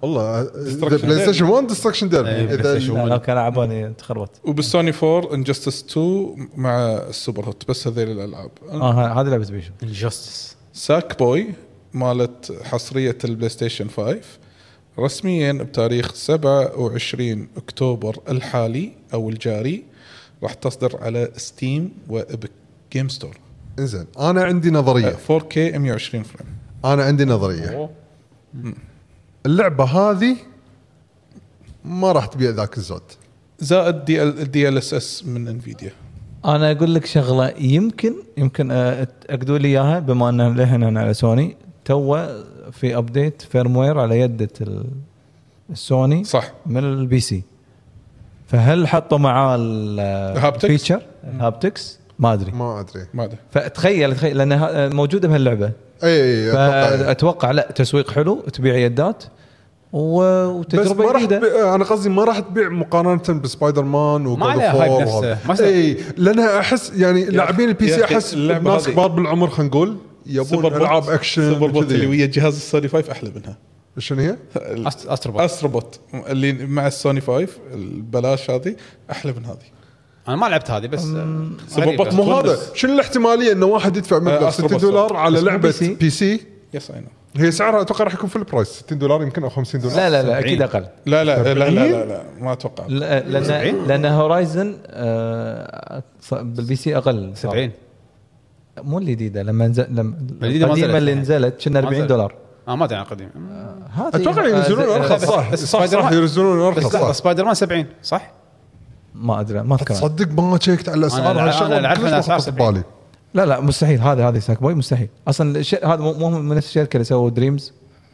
S3: والله بلاي ستيشن 1 ديستركشن
S2: إيه، بلاي ستيشن
S3: ديربي
S6: لا
S2: ولا-
S6: لو كان عباني تخربط
S4: وبالسوني 4 انجستس 2 مع السوبر هوت بس هذيل الالعاب
S6: اه ه- هذه لعبه بيشو
S2: انجستس
S4: ساك بوي مالت حصريه البلاي ستيشن 5 رسميا بتاريخ 27 اكتوبر الحالي او الجاري راح تصدر على ستيم وابك جيم ستور
S3: انزين انا عندي نظريه
S4: 4K 120 فريم
S3: انا عندي نظريه اللعبه هذه ما راح تبيع ذاك الزود
S4: زائد دي ال دي ال اس اس من انفيديا
S6: انا اقول لك شغله يمكن يمكن آه، اكدوا لي اياها بما ان لهنا على سوني تو في ابديت فيرموير على يده ال- السوني
S4: صح
S6: من البي سي فهل حطوا معاه ال-
S4: Haptics؟
S6: الفيتشر هابتكس ما ادري
S3: ما ادري
S4: ما ادري
S6: فتخيل تخيل لانها موجوده بهاللعبه
S3: اي اي إيه، أتوقع. يعني.
S6: فاتوقع لا تسويق حلو تبيع يدات و-
S3: بس ما
S6: وتجربه
S3: راح
S6: جديده
S3: تبيع انا قصدي ما راح تبيع مقارنه بسبايدر مان وجود
S2: عليها هايب نفسه. ما يصير.
S3: اي لانها احس إيه، يعني لاعبين البي
S4: يا
S3: سي
S4: أخي،
S3: احس
S4: اللعبة
S3: ناس
S4: هذه-
S3: كبار بالعمر خلينا نقول يبون
S4: سوبر
S3: العاب
S4: بوت-
S3: اكشن
S4: سوبر بوت
S3: وكذي.
S4: اللي ويا جهاز السوني 5 احلى منها
S3: شنو هي؟
S2: أست- استروبوت
S4: استروبوت اللي مع السوني 5 البلاش هذه احلى من هذه
S2: انا ما لعبت هذه بس
S4: سببت
S2: غريبة.
S3: مو هذا
S4: ويندوز.
S3: شنو الاحتماليه انه واحد يدفع مبلغ
S4: آه،
S3: 60
S4: أستروبوت.
S3: دولار على
S6: بس مو
S3: لعبه
S6: بي سي.
S3: بي سي
S4: يس اي نو
S3: هي سعرها اتوقع راح يكون في البرايس 60 دولار يمكن او 50 دولار
S6: لا لا لا اكيد اقل
S4: لا لا لا لا لا, لا ما اتوقع
S6: لا- لان لان هورايزن آه، ص- بالبي سي اقل صار.
S2: 70
S6: مو الجديده لما نزل لما
S2: الجديدة ما نزلت
S6: القديمه اللي
S2: يعني.
S6: نزلت كنا
S2: ما
S6: 40
S2: نزلت.
S6: دولار
S2: اه ما ادري عن قديم
S6: هذه-
S3: اتوقع
S6: آه،
S3: ينزلون
S6: زي-
S3: ارخص صح
S2: بس
S3: صح
S2: سبايدر
S3: صح
S2: مان-
S3: ينزلون
S2: بس
S3: ارخص
S2: لحظه
S3: صح
S2: سبايدر مان 70 صح؟
S6: ما ادري ما اذكر
S3: تصدق ما شيكت على الاسعار
S2: أنا-
S3: هالشغلة
S2: أنا لعبت
S3: كلش
S2: على
S3: ما
S2: أساس
S3: خطرت ببالي
S6: لا لا مستحيل هذا هذا ساك بوي مستحيل اصلا الش- هذا مو مو من نفس الشركه اللي سووا دريمز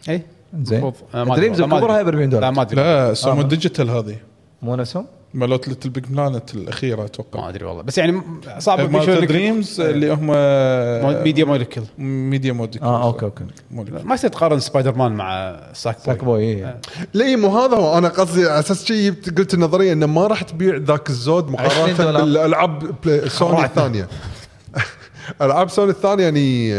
S2: اي
S6: زين
S2: إيه. المفروض. أنا ما أدري.
S6: دريمز
S2: لا ما أدري.
S6: كبرها ب 40
S2: لا
S6: دولار
S2: ما ادري
S6: آه،
S4: لا سومو ديجيتال هذه
S6: مو نفسهم؟
S4: مالت ليتل بيج بلانت الاخيره اتوقع
S2: ما ادري والله بس يعني صعب
S4: آه، مالت طيب، دريمز اللي هم
S6: آه.
S2: ميديا موليكيول
S4: ميديا موديكول
S6: اه اوكي اوكي
S4: موليكول.
S2: ما يصير تقارن سبايدر مان مع
S6: ساك
S2: ساك بوي
S6: بوي إيه.
S3: لا إيه، مو هذا هو انا قصدي على اساس شيء جبت- قلت النظريه انه ما راح تبيع ذاك الزود
S6: 20
S3: مقارنه
S6: دولار.
S3: بالالعاب بلاي- سوني
S2: خرعتنا.
S3: الثانيه العاب سوني الثانيه يعني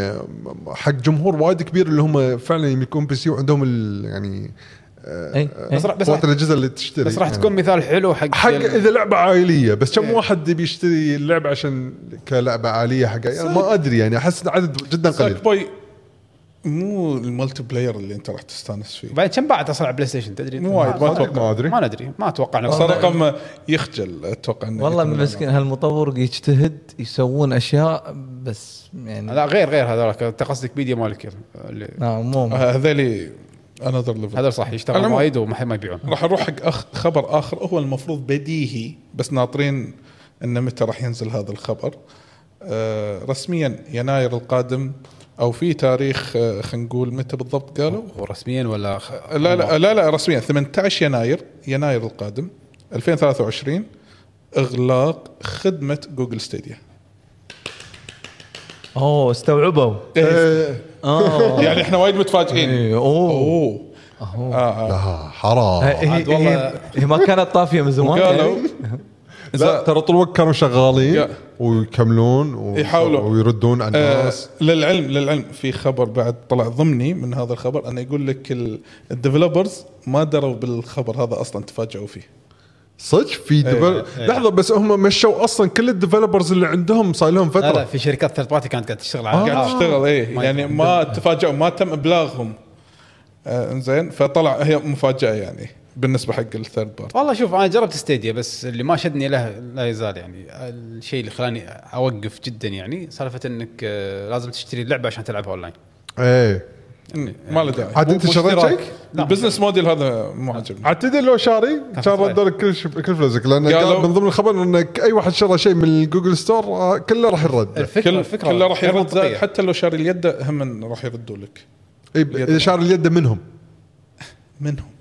S3: حق جمهور وايد كبير اللي هم فعلا يملكون بي سي وعندهم ال- يعني
S2: آه،
S6: إيه، إيه.
S2: بس راح بس
S3: قوه
S2: راح-
S3: الأجهزة اللي تشتري
S2: بس راح
S3: يعني.
S2: تكون إيه. مثال حلو حق
S3: حق
S2: ال-
S3: اذا لعبه عائليه بس كم واحد يبي يشتري اللعبه عشان كلعبه عائليه حق يعني ما ادري يعني احس عدد جدا قليل
S4: ساك بوي مو المالتي بلاير اللي انت راح تستانس فيه
S2: بعد كم باعت اصلا على بلاي ستيشن تدري
S4: مو وايد، ما أتوقع.
S3: ما أدري.
S2: ما ندري ما اتوقع إنه
S4: صار
S2: صار
S4: رقم يخجل اتوقع انه
S6: والله
S4: يكمل
S6: مسكين هالمطور يجتهد يسوون اشياء بس يعني
S2: لا غير غير هذاك انت قصدك ميديا مالك اللي
S6: لا مو
S4: معه. آه، هذيلي انذر ليفل
S2: هذا صح يشتغل
S4: العموم.
S2: وايد وما ما يبيعون
S4: راح نروح حق أخ خبر اخر هو المفروض بديهي بس ناطرين انه متى راح ينزل هذا الخبر آه رسميا يناير القادم او في تاريخ آه خلينا نقول متى بالضبط قالوا
S2: هو رسميا ولا خ...
S4: لا لا لا, لا رسميا 18 يناير يناير القادم 2023 اغلاق خدمه جوجل ستيديا
S6: اوه استوعبوا
S2: إيه.
S4: آه. يعني احنا وايد متفاجئين
S6: إيه، اوه
S4: اوه آه آه.
S3: لا حرام
S6: هي-
S2: عاد
S6: هي-
S2: والله-
S6: هي ما كانت طافيه من زمان
S4: قالوا
S6: يعني؟
S3: لا ترى طول الوقت كانوا شغالين
S4: يا.
S3: ويكملون و-
S4: يحاولون.
S3: ويردون على
S4: آه
S3: الناس
S4: للعلم للعلم في خبر بعد طلع ضمني من هذا الخبر انه يقول لك الديفلوبرز ما دروا بالخبر هذا اصلا تفاجئوا فيه
S3: صدق
S4: إيه،
S3: في ديفل... لحظه بس هم مشوا اصلا كل الديفلوبرز اللي عندهم صار لهم
S2: لا لا
S3: فتره
S2: في شركات ثيرد بارتي كانت قاعد تشتغل على
S4: قاعد تشتغل ايه
S2: آه. ما
S4: يعني ما تفاجئوا ما تم ابلاغهم آه انزين فطلع هي مفاجاه يعني بالنسبه حق الثيرد بارت
S2: والله شوف انا جربت ستيديا بس اللي ما شدني له لا يزال يعني الشيء اللي خلاني اوقف جدا يعني سالفه انك آه، لازم تشتري اللعبه عشان تلعبها اونلاين
S3: ايه
S2: يعني
S4: ما له داعي
S3: عاد انت
S2: مو
S3: شريت
S2: اشتراك.
S3: شيك؟
S2: لا.
S4: البزنس موديل هذا مو عاجبني
S3: عاد تدري لو شاري كان
S2: صحيح.
S3: ردوا لك كل ش... كل فلوسك لان
S4: قالوا-
S3: قال من ضمن الخبر انك اي واحد شرى شيء من الجوجل ستور آه، كله راح يرد
S2: الفكره
S4: كل
S2: الفكره
S4: كله راح
S2: غير
S4: يرد زائد
S2: منطقية.
S4: حتى لو شاري اليد هم راح يردوا لك
S3: إيه، ب- اذا شاري اليد منهم
S4: منهم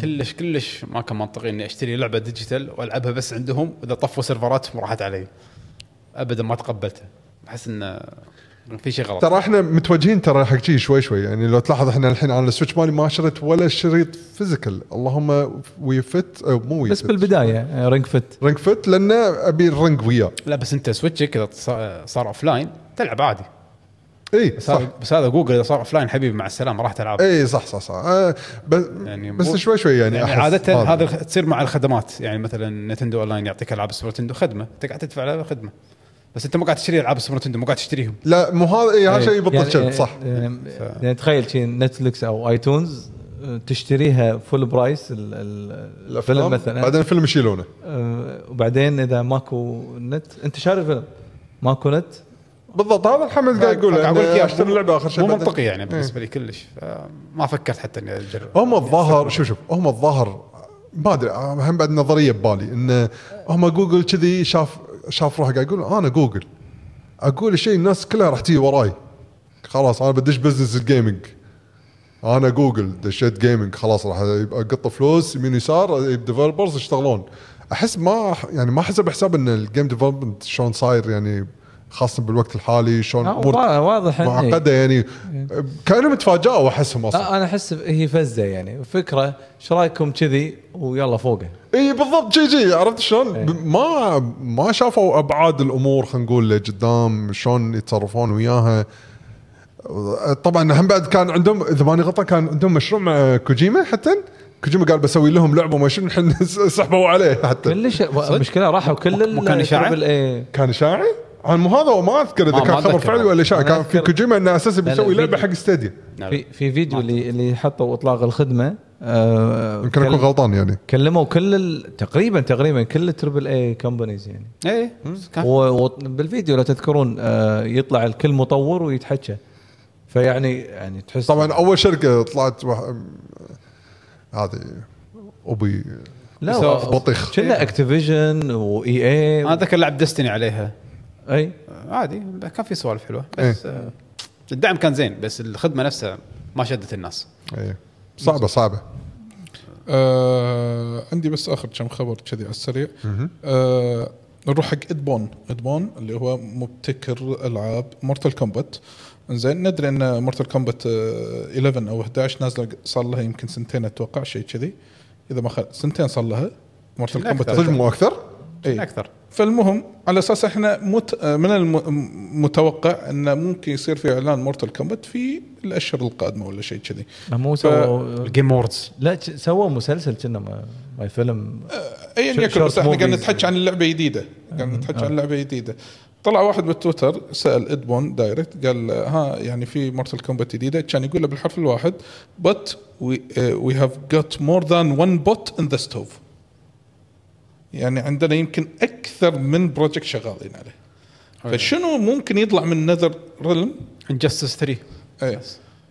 S2: كلش كلش ما كان منطقي اني اشتري لعبه ديجيتال والعبها بس عندهم واذا طفوا سيرفراتهم راحت علي ابدا ما تقبلته احس انه في شيء غلط
S3: ترى احنا متوجهين ترى حق شيء شوي شوي يعني لو تلاحظ احنا الحين على السويتش مالي ما شريت ولا شريط فيزيكال اللهم ويفت او مو ويفت
S6: بس بالبدايه رينج فت
S3: رنج فت لان ابي الرنج وياه
S2: لا بس انت سويتشك اذا ص- صار اوف لاين تلعب عادي
S3: اي
S2: بس
S3: إيه، صح إيه،
S2: هذا بس هذا جوجل اذا صار اوف لاين حبيبي مع السلامه راح تلعب
S3: اي صح صح صح آه بس
S2: يعني
S3: يعني
S2: مو-
S3: بس شوي شوي يعني,
S2: يعني
S3: أحس
S2: عاده هذا الخ- تصير مع الخدمات يعني مثلا نتندو اونلاين يعطيك العاب سوبر نتندو خدمه انت قاعد تدفع لها خدمه بس انت مو قاعد تشتري العاب سوبر نتندو مو قاعد تشتريهم
S3: لا مو هذا اي
S2: إيه،
S3: هذا شيء
S6: يعني-
S3: يبطل شب صح
S6: يعني, يعني تخيل شيء نتفلكس او ايتونز آه، تشتريها فول برايس ال- ال- الفيلم مثلا
S3: بعدين الفيلم يشيلونه
S6: آه، وبعدين اذا ماكو نت انت شاري فيلم ماكو نت
S3: بالضبط هذا الحمد قاعد يقول
S2: أقول لك
S3: أنا
S2: إياه،
S3: اشتري اللعبه اخر شيء
S2: مو
S3: بعدين. إيه.
S2: منطقي يعني بالنسبه لي كلش ما فكرت حتى اني اجرب
S3: هم الظاهر شوف شوف هم الظاهر ما ادري آه، هم بعد نظريه ببالي ان هم جوجل كذي شاف شاف روحه قاعد يقول انا جوجل اقول شيء الناس كلها راح تيجي وراي خلاص انا بدش بزنس الجيمنج انا جوجل دشيت جيمنج خلاص راح اقط فلوس يمين يسار الديفلوبرز يشتغلون احس ما يعني ما حسب حساب ان الجيم ديفلوبمنت شلون صاير يعني خاصه بالوقت الحالي شلون
S6: آه،
S3: امور
S6: وا- واضح إنه-
S3: معقده يعني كانهم تفاجئوا احسهم اصلا
S6: آه، انا احس هي فزه يعني فكره ايش رايكم كذي ويلا فوقه
S3: اي بالضبط جي جي عرفت شلون؟ ب- ما ما شافوا ابعاد الامور خلينا نقول لقدام شلون يتصرفون وياها طبعا هم بعد كان عندهم اذا ماني غلطان كان عندهم مشروع مع كوجيما حتى كوجيما قال بسوي لهم لعبه وما شنو الحين سحبوا عليه حتى
S6: كلش المشكله راحوا كل ال-
S2: مكان إشاعة؟
S6: تربل إيه.
S3: كان شاعي؟ عن مو هذا وما اذكر اذا
S2: ما- ما
S3: كان خبر
S2: أتذكر.
S3: فعلي ولا شاعي
S6: أنا
S3: كان في
S6: أذكر-
S3: كوجيما انه اساسا
S6: لا،
S3: بيسوي لعبه
S6: فيديو.
S3: حق ستيديا
S6: في في فيديو اللي اللي حطوا اطلاق الخدمه آه،
S3: نعم. يمكن
S6: كل-
S3: اكون غلطان يعني
S6: كلموا كل ال- تقريبا تقريبا كل التربل اي كومبانيز يعني
S2: اي
S6: وبالفيديو لو تذكرون آه، يطلع الكل مطور ويتحكى فيعني يعني تحس
S3: طبعا اول شركه طلعت وح- هذه ابي
S6: لا
S2: سوى
S6: و-
S3: بطيخ.
S6: كنا E اكتيفيجن واي اي
S2: انا ذكر لعب ديستني عليها
S6: اي
S2: عادي كان في سوالف حلوه
S3: إيه.
S2: بس آه، الدعم كان زين بس الخدمه نفسها ما شدت الناس
S3: إيه. صعبه صعبه
S4: آه عندي بس اخر كم خبر كذي على السريع آه نروح حق ادبون ادبون اللي هو مبتكر العاب مورتال كومبات زين ندري ان مورتال كومبات آه 11 او 11 نازله صار لها يمكن سنتين اتوقع شيء كذي اذا ما خل... سنتين صار لها مورتال
S2: لا،
S4: كومبات
S3: صدق مو اكثر؟
S4: إيه.
S2: اكثر
S4: فالمهم على اساس احنا مت... آه، من المتوقع انه ممكن يصير في اعلان مورتال كومبات في الاشهر القادمه ولا شيء كذي
S6: مو سووا
S2: الجيم ووردز
S6: لا ج- سووا مسلسل كنا ما- ما فيلم
S4: ايا
S6: شو-
S4: يكن بس
S6: شورت
S4: احنا قاعد
S6: موفيز.
S4: نتحكي عن اللعبه جديده قاعد نتحكي عن لعبه جديده طلع واحد بالتويتر سال ادبون دايركت قال ها يعني في مورتال كومبات جديده كان يقول له بالحرف الواحد uh, بت وي هاف جوت مور ذان وان بوت ان ذا ستوف يعني عندنا يمكن اكثر من بروجكت شغالين عليه فشنو ممكن يطلع من نذر ريلم
S2: انجستس 3
S4: ايه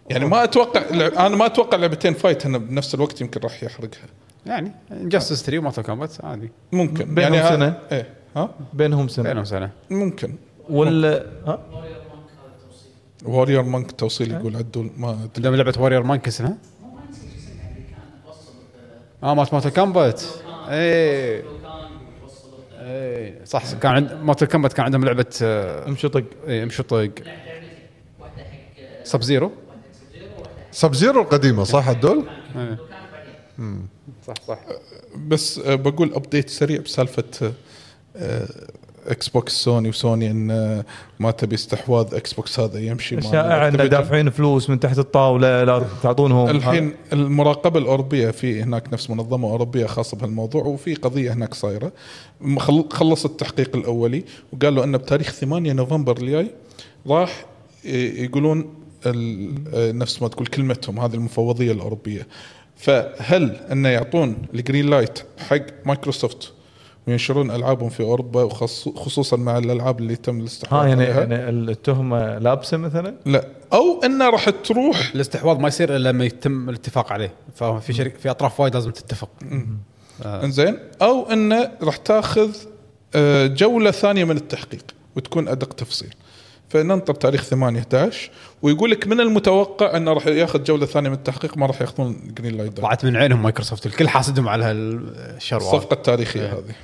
S4: يعني ما اتوقع انا ما اتوقع لعبتين فايت هن بنفس الوقت يمكن راح يحرقها
S2: يعني انجستس 3 مورتال كومبات عادي
S4: ممكن
S6: بينهم
S4: يعني ها-
S6: سنة.
S4: ايه ها
S6: بينهم سنه
S2: بينهم سنه
S4: ممكن
S6: وال ها؟
S4: واريور مانك توصيل يقول عدول ما أدري.
S2: عندهم لعبه واريور مان اسمها؟ اه مالت مورتال كومبات اي اي إيه. صح كان عند مورتال كومبات كان عندهم لعبه آه،
S6: امشي طق
S2: إيه، امشي طق سب زيرو
S3: سب زيرو القديمه صح الدول؟
S2: إيه، صح صح
S4: بس آه، بقول ابديت سريع بسالفه آه، آه، اكس بوكس سوني وسوني ان آه، ما تبي استحواذ اكس بوكس هذا يمشي مع
S6: شائع ان
S4: Activision.
S6: دافعين فلوس من تحت الطاوله لا تعطونهم
S4: الحين المراقبه الاوروبيه في هناك نفس منظمه اوروبيه خاصه بهالموضوع وفي قضيه هناك صايره مخل- خلص التحقيق الاولي وقالوا انه بتاريخ 8 نوفمبر الجاي راح ي- يقولون ال- آه، نفس ما تقول كلمتهم هذه المفوضيه الاوروبيه فهل انه يعطون الجرين لايت حق مايكروسوفت وينشرون العابهم في اوروبا وخصوصا مع الالعاب اللي تم الاستحواذ
S6: ها يعني,
S4: عليها؟
S6: يعني التهمه لابسه مثلا
S4: لا او انه راح تروح
S2: الاستحواذ ما يصير الا لما يتم الاتفاق عليه ففي شركه في اطراف وايد لازم تتفق
S4: انزين او انه راح تاخذ آه، جوله ثانيه من التحقيق وتكون ادق تفصيل فننطر تاريخ 8 11 ويقول لك من المتوقع انه راح ياخذ جوله ثانيه من التحقيق ما راح ياخذون جرين لايت
S2: طلعت من عينهم مايكروسوفت الكل حاسدهم على هالشروات
S4: الصفقه التاريخيه هذه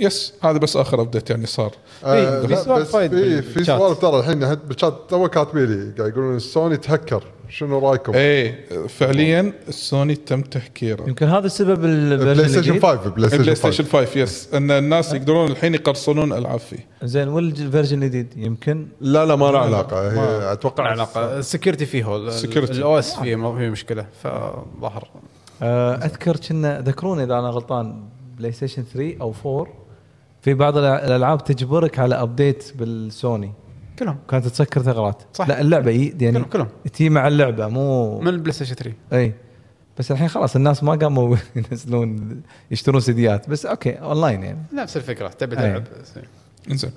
S4: يس هذا بس اخر ابديت يعني صار
S3: آه،
S2: في
S3: لا،
S2: سوالف إيه،
S3: بس
S2: وايد
S3: في في
S2: بالشات.
S3: سوالف ترى الحين حتى بالشات تو كاتبين لي قاعد يقولون سوني تهكر شنو رايكم؟
S6: إيه،
S4: ايه فعليا السوني تم تهكيره
S6: يمكن هذا السبب
S3: بلاي ستيشن 5
S6: إيه،
S3: بلاي ستيشن
S4: البلاي ستيشن
S3: 5
S4: 5 يس ان الناس يقدرون الحين يقرصنون العاب فيه
S6: زين والفيرجن الجديد يمكن
S3: لا لا ما له إيه، علاقه هي
S2: لا
S3: اتوقع
S2: علاقه السكيورتي فيه
S4: Security.
S2: الاو اس فيه ما فيه مشكله فظهر
S6: آه، اذكر كنا ذكروني اذا انا غلطان بلاي ستيشن 3 او 4 في بعض الأ- الالعاب تجبرك على ابديت بالسوني
S2: كلهم
S6: كانت تسكر ثغرات
S2: صح.
S6: لا اللعبه ي- يعني
S2: كلهم- كلهم.
S6: تي مع اللعبه مو
S2: من البلاي ستيشن 3
S6: اي بس الحين خلاص الناس ما قاموا ينزلون يشترون سيديات بس اوكي اونلاين يعني
S2: نفس الفكره تبي
S6: أي.
S2: تلعب
S4: انزين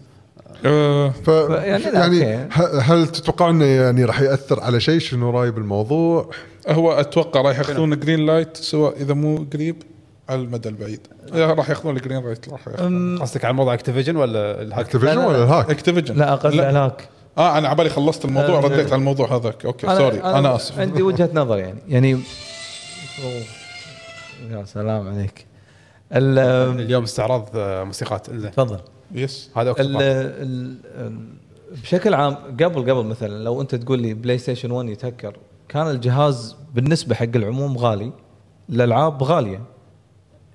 S4: آه
S3: ف
S6: يعني لا،
S3: يعني
S6: أوكي.
S3: ه- هل تتوقع انه يعني راح ياثر على شيء شنو راي بالموضوع؟
S4: هو اتوقع راح ياخذون جرين لايت سواء اذا مو قريب على المدى البعيد آه، راح ياخذون الجرين لايت راح ياخذون
S2: قصدك على موضوع اكتيفيجن ولا الهاك
S3: اكتيفيجن
S6: لا، لا.
S3: ولا الهاك؟
S4: اكتيفيجن
S6: لا اقل
S4: لا
S6: هناك
S4: اه انا عبالي خلصت الموضوع
S6: آه،
S4: رديت على الموضوع هذاك اوكي سوري انا اسف
S6: عندي وجهه نظر يعني يعني أوه. يا سلام عليك ال-
S2: اليوم استعراض آه، موسيقات انزين
S6: تفضل
S4: يس
S2: هذا
S6: ال
S2: اكتوبر
S6: ال ال- بشكل عام قبل قبل مثلا لو انت تقول لي بلاي ستيشن 1 يتهكر كان الجهاز بالنسبه حق العموم غالي الالعاب غاليه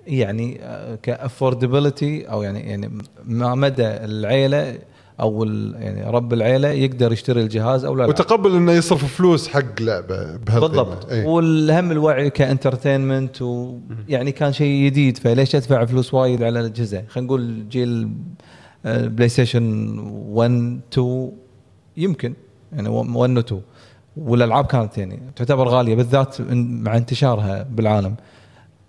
S6: يعني كافوردبيلتي او يعني يعني ما مدى العيله او ال- يعني رب العيله يقدر يشتري الجهاز او لا
S3: وتقبل انه يصرف فلوس حق إيه. لعبه بهالقيمه
S6: بالضبط
S3: إي.
S6: والهم الوعي كانترتينمنت ويعني كان شيء جديد فليش ادفع فلوس وايد على الاجهزه؟ خلينا نقول جيل آه، بلاي ستيشن 1 2 يمكن يعني 1 و 2 والالعاب كانت يعني تعتبر غاليه بالذات إن- مع انتشارها بالعالم.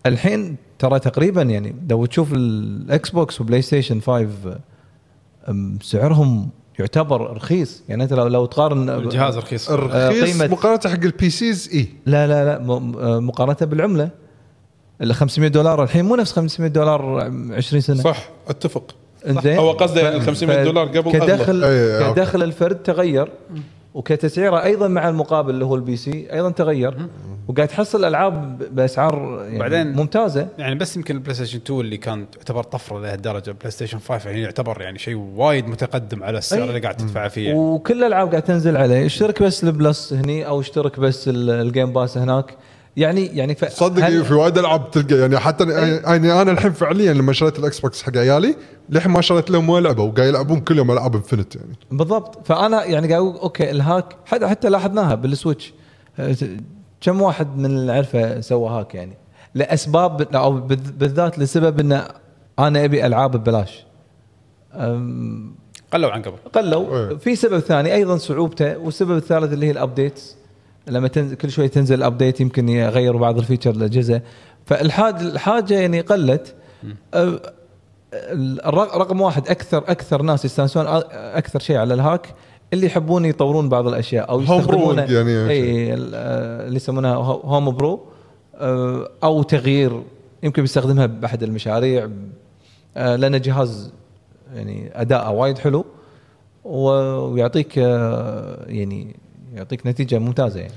S6: الحين ترى تقريبا يعني لو تشوف الاكس بوكس وبلاي ستيشن 5 آه، أم، سعرهم يعتبر رخيص يعني انت لو لو تقارن
S2: الجهاز رخيص
S3: الرخيص
S6: قيمة-
S3: مقارنه حق البي سيز اي
S6: لا لا لا م- م- مقارنه بالعمله ال 500 دولار الحين مو نفس 500 دولار 20 سنه
S4: صح اتفق
S6: إنزين؟
S4: هو قصده يعني
S6: ف-
S4: 500
S6: ف-
S4: دولار قبل
S6: كدخل
S3: أي- أي، أوكي.
S6: كدخل الفرد تغير وكتسعيره ايضا مع المقابل اللي هو البي سي ايضا تغير وقاعد تحصل العاب ب- باسعار يعني
S2: بعدين-
S6: ممتازه
S2: يعني بس يمكن البلاي ستيشن 2 اللي كان تعتبر طفره لهالدرجه بلاي ستيشن 5 يعني يعتبر يعني شيء وايد متقدم على السعر
S6: أي.
S2: اللي قاعد تدفعه فيه يعني.
S6: وكل الالعاب قاعد تنزل عليه اشترك بس البلس هني او اشترك بس ال- الجيم باس هناك يعني يعني ف-
S3: تصدق
S6: هل-
S3: إيه، في وايد العاب تلقى يعني حتى يعني انا الحين فعليا لما شريت الاكس بوكس حق عيالي للحين ما شريت لهم ولا لعبه وقاعد يلعبون كل يوم العاب انفنت يعني
S6: بالضبط فانا يعني قاعد اقول اوكي الهاك حتى حتى لاحظناها بالسويتش أه، كم واحد من اللي اعرفه سوى هاك يعني لاسباب او بالذ- بالذات لسبب انه انا ابي العاب ببلاش أم،
S2: قلوا عن قبل
S6: قلوا
S3: إيه.
S6: في سبب ثاني ايضا صعوبته والسبب الثالث اللي هي الابديتس لما تنزل كل شوي تنزل الابديت يمكن يغيروا بعض الفيتشر الاجهزه فالحاجه الحاجه يعني قلت أه، الر- رقم واحد اكثر اكثر ناس يستانسون أ- اكثر شيء على الهاك اللي يحبون يطورون بعض الاشياء او
S3: Home
S6: يستخدمون
S3: brewing يعني
S6: اي ال- آه، اللي يسمونها هوم برو او آه، تغيير يمكن بيستخدمها باحد المشاريع آه، لان جهاز يعني اداءه وايد حلو و- ويعطيك آه، يعني يعطيك نتيجه ممتازه يعني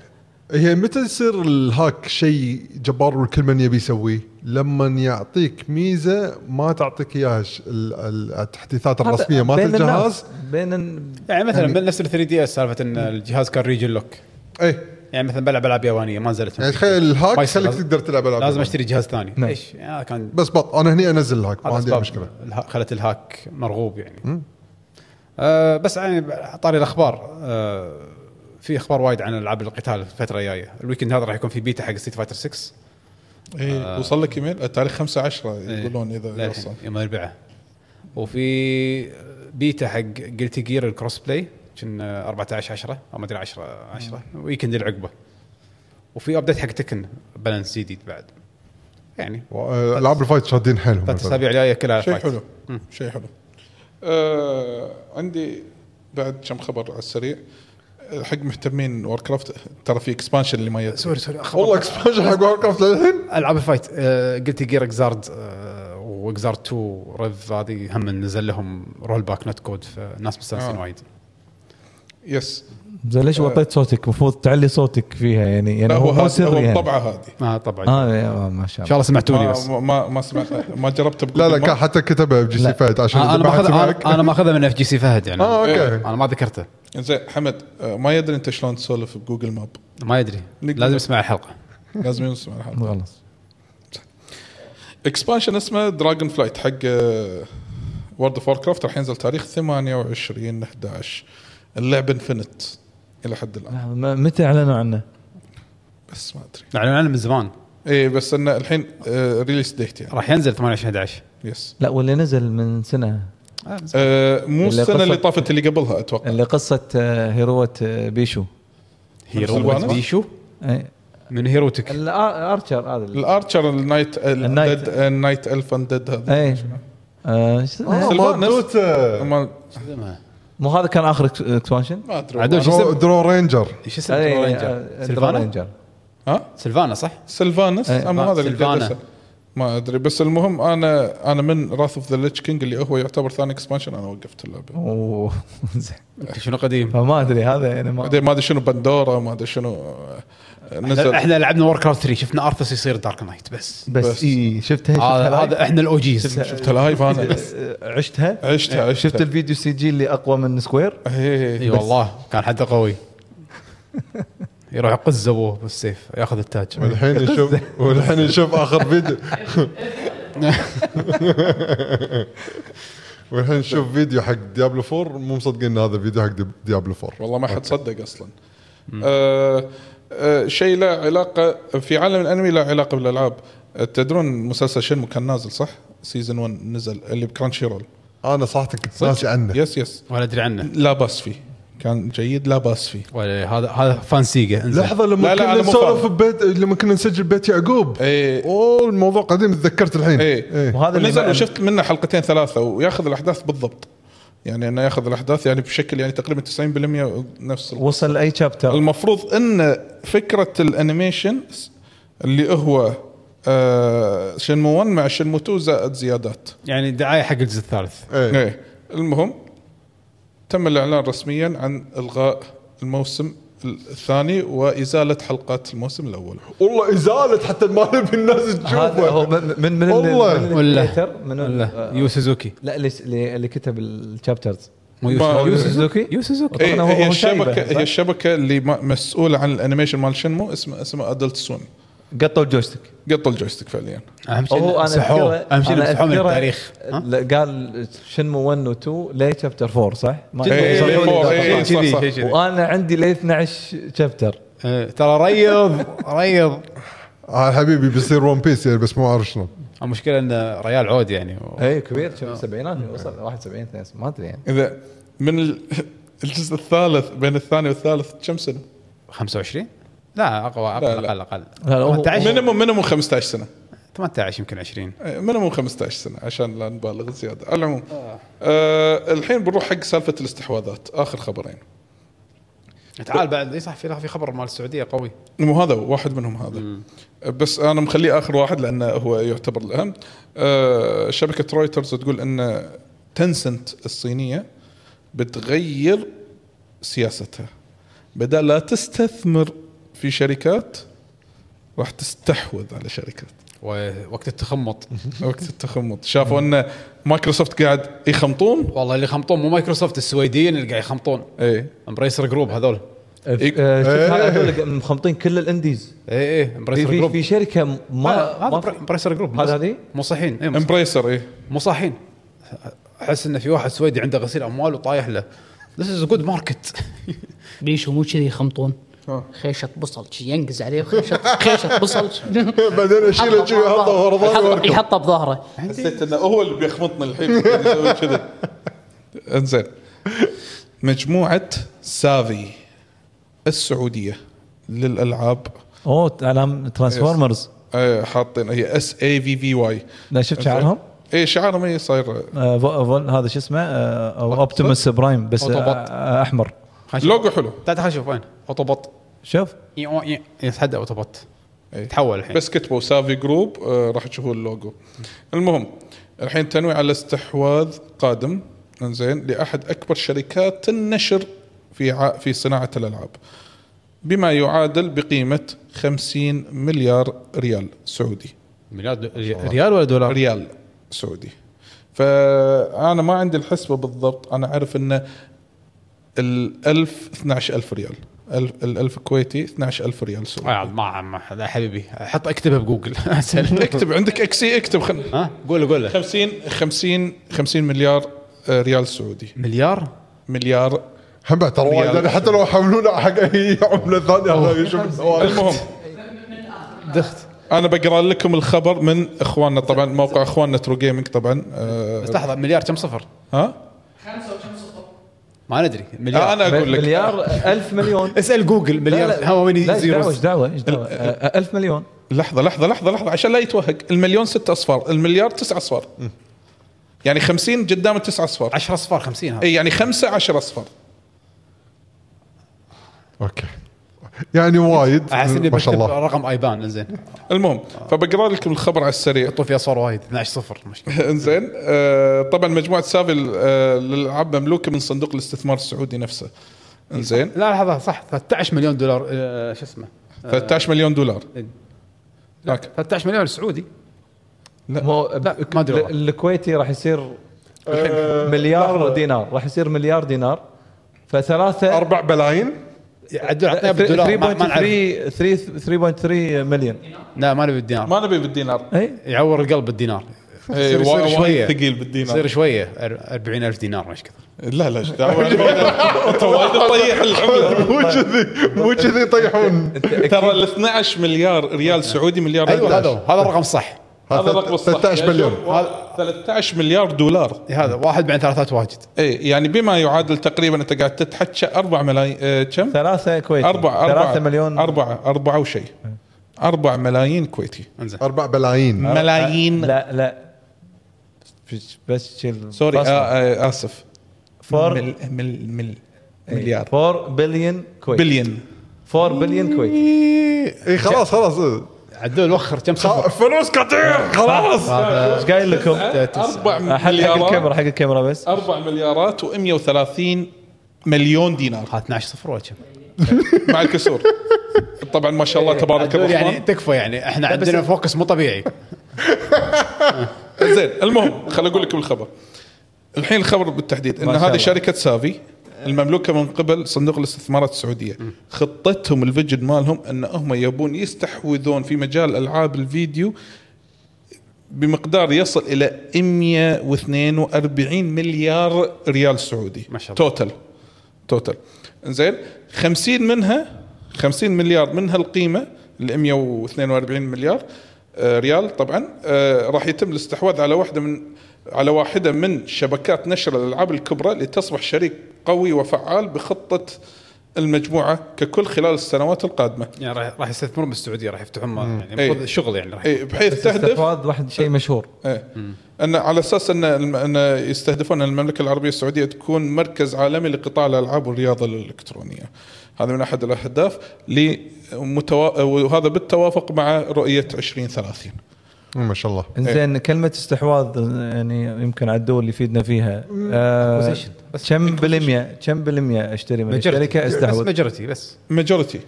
S3: هي متى يصير الهاك شيء جبار والكل من يبي يسويه؟ لما يعطيك ميزه ما تعطيك اياها ش- ال- ال- التحديثات الرسميه مالت
S6: بين
S3: الجهاز
S6: الناس، بين ال-
S2: يعني مثلا يعني نفس ال 3 دي اس سالفه ان الجهاز كان ريجن لوك
S3: ايه
S2: يعني مثلا بلعب العاب يابانيه ما نزلت
S3: يعني تخيل الهاك
S2: ما
S3: يخليك
S2: يصير.
S3: تقدر تلعب العاب
S2: لازم
S3: يابانية.
S2: اشتري جهاز ثاني
S6: نعم.
S2: ايش آه، كان
S3: بس بط انا هنا انزل الهاك ما
S2: هذا
S3: عندي أي
S2: اسباب
S3: مشكله
S2: الها- خلت الهاك مرغوب يعني آه بس يعني على طاري الاخبار آه في اخبار وايد عن العاب القتال الفتره الجايه الويكند هذا راح يكون في بيتا حق ستيت فايتر 6
S4: إيه وصل لك ايميل تاريخ 5 10
S2: إيه.
S4: يقولون اذا
S2: للحين،
S4: وصل
S2: يوم الاربعاء وفي بيتا حق جلتي جير الكروس بلاي كنا 14 10 او ما ادري 10 10 ويكند العقبه وفي ابديت حق تكن بالانس جديد بعد يعني
S3: و- العاب الفايت شادين حيلهم
S2: ثلاث اسابيع جايه كلها
S4: شيء
S2: فايت.
S4: حلو شيء حلو آه عندي بعد كم خبر على السريع آه، حق مهتمين وور كرافت ترى في اكسبانشن اللي ما يدري
S2: سوري سوري خبر.
S3: والله اكسبانشن حق وور كرافت للحين
S2: العاب الفايت آه، قلت آه، جير اكزارد واكزارد 2 ريف هذه هم نزل لهم رول باك نوت كود فالناس مستانسين
S4: آه.
S2: وايد
S4: يس
S6: زين ليش وطيت صوتك المفروض تعلي صوتك فيها يعني يعني
S4: آه. لا هو
S6: هو مو
S4: هذا
S6: سري
S4: هو
S6: يعني.
S4: الطبعه هذه
S2: اه طبعا ان
S6: اه يا- ما
S2: شاء
S6: شاء الله
S2: الله سمعتوني بس
S4: آه، ما ما, ما سمعت ما جربت
S3: لا لا
S4: بجوجل
S3: كان حتى كتبها بجي سي
S6: لا.
S3: فهد عشان
S2: آه
S3: إذا
S2: انا
S3: ما حد
S2: ماخذ
S3: سمعك.
S2: أنا- انا ماخذها من اف جي سي فهد يعني
S4: آه،
S3: اه اوكي
S2: انا ما ذكرته
S4: زين حمد آه، ما يدري انت شلون تسولف بجوجل ماب
S2: ما يدري
S4: نقدر.
S2: لازم يسمع الحلقه
S4: لازم نسمع الحلقه
S6: خلاص
S4: اكسبانشن اسمه دراجون فلايت حق آه، وورد اوف كرافت راح ينزل تاريخ 28 11 اللعبه انفنت الى حد الان
S6: لحظة، ما- متى اعلنوا عنه؟
S4: بس ما ادري
S2: يعني انا من زمان
S4: اي بس انه الحين ريليس ديت يعني
S2: راح ينزل 28 11
S4: يس
S6: لا واللي نزل من سنه
S4: آه، مو
S6: اللي
S4: السنه
S6: قصة-
S4: اللي طافت اللي قبلها اتوقع
S6: اللي قصه آه، هيروة آه، بيشو إيه.
S2: هيرو
S4: سلوانة؟
S2: بيشو
S6: أي.
S2: من هيروتك
S6: الارشر آه، هذا اللي-
S4: الارشر النايت
S6: النايت.
S4: الديد النايت الف ديد هذا
S6: اي آه، إيش-
S3: آه،
S4: سلفانس.
S3: مال دوتا.
S4: ما
S6: مو هذا كان اخر إكس- اكسبانشن؟
S4: ما ادري
S2: عدو شو
S3: درو-
S2: اسمه؟
S3: درو رينجر
S2: ايش اسمه؟
S6: أي،
S2: درو
S6: آه،
S2: رينجر
S6: درو
S2: سلفانا
S6: رينجر
S4: ها
S2: سلفانا صح؟
S4: سلفانس
S6: إيه،
S4: اما
S2: آه،
S4: هذا اللي
S2: سلفانا.
S4: قبل ما ادري بس المهم انا انا من راث اوف ذا ليتش كينج اللي هو يعتبر ثاني اكسبانشن انا وقفت اللعبه
S6: أوه، زين.
S2: أنت شنو قديم؟
S6: فما ادري هذا يعني ما
S4: بعدين ما ادري شنو بندورا ما ادري شنو آه، نزل
S2: احنا لعبنا وور كرافت 3 شفنا ارثس يصير دارك نايت بس آه،
S6: بس
S4: بس.
S6: اي شفتها شفتها
S2: هذا
S6: لايف؟
S2: هذا احنا الاو جيز
S4: شفت لايف انا
S6: آه، عشتها
S4: عشتها-
S6: آه،
S4: عشتها.
S6: شفت أيوه. الفيديو سي جي اللي اقوى من سكوير
S2: اي
S4: إيه.
S2: والله كان حده قوي يروح يقز ابوه بالسيف ياخذ التاج
S3: والحين نشوف والحين نشوف اخر فيديو والحين نشوف فيديو حق ديابلو 4 مو مصدقين ان هذا فيديو حق دياب- ديابلو 4
S4: والله ما حد صدق اصلا آه آه شيء لا علاقه في عالم الانمي لا علاقه بالالعاب آه، تدرون مسلسل شنمو كان نازل صح؟ سيزون 1 نزل اللي بكرانشي رول
S3: انا صراحه كنت ناسي عنه
S4: يس يس
S2: ولا ادري عنه
S4: لا باس فيه كان جيد لا باس فيه
S2: ولا هذا هذا فانسيجا انزين
S3: لحظه لما
S4: لا، لا،
S3: كنا
S4: أنا مو
S3: نسولف
S4: فاهم.
S3: ببيت لما كنا نسجل بيت يعقوب
S4: إيه.
S3: اوه الموضوع قديم تذكرت الحين
S4: إيه.
S6: وهذا اللي
S4: نزل
S6: بقى-
S4: وشفت منه حلقتين ثلاثه وياخذ الاحداث بالضبط يعني انه ياخذ الاحداث يعني بشكل يعني تقريبا 90% نفس ال-
S6: وصل لاي شابتر
S4: المفروض ان فكره الانيميشن اللي هو آه شنمو 1 مع شنمو 2 زائد زيادات
S2: يعني دعايه حق الجزء الثالث
S3: إيه.
S4: ايه المهم تم الاعلان رسميا عن الغاء الموسم الثاني وازاله حلقات الموسم الاول
S3: والله ازاله حتى ما نبي الناس
S6: هذا هو
S3: تشوفه
S6: من من من
S3: والله.
S6: ال- من ال-
S2: ولا
S6: creator، من ال- آه،
S2: ولا يو سوزوكي
S6: لا اللي اللي اللي كتب الشابترز
S2: مو
S4: ما-
S2: يو
S4: يو
S6: سوزوكي؟
S2: يو سوزوكي
S6: طبعاً
S4: إيه
S6: هو-
S4: هي
S6: هو شايبة،
S4: الشبكه
S6: صح؟
S4: هي الشبكه اللي ما- مسؤوله عن الانيميشن مال شنمو اسمه اسمه ادلت سويم
S6: قطوا الجويستيك
S4: قطوا الجويستيك فعليا
S2: اهم شيء
S6: هو
S2: إنه
S6: انا
S2: مسحوه
S6: أذكره-
S2: اهم شيء إنه
S6: أنا
S2: مسحوه من
S6: أذكره آه.
S2: التاريخ ها؟
S6: لا، قال شنمو 1 و 2 لي شابتر 4 صح؟ ما
S2: جداً.
S4: إيه،
S6: وصلوا
S4: ليه
S6: لي
S4: فور،
S6: داتا
S4: إيه،
S6: صح.
S4: صح،
S2: كذي،
S4: صح.
S2: شيء كذي.
S6: وانا عندي لي 12 شابتر
S2: إيه، ترى ريض ريض
S3: آه حبيبي بيصير ون بيس يعني بس مو عارف شنو
S2: المشكله انه ريال عود يعني
S4: إيه،
S6: اي إيه،
S4: آه.
S6: كبير شنو السبعينات وصل 71 72 ما ادري يعني
S4: اذا من ال- الجزء الثالث بين الثاني والثالث كم سنه؟
S2: 25 لا اقوى
S4: لا،
S2: اقل
S4: لا.
S2: اقل اقل
S6: لا، هو-
S2: 18
S4: مينيموم مينيموم 15 سنه
S2: 18 يمكن 20
S4: مينيموم 15 سنه عشان لا نبالغ زياده على العموم آه الحين بنروح حق سالفه الاستحواذات اخر خبرين
S2: تعال بعد اي صح في في خبر مال السعوديه قوي
S4: مو هذا هو، واحد منهم هذا بس انا مخليه اخر واحد لانه هو يعتبر الاهم آه، شبكه رويترز تقول ان تنسنت الصينيه بتغير سياستها بدل لا تستثمر في شركات راح تستحوذ على شركات
S2: و- وقت التخمط
S4: وقت التخمط شافوا ان مايكروسوفت قاعد يخمطون
S2: والله اللي يخمطون مو مايكروسوفت السويديين اللي قاعد يخمطون
S4: ايه
S2: امبريسر جروب هذول
S4: إيه.
S6: آه، شوف هذا اقول لك مخمطين كل الانديز
S2: اي اي
S6: في,
S2: امبريسر
S6: في,
S2: جروب
S6: في شركه ما, ما
S2: آه، هذا امبريسر جروب
S6: هذا هذه؟
S2: مو صحيين إيه، مو صحيين.
S4: امبريسر ايه
S2: مو صحيين احس انه في واحد سويدي عنده غسيل اموال وطايح له This is a good market
S5: ليش مو كذي يخمطون
S4: آه.
S5: خيشة بصل شي ينقز عليه خيشة خيشة بصل
S3: بعدين اشيله شي
S5: يحطه
S3: احطه ورا ظهري
S5: بظهره. يحطه-
S3: واركب
S5: يحطه بظهره
S4: حسيت انه هو اللي بيخمطنا الحين يسوي كذا انزين مجموعه سافي السعوديه للالعاب
S6: اوه علام ترانسفورمرز
S4: آه، حاطين هي اس اي في في واي
S6: لا شفت شعارهم؟
S4: اي شعارهم هي صاير
S6: آه، فو- فول- هذا شو اسمه آه، او اوبتيموس برايم بس آه،
S2: أوتوبوت.
S6: آه، احمر
S2: خل نشوف.
S4: لوجو حلو
S2: تعال تعال شوف وين اوتوبوت
S6: شوف
S2: يتحدى اوتوبوت
S4: إيه.
S2: تحول الحين
S4: بس كتبوا سافي جروب آه، راح تشوفوا اللوجو المهم الحين تنويع على استحواذ قادم انزين لاحد اكبر شركات النشر في ع... في صناعه الالعاب بما يعادل بقيمه 50 مليار ريال سعودي
S2: مليار دو- ريال ولا دولار؟
S4: ريال سعودي فانا ما عندي الحسبه بالضبط انا اعرف ان ال 1000 12000 ريال ال 1000 كويتي 12000 ريال سعودي
S2: آه، ما ما لا حبيبي حط اكتبها بجوجل اسهل
S4: اكتب عندك اكسي اكتب خل...
S2: ها قول قول له.
S4: 50 50 50 مليار آه، ريال سعودي
S2: مليار
S4: مليار
S3: هم بعد ترى وايد يعني حتى لو حملونا حق اي عمله ثانيه يشوف
S4: المهم
S2: دخت
S4: انا بقرا لكم الخبر من اخواننا طبعا موقع اخواننا ترو جيمنج طبعا آه،
S2: بس لحظه مليار كم صفر؟
S4: ها
S2: ما ندري
S4: آه،
S2: مليار
S4: انا اقول لك
S6: مليار 1000 مليون
S2: اسال جوجل
S6: لا،
S2: مليار
S6: لا.
S2: هاو
S6: لا
S2: ماني
S6: ايش دعوه ايش
S2: زيروز
S6: دعوه ايش دعوه 1000 آه، مليون
S4: لحظه لحظه لحظه لحظه عشان لا يتوهق المليون ست اصفار المليار تسع اصفار يعني 50 قدام التسع اصفار
S2: 10 اصفار 50 هذا
S4: اي يعني خمسة عشر اصفار
S3: اوكي يعني وايد
S2: احس اني
S3: ما شاء
S2: بكتب
S3: الله
S2: رقم ايبان زين
S4: المهم فبقرا لكم الخبر على السريع
S2: يحطون فيه اصفار وايد 12 صفر مشكله
S4: انزين آه، طبعا مجموعه سافي آه، للالعاب مملوكه من صندوق الاستثمار السعودي نفسه انزين
S2: لا لحظه صح 13 مليون دولار آه، شو اسمه
S4: 13 مليون دولار
S2: إيه.
S4: اوكي
S2: 13 مليون سعودي
S6: مو
S2: لا، ما آه، أدري والله.
S6: ال- الكويتي راح يصير مليار دينار راح يصير مليار دينار فثلاثة
S3: 4 بلايين
S2: عدل عطنا بالدولار ما- ما نعرف
S6: 3.3 3 3.3 مليون
S2: لا ما نبي الدينار
S4: ما نبي بالدينار
S6: اي
S2: يعور القلب بالدينار
S4: إيه،
S2: يصير- يصير
S4: وا- وايد
S2: شوية.
S4: ثقيل
S2: يصير
S4: بالدينار
S2: شويه أر- 40000 دينار مش كذا
S4: لا لا إيش دعوة؟ انت وايد تطيح الحمله
S3: مو كذي مو كذي يطيحون
S4: ترى ال 12 مليار ريال سعودي مليار
S2: ايوه هذا
S4: 11.
S2: هو، هذا الرقم صح
S4: هذا يعني الرقم الصح
S3: 13 مليون
S4: هذا 13 مليار دولار
S2: هذا واحد بعد ثلاثات واجد
S4: اي يعني بما يعادل تقريبا انت قاعد تتحكى 4 ملايين آه، كم؟
S6: ثلاثة كويتي
S4: 4
S6: ثلاثة
S4: 4
S6: مليون
S4: 4 4 وشيء 4 ملايين كويتي
S2: انزين
S3: 4 بلايين
S4: ملايين
S6: لا لا بس- بس شيل
S4: سوري آه آه اسف
S6: 4
S4: مل مل مل مليار
S6: 4 بليون كويتي
S4: بليون
S6: 4 بليون كويتي
S3: اي خلاص خلاص إيه.
S2: عدول وخر كم صفر
S3: فلوس كثير خلاص
S2: هذا
S6: ايش قايل لكم؟ حق
S4: 4
S6: حق
S4: أه؟ مليارات
S6: الكاميرا حق الكاميرا بس
S4: 4 مليارات و130 مليون دينار
S2: هذا 12 صفر ولا كم
S4: مع الكسور طبعا ما شاء الله تبارك
S2: عدول يعني
S4: الرحمن
S2: تكفى يعني احنا عندنا فوكس مو طبيعي
S4: زين المهم خل اقول لكم الخبر الحين الخبر بالتحديد ان
S6: ما شاء
S4: هذه
S6: الله.
S4: شركه سافي المملوكه من قبل صندوق الاستثمارات السعوديه خطتهم الفيجن مالهم ان هم يبون يستحوذون في مجال العاب الفيديو بمقدار يصل الى 142 مليار ريال سعودي
S2: ما شاء الله.
S4: توتال توتال زين 50 منها 50 مليار منها القيمه ال 142 مليار آه، ريال طبعا آه، راح يتم الاستحواذ على واحده من على واحده من شبكات نشر الالعاب الكبرى لتصبح شريك قوي وفعال بخطه المجموعه ككل خلال السنوات القادمه
S2: يعني راح راح يستثمرون بالسعوديه راح يفتحون يعني
S4: إيه.
S2: المفروض شغل يعني راح
S4: إيه، بحيث تهدف
S6: استحواذ واحد شيء مشهور
S4: ايه ان على اساس ان الم- ان يستهدفون ان المملكه العربيه السعوديه تكون مركز عالمي لقطاع الالعاب والرياضه الالكترونيه. هذا من احد الاهداف لمتوا... وهذا بالتوافق مع رؤيه 2030
S3: ما شاء الله
S6: انزين كلمه استحواذ يعني يمكن على الدول اللي يفيدنا فيها آه
S2: acquisition. بس
S6: كم بالمية كم بالمية اشتري من الشركه
S2: بس
S6: استحوذ
S2: ماجورتي بس
S4: ماجورتي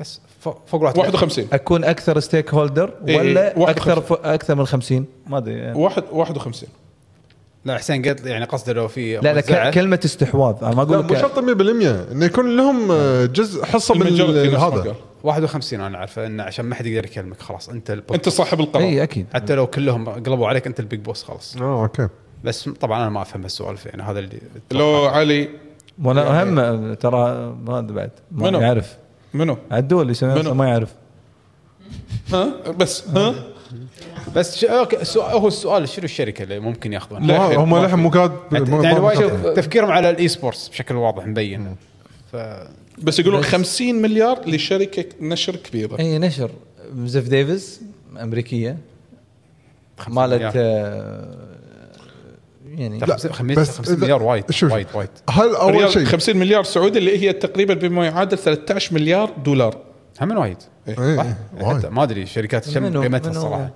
S2: بس فوق فوق الواحد
S4: 51
S6: اكون اكثر ستيك هولدر
S4: إيه،
S6: ولا
S4: إيه، واحد
S6: اكثر
S4: خمسة.
S6: ف... اكثر من 50 ما ادري يعني.
S4: واحد 51
S2: لا حسين قلت يعني قصده لو في
S6: لا لا
S2: موزعة.
S6: ك- كلمه استحواذ انا ما
S3: لا
S6: اقول
S3: مو
S6: لك
S3: شرط 100% انه يكون لهم آه، جزء حصه من
S4: الماجورتي
S3: ال-
S4: نفس ما قال.
S3: هذا
S2: 51 انا عارفه انه عشان ما حد يقدر يكلمك خلاص انت البوس.
S4: انت صاحب
S6: اي
S3: إيه.
S4: القرار
S6: اكيد
S2: حتى لو كلهم قلبوا عليك انت البيج بوس خلاص
S3: اه اوكي
S2: بس طبعا انا ما افهم هالسوالف يعني هذا اللي
S4: لو علي
S6: وانا اهم ترى هذا بعد ما
S4: إيه، منو؟
S6: يعرف
S4: منو؟
S6: الدول يسوي نفسه
S4: منو؟
S6: ما يعرف
S4: ها بس ها
S2: بس ش... اوكي السؤال هو السؤال شنو الشركه اللي ممكن ياخذونها؟
S4: لا،
S3: ما-
S4: حلو،
S3: هم
S4: ما
S3: للحين
S4: في.
S3: مو قاعد
S2: يعني وايد تفكيرهم على الاي سبورتس بشكل واضح مبين ف
S4: بس يقولون 50 مليار لشركه نشر كبيره
S6: اي نشر زيف ديفيز امريكيه مالت
S2: مليار.
S6: آه، يعني
S2: لا، خمسة- خمسة-
S3: بس
S2: خمسة
S3: إذا-
S2: مليار وايد
S3: شوف.
S2: وايد وايد
S3: هل اول
S4: ريال
S3: شيء
S4: 50 مليار سعودي اللي هي تقريبا بما يعادل 13 مليار دولار
S2: هم من وايد
S3: إيه،
S2: صح؟
S3: إيه،
S2: حتى
S3: وايد.
S2: ما ادري شركات
S6: منو-
S2: كم قيمتها
S6: منو-
S2: الصراحه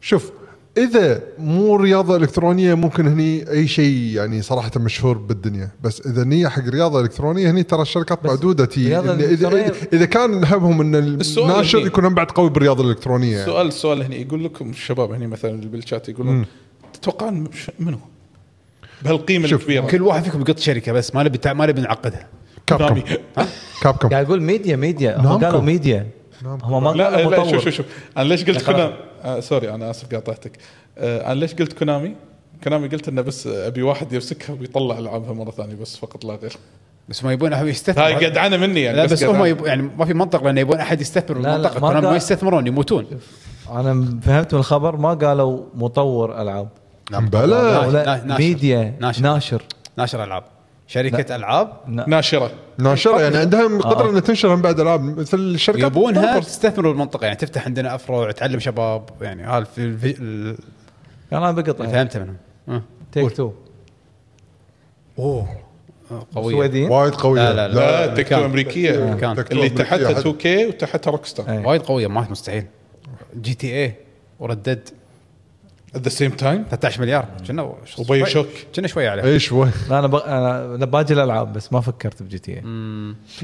S3: شوف اذا مو رياضه الكترونيه ممكن هني اي شيء يعني صراحه مشهور بالدنيا بس اذا نيه حق رياضه الكترونيه هني ترى الشركات معدوده تي
S6: الرياضة
S3: إن- إذا,
S6: الإلكترونية-
S3: اذا اذا كان همهم ان
S4: السؤال
S3: الناشر
S4: هني.
S3: يكون هم بعد قوي بالرياضه الالكترونيه يعني.
S4: السؤال السؤال هنا يقول لكم الشباب هنا مثلا اللي بالشات يقولون تتوقع منو؟ بهالقيمه
S3: شوف،
S4: الكبيره
S2: كل واحد فيكم يقط شركه بس ما نبي ما نبي نعقدها
S3: كابكم كابكم
S6: قاعد اقول ميديا ميديا هم
S3: نامكو.
S6: قالوا ميديا
S3: نامكو.
S6: هم ما
S4: لا
S6: قالوا
S4: لا شوف
S6: مطور
S4: شوف شوف انا ليش قلت كونامي آه سوري انا اسف قاطعتك آه انا ليش قلت كونامي؟ كونامي قلت انه بس ابي واحد يمسكها ويطلع العابها مره ثانيه بس فقط لا غير
S2: بس ما يبون احد
S4: هاي
S2: يستثمر
S4: قدعانه مني يعني
S2: لا بس هم
S4: قدعانة.
S2: يبون يعني ما في منطق لان يبون احد يستثمر
S6: لا،
S2: بالمنطقه
S6: ما
S2: كونامي ما
S6: قال-
S2: يستثمرون يموتون
S6: انا فهمت من الخبر ما قالوا مطور العاب
S2: نعم.
S3: بلا
S2: لا،
S6: ولا
S2: ناشر.
S6: ميديا
S2: ناشر.
S6: ناشر, ناشر.
S2: ناشر العاب شركه العاب
S4: ناشره
S3: ناشره يعني عندها
S6: آه.
S3: قدره انها تنشر هم بعد العاب مثل الشركات
S2: يبونها
S3: تطور.
S2: تستثمر بالمنطقه يعني تفتح عندنا افرع تعلم شباب يعني هذا الف- الف- ال-
S6: انا
S2: اللي
S6: بقطع
S2: فهمته منهم آه.
S6: تيك تو
S2: اوه آه، قويه
S6: سويديين
S3: وايد قويه
S2: لا، لا، لا.
S4: لا تكتو
S2: مكان.
S4: امريكيه
S2: مكان.
S3: تكتو
S4: اللي
S3: أمريكية
S4: تحتها
S3: حد.
S4: 2 كي وتحتها روك ستار
S6: أي.
S2: وايد قويه ما مستحيل جي تي إيه اي وردد
S4: ات ذا سيم تايم
S2: 13 مليار كنا شو-
S4: وبيو
S2: شوي-
S4: شوك.
S2: كنا شوي
S6: إيه.
S2: عليه
S3: ايش وين
S6: لا انا بق... انا أنا باجي الالعاب بس ما فكرت بجي تي إيه. اي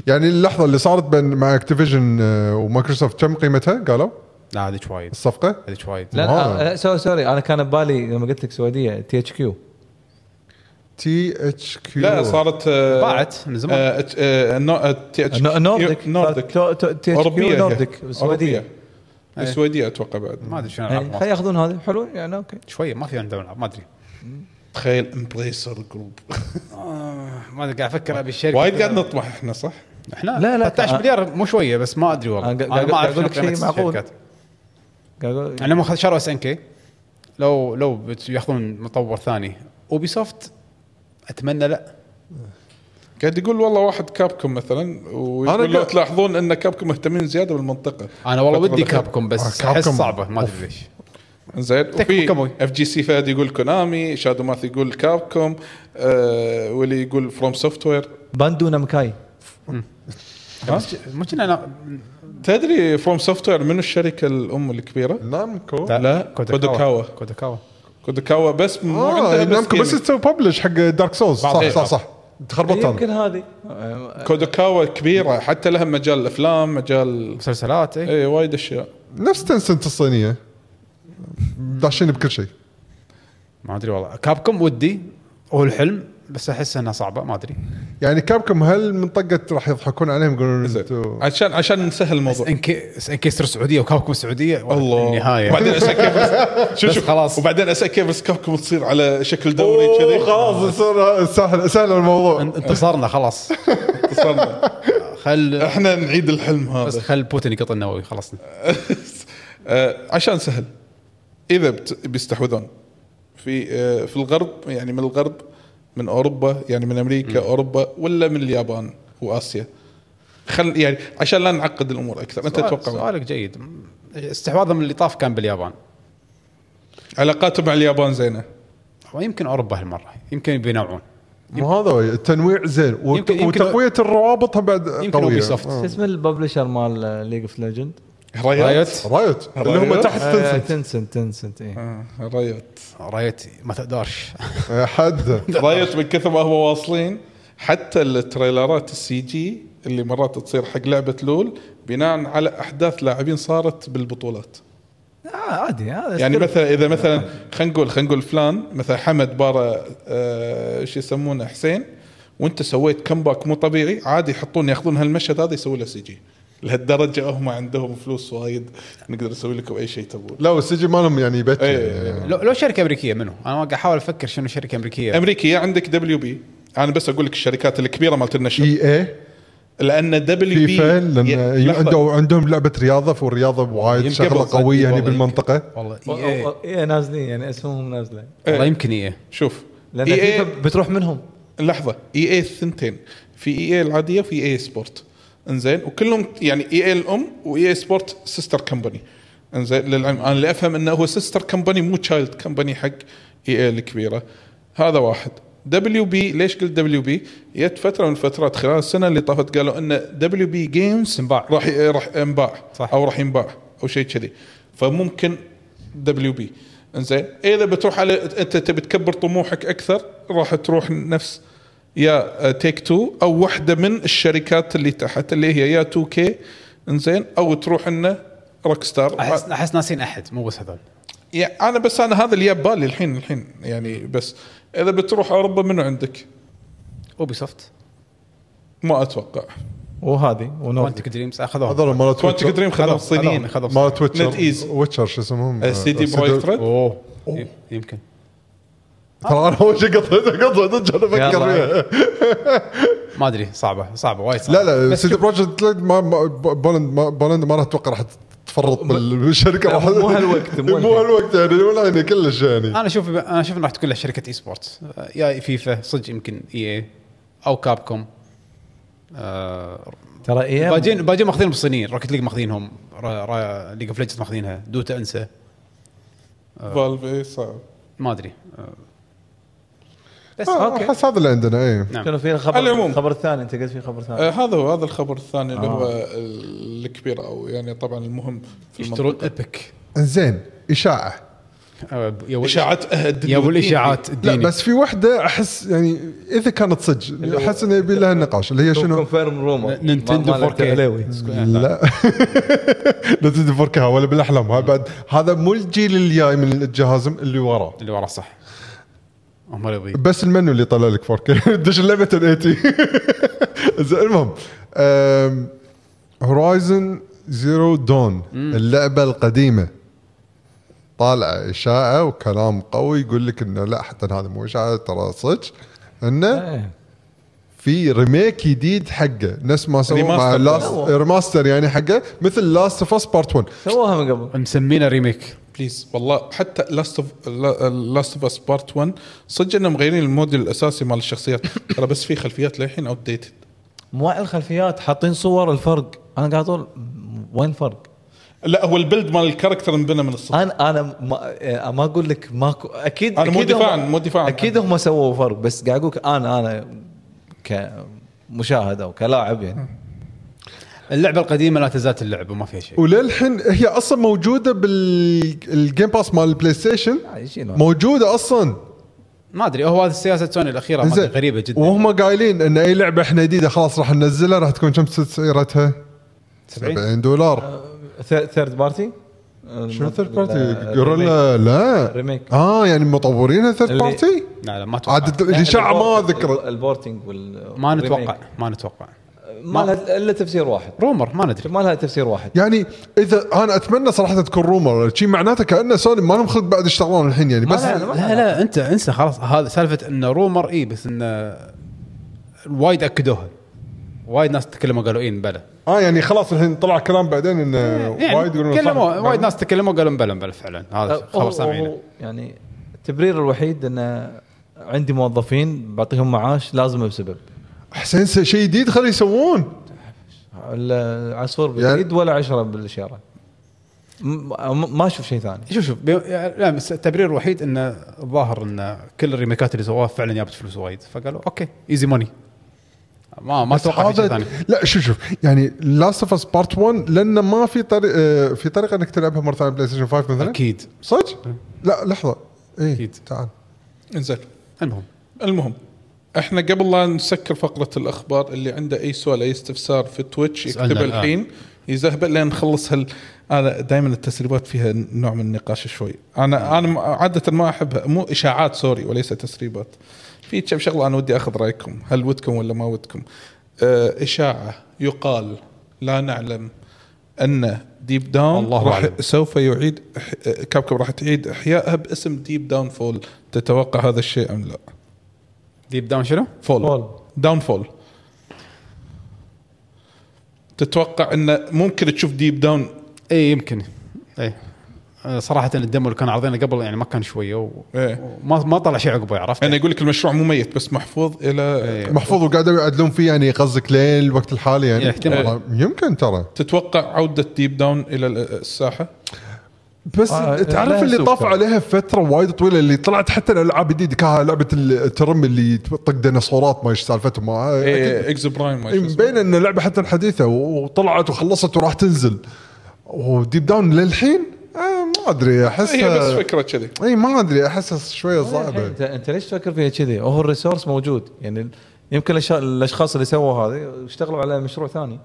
S3: يعني اللحظه اللي صارت بين مع اكتيفيجن آه، ومايكروسوفت كم قيمتها قالوا
S2: لا هذيك وايد
S3: الصفقه
S2: هذيك وايد
S6: لا
S3: واو.
S6: آه، لا سوري سوري انا كان ببالي لما قلت لك سعوديه تي اتش كيو
S3: تي اتش كيو
S4: لا صارت آه،
S2: باعت من زمان.
S4: آه، ات- آه، نو- آه، تي اتش-
S6: نورديك
S4: نورديك
S6: تي اتش
S4: اوروبيه
S6: كيو
S4: هي.
S6: نورديك السعوديه
S4: أوروبية. السويديه اتوقع
S2: ما
S4: بعد
S2: ادري شنو
S6: يعني
S2: العاب
S6: خلي
S2: واصلة.
S6: ياخذون هذه حلو يعني اوكي
S2: شويه ما في عندهم العاب ما ادري
S4: تخيل امبريسر جروب
S6: آه،
S2: ما ادري قاعد افكر ابي الشركه
S4: وايد قاعد نطمح احنا صح؟
S2: احنا
S6: لا، لا،
S2: 13
S6: أنا-
S2: مليار مو شويه بس ما ادري والله
S6: أنا قا-
S2: انا,
S6: قاعد-
S2: ما اعرف
S6: قاعد
S2: شنو
S6: أقول لك
S2: قيمه
S6: شيء معقول.
S2: الشركات
S6: قاعد أقول-
S2: يعني لما شروا اس ان كي لو لو بت- ياخذون مطور ثاني اوبي سوفت اتمنى لا
S4: قاعد يقول والله واحد كابكم مثلا
S3: أنا
S4: ويقول لو
S3: قا-
S4: تلاحظون ان كابكم مهتمين زياده بالمنطقه
S2: انا والله
S4: الفترة
S2: ودي
S4: الأخيرة.
S2: كابكم بس
S3: آه،
S2: احس
S3: كابكوم.
S2: صعبه ما ادري ليش
S4: زين
S2: تكفى كابوي.
S4: وفي اف جي سي فهد يقول كونامي شادو ماث يقول كابكم آه واللي يقول فروم سوفت وير
S6: باندو نامكاي
S2: بس مو كنا أنا-
S4: تدري فروم سوفت وير منو الشركه الام الكبيره؟
S3: نامكو
S4: لا، كودوكاوا.
S2: كودوكاوا
S4: كودوكاوا بس مو
S3: اه
S4: عندها بس, إيه؟
S3: نامكو بس
S4: بس
S3: تسوي ببلش حق دارك سولز صح
S4: بعض
S3: صح صح
S4: إيه،
S3: تخربطت
S6: يمكن
S3: انا
S6: هذه
S4: كودوكاوا كبيره حتى لها مجال الافلام مجال
S2: مسلسلات إيه. اي
S4: اي وايد اشياء
S3: نفس تنسنت الصينيه داشين بكل شيء
S2: ما ادري والله كابكم ودي هو الحلم بس احس انها صعبه ما ادري
S3: يعني كابكم هل منطقه راح يضحكون عليهم يقولون
S4: إيه، زين.
S3: انتوا
S4: عشان عشان نسهل الموضوع
S2: ان كي ان كيستر سعوديه وكابكم سعوديه
S4: الله
S2: النهايه
S4: وبعدين اسال كيف شوف
S2: بس خلاص.
S4: شوف خلاص وبعدين اسال كيف بس كابكم تصير على شكل دوري
S3: أوه،
S4: كذي
S3: خلاص صار سهل سهل الموضوع
S2: انتصرنا خلاص
S4: اتصلنا.
S2: خل
S4: احنا نعيد الحلم
S2: بس
S4: هذا
S2: خل بوتين يقط النووي خلصنا
S4: آه، عشان سهل اذا بت- بيستحوذون في آه، في الغرب يعني من الغرب من اوروبا يعني من امريكا اوروبا ولا من اليابان واسيا خل يعني عشان لا نعقد الامور اكثر انت
S2: سؤال-
S4: تتوقع
S2: سؤالك جيد استحواذهم اللي طاف كان باليابان
S4: علاقاته مع اليابان زينه
S2: ويمكن اوروبا هالمره يمكن بينوعون
S3: مو هذا هو، التنويع زين وت-
S2: يمكن- يمكن-
S3: وتقويه الروابط بعد
S2: يمكن
S3: قويه
S2: Ubisoft.
S6: شو اسم الببلشر مال ليج اوف ليجند؟
S4: رايت
S3: رايت اللي هم
S4: رايت.
S3: تحت تنسنت
S6: آه، تنسنت تنسنت إيه. اي
S4: آه، رايت
S2: رايت ما تقدرش
S3: آه، حد
S4: رايت من كثر ما هو واصلين حتى التريلرات السي جي اللي مرات تصير حق لعبه لول بناء على احداث لاعبين صارت بالبطولات
S6: آه، عادي هذا
S4: يعني
S6: script.
S4: مثلا اذا مثلا خلينا نقول خلينا نقول فلان مثلا حمد بارا آه، شو يسمونه حسين وانت سويت كمباك مو طبيعي عادي يحطون ياخذون هالمشهد هذا يسوي له سي جي لهالدرجه هم عندهم فلوس وايد نقدر نسوي لكم اي شيء تبون
S3: لا والسجن مالهم يعني يبكي
S4: إيه.
S3: يعني.
S2: لو, لو شركه امريكيه منو؟ انا قاعد احاول افكر شنو شركه امريكيه
S4: امريكيه عندك دبليو بي انا بس اقول لك الشركات الكبيره مالت النشر
S3: اي اي
S4: لان دبليو بي
S3: فيفا لان عندهم عندهم لعبه رياضه والرياضه وايد
S4: يمكن
S3: شغله
S4: بالضبط.
S3: قويه يعني
S4: والله
S3: بالمنطقه
S2: والله
S6: أو-
S2: اي
S6: أو- اي نازلين يعني اسمهم نازله
S2: والله يمكن اي
S4: شوف إيه
S6: لان
S4: EA
S6: فيفا بتروح منهم
S4: لحظه اي اي إيه الثنتين في اي اي العاديه وفي اي سبورت انزين وكلهم يعني اي اي الام واي اي إيه سبورت سيستر كمباني انزين للعلم انا اللي افهم انه هو سيستر كمباني مو تشايلد كمباني حق اي اي الكبيره هذا واحد دبليو بي ليش قلت دبليو بي؟ جت فتره من الفترات خلال السنه اللي طافت قالوا ان دبليو بي جيمز
S2: تنباع.
S4: راح راح ينباع
S2: صح.
S4: او راح ينباع او شيء كذي فممكن دبليو بي انزين اذا بتروح على انت تبي تكبر طموحك اكثر راح تروح نفس يا تيك تو او واحده من الشركات اللي تحت اللي هي يا 2 كي انزين او تروح انه روك ستار
S2: احس احس ناسين احد مو بس هذول
S4: يعني انا بس انا هذا اللي جاب بالي الحين الحين يعني بس اذا بتروح اوروبا منو عندك؟
S2: اوبي سوفت
S4: ما اتوقع
S6: وهذه ونورديك
S2: كوانتك دريمز اخذوهم
S3: هذول مالت
S4: كوانتك
S3: ويتشر
S4: دريم خذوا الصينيين
S2: خذوا
S3: مالت
S4: Net
S3: ويتشر
S4: Ease.
S3: ويتشر شو اسمهم
S4: سي دي
S3: CD
S4: بروجكت ريد
S2: اوه ي- يمكن
S3: ترى انا اول شيء قطعت قطعت صدق انا افكر
S6: يلا.
S3: فيها
S2: ما ادري صعبه صعبه وايد صعبه
S3: لا لا
S2: بس
S3: سيتي بروجكت ريد ما ما- بولند ما بولند ما راح اتوقع راح تفرط بالشركه
S6: لا،
S3: راح-
S6: مو هالوقت، مو
S3: مو هالوقت يعني ولا يعني كلش يعني
S2: انا اشوف انا اشوف إنه راح تكون له شركه اي سبورتس آه، يا فيفا صدق يمكن اي اي او كابكوم آه
S6: ترى اي
S2: باجين باجين ماخذينهم الصينيين روكت ليج ماخذينهم را- را- ليج اوف ليجند ماخذينها دوتا انسى
S4: فالف إيه، صعب
S2: ما ادري آه، بس
S3: آه،
S6: أوكي.
S3: احس هذا اللي عندنا اي
S2: نعم.
S6: كانوا في خبر
S4: على العموم.
S6: خبر ثاني انت قلت في خبر ثاني
S4: آه هذا هو هذا الخبر الثاني اللي هو ال- الكبير او يعني طبعا المهم في
S2: يشترون
S4: المنطقة.
S2: ايبك
S3: زين اشاعه
S2: آه، يا ولد-
S4: اشاعات أهد
S2: يا ابو الاشاعات
S3: لا
S2: اديني
S3: بس في وحده احس يعني اذا كانت صدق احس انه يبي لها نقاش اللي هي شنو
S6: كونفيرم رومر
S2: نينتندو 4K.
S3: لا لا تدفركها ولا بالاحلام هاي بعد هذا مو الجيل الجاي من الجهاز اللي وراه
S2: اللي وراه صح هم اللي يبي
S3: بس المنيو اللي طلع لك 4K دش اللعبه 1080 زين، المهم هورايزن زيرو دون اللعبه القديمه طالعه اشاعه وكلام قوي يقول لك انه لا حتى هذا مو اشاعه ترى صدق انه
S6: إيه.
S3: في ريميك جديد حقه نفس ما سووا مع لاست
S4: ريماستر.
S3: ريماستر يعني حقه مثل لاست اوف اس بارت 1
S6: سووها من قبل
S2: مسمينه ريميك
S4: بليز والله حتى لاست اوف لاست اوف اس بارت 1 صدق انهم مغيرين الموديل الاساسي مال الشخصيات ترى بس في خلفيات للحين اوت ديتد
S6: مو على الخلفيات حاطين صور الفرق انا قاعد اقول م- وين الفرق؟
S4: لا هو البلد مال الكاركتر انبنى من الصفر
S6: انا انا ما, آه، ما اقول لك ماكو اكيد
S4: أنا مو
S6: أكيد هم-
S4: دفاعاً- مو دفاعاً.
S6: اكيد هم سووا فرق بس قاعد اقول لك انا انا كمشاهد او كلاعب يعني
S2: اللعبه القديمه لا تزال تلعب وما فيها شيء
S3: إيه. وللحين هي اصلا موجوده بالجيم باس مال البلاي ستيشن
S6: يشيلون.
S3: موجوده اصلا
S2: ما ادري هو هذه السياسه سوني الاخيره ما أدري،
S3: زين.
S2: غريبه جدا
S3: وهم قايلين ان اي لعبه احنا جديده خلاص راح ننزلها راح تكون كم سعرتها؟ 70
S2: آه،
S3: دولار
S6: ثيرد بارتي
S3: شنو ثيرد بارتي؟ جوريلا لا
S6: ريميك.
S3: اه يعني مطورينها ثيرد
S6: اللي-
S3: بارتي؟
S2: لا لا ما اتوقع
S3: عاد الاشاعه ما اذكر
S6: البورتنج وال
S2: ما
S6: الريميك.
S2: نتوقع ما نتوقع
S6: ما لها الا تفسير واحد
S2: رومر ما ندري
S6: ما لها تفسير واحد
S3: يعني اذا انا اتمنى صراحه تكون رومر شي معناته كانه سوني ما لهم خلق بعد يشتغلون الحين يعني بس
S6: لا، لا، ما-
S2: لا لا انت انسى خلاص هذا سالفه انه رومر اي بس انه وايد اكدوها وايد ناس تكلموا قالوا إيه، اي بلا
S3: اه يعني خلاص الحين طلع كلام بعدين انه
S2: يعني
S3: وايد يقولون
S2: كلموا
S3: صح. نعم.
S2: وايد ناس تكلموا قالوا بلا بلا فعلا هذا
S6: أه، هو-
S2: خبر
S6: هو
S2: سامعينه
S6: يعني التبرير الوحيد انه عندي موظفين بعطيهم معاش لازم بسبب
S3: حسين س- شيء جديد خليه يسوون
S6: ال- العصفور
S3: يعني-
S6: باليد ولا عشرة بالاشاره م- م- ما اشوف شيء ثاني
S2: شوف شوف بي- يعني لا بس التبرير الوحيد انه الظاهر ان كل الريميكات اللي سواها فعلا جابت فلوس وايد فقالوا اوكي ايزي موني ما ما
S3: بس
S2: اتوقع في شيء ثاني
S3: لا شوف شوف يعني لاست اوف اس بارت 1 لانه ما في طريق آه، في طريقه انك تلعبها مره ثانيه بلاي ستيشن 5 مثلا
S2: اكيد
S4: أمم.
S3: صدق؟ لا لحظه اي
S2: أكيد.
S3: تعال
S4: انزين
S2: المهم
S4: المهم احنا قبل لا نسكر فقره الاخبار اللي عنده اي سؤال اي استفسار في تويتش
S2: اسألنا
S4: يكتبه
S2: الآن.
S4: الحين يزهبه لين نخلص هال انا دائما التسريبات فيها نوع من النقاش شوي
S2: نعم.
S4: انا انا عاده ما احبها مو اشاعات سوري وليس تسريبات في كم شغله انا ودي اخذ رايكم هل ودكم ولا ما ودكم آه، اشاعه يقال لا نعلم ان ديب داون
S2: الله
S4: راح
S2: أعلم.
S4: سوف يعيد إح- كابكب راح تعيد احيائها باسم ديب داون فول تتوقع هذا الشيء ام لا؟
S2: ديب داون شنو؟
S4: فول
S6: فول.
S4: داون فول تتوقع انه ممكن تشوف ديب داون
S2: اي يمكن اي آه، صراحة الدمو اللي كان عارضينه قبل يعني ما كان شوية و...
S4: إيه. يعني
S2: وما ما طلع شيء عقبه عرفت؟
S4: انا يقول لك المشروع مو ميت بس محفوظ الى
S2: إيه.
S3: محفوظ وقاعدوا يعدلون فيه يعني قصدك ليه الوقت الحالي يعني
S2: إيه، احتمال.
S3: والله يمكن ترى
S4: تتوقع عوده ديب داون الى ال- الساحه
S3: بس
S6: آه،
S3: تعرف
S6: لها
S3: اللي
S6: سوق
S3: طاف
S6: ترى.
S3: عليها فتره وايد طويله اللي طلعت حتى الالعاب الجديده كها لعبه الترم اللي طق ديناصورات ما ايش سالفتهم ما- أكيد.
S4: إيه، اكس برايم ما شو اسمه.
S3: مبين ان اللعبه حتى حديثه وطلعت وخلصت وراح تنزل وديب داون للحين آه، ما ادري
S4: هي إيه، بس آه،
S3: احسها
S4: فكره كذي
S3: اي إيه، ما ادري احسها شويه
S6: الحين
S3: صعبه
S6: انت انت ليش تفكر فيها كذي؟ هو الريسورس موجود يعني يمكن الأش- الاشخاص اللي سووا هذا اشتغلوا على مشروع ثاني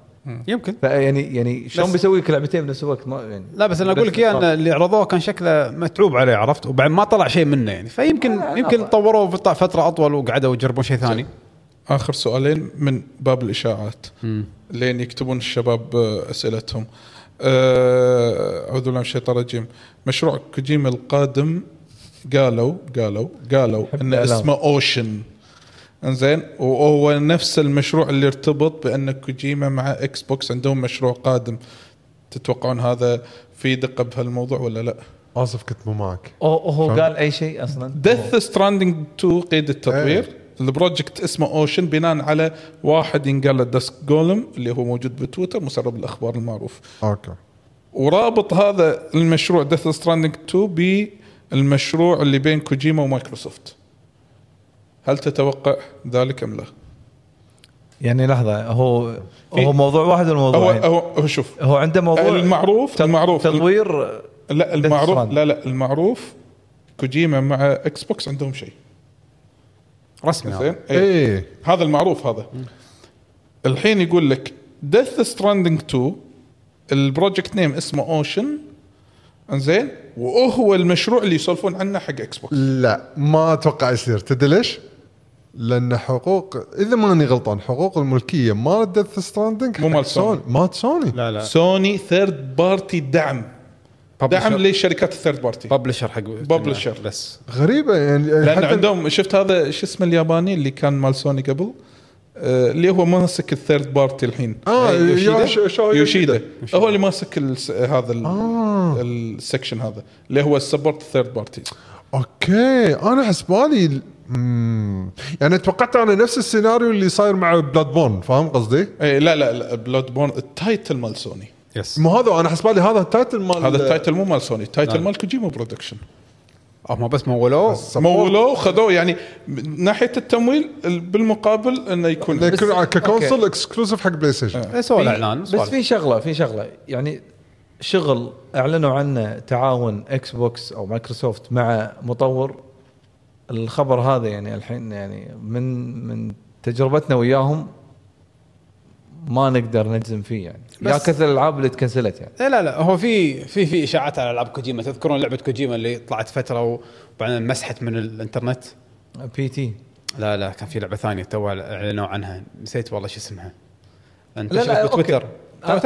S2: يمكن
S6: فيعني يعني شلون بيسوي لك لعبتين بنفس الوقت ما يعني
S2: لا بس انا اقول لك اياه ان اللي عرضوه كان شكله متعوب عليه عرفت وبعد ما طلع شيء منه يعني فيمكن يمكن طوروه في فتره اطول وقعدوا يجربون شيء ثاني
S4: اخر سؤالين من باب الاشاعات لين يكتبون الشباب آه، اسئلتهم آه، اعوذ بالله من الشيطان الرجيم مشروع كوجيما القادم قالوا قالوا قالوا ان
S6: الإعلام.
S4: اسمه اوشن انزين وهو نفس المشروع اللي ارتبط بان كوجيما مع اكس بوكس عندهم مشروع قادم تتوقعون هذا في دقه بهالموضوع ولا لا؟
S3: اسف كنت مو معك
S6: هو هو
S3: شلون؟
S6: قال اي شيء اصلا
S4: ديث ستراندنج 2 قيد التطوير
S3: إيه.
S4: البروجكت اسمه اوشن بناء على واحد ينقال له داسك جولم اللي هو موجود بتويتر مسرب الاخبار المعروف
S3: اوكي
S4: ورابط هذا المشروع ديث ستراندنج 2 بالمشروع اللي بين كوجيما ومايكروسوفت هل تتوقع ذلك ام لا؟
S6: يعني لحظه هو
S4: في-
S6: هو موضوع واحد
S4: هو
S6: والموضوع هو,
S4: هو هو شوف
S6: هو عنده موضوع
S4: المعروف-
S6: تط-
S4: المعروف.
S6: تطوير
S4: لا المعروف
S6: Stranding.
S4: لا لا المعروف كوجيما مع اكس بوكس عندهم شيء
S2: رسمي
S6: نعم.
S4: زين
S2: هذا.
S4: إيه.
S3: ايه
S4: هذا المعروف هذا الحين يقول لك ديث ستراندنج 2 البروجكت نيم اسمه اوشن انزين وهو المشروع اللي يسولفون عنه حق اكس بوكس
S3: لا ما اتوقع يصير تدري ليش؟ لان حقوق اذا ماني غلطان حقوق الملكيه مال ديث ستراندنج
S4: مو مال سوني.
S3: مالت سوني
S2: لا لا
S4: سوني ثيرد بارتي دعم دعم لشركات الثيرد بارتي
S2: ببلشر حق
S4: Publisher.
S2: بس
S3: غريبه يعني
S4: لان
S3: حتى-
S4: عندهم شفت هذا شو اسمه الياباني اللي كان مال سوني قبل آه، اللي هو ماسك الثيرد بارتي الحين
S3: آه،
S4: أي، يوشيدا.
S3: يوش- شو-
S4: يوشيدا
S2: يوشيدا.
S4: هو اللي ماسك الس- هذا ال- السكشن هذا اللي هو السبورت الثيرد بارتي
S3: اوكي انا حسبالي مم. يعني توقعت انا نفس السيناريو اللي صاير مع بلاد بون فاهم قصدي؟
S4: اي إيه، لا لا, لا بلود بورن التايتل مال سوني
S2: يس
S3: مو هذا انا حسبالي هذا التايتل مال
S4: هذا التايتل مو مال سوني التايتل
S2: نعم.
S4: مال كوجيما برودكشن
S2: هم بس مولوه
S4: مولوه خذوه يعني من ناحيه التمويل ال- بالمقابل انه يكون
S3: لكن
S6: بس-
S3: ككونسول
S6: أوكي.
S3: اكسكلوسيف حق بلاي
S4: آه.
S3: ستيشن
S2: إيه، سووا
S6: في-
S2: الاعلان
S6: بس في شغله في شغله يعني شغل اعلنوا عنه تعاون اكس بوكس او مايكروسوفت مع مطور الخبر هذا يعني الحين يعني من من تجربتنا وياهم ما نقدر نجزم فيه يعني يا
S2: بس-
S6: كثر الالعاب اللي تكنسلت يعني
S2: إيه، لا لا لا هو في في في اشاعات على العاب كوجيما تذكرون لعبه كوجيما اللي طلعت فتره وبعدين مسحت من الانترنت
S6: بي تي
S2: لا لا كان في لعبه ثانيه تو اعلنوا عنها نسيت والله شو اسمها انت
S6: لا، لا،
S2: بتويتر
S6: أوكي.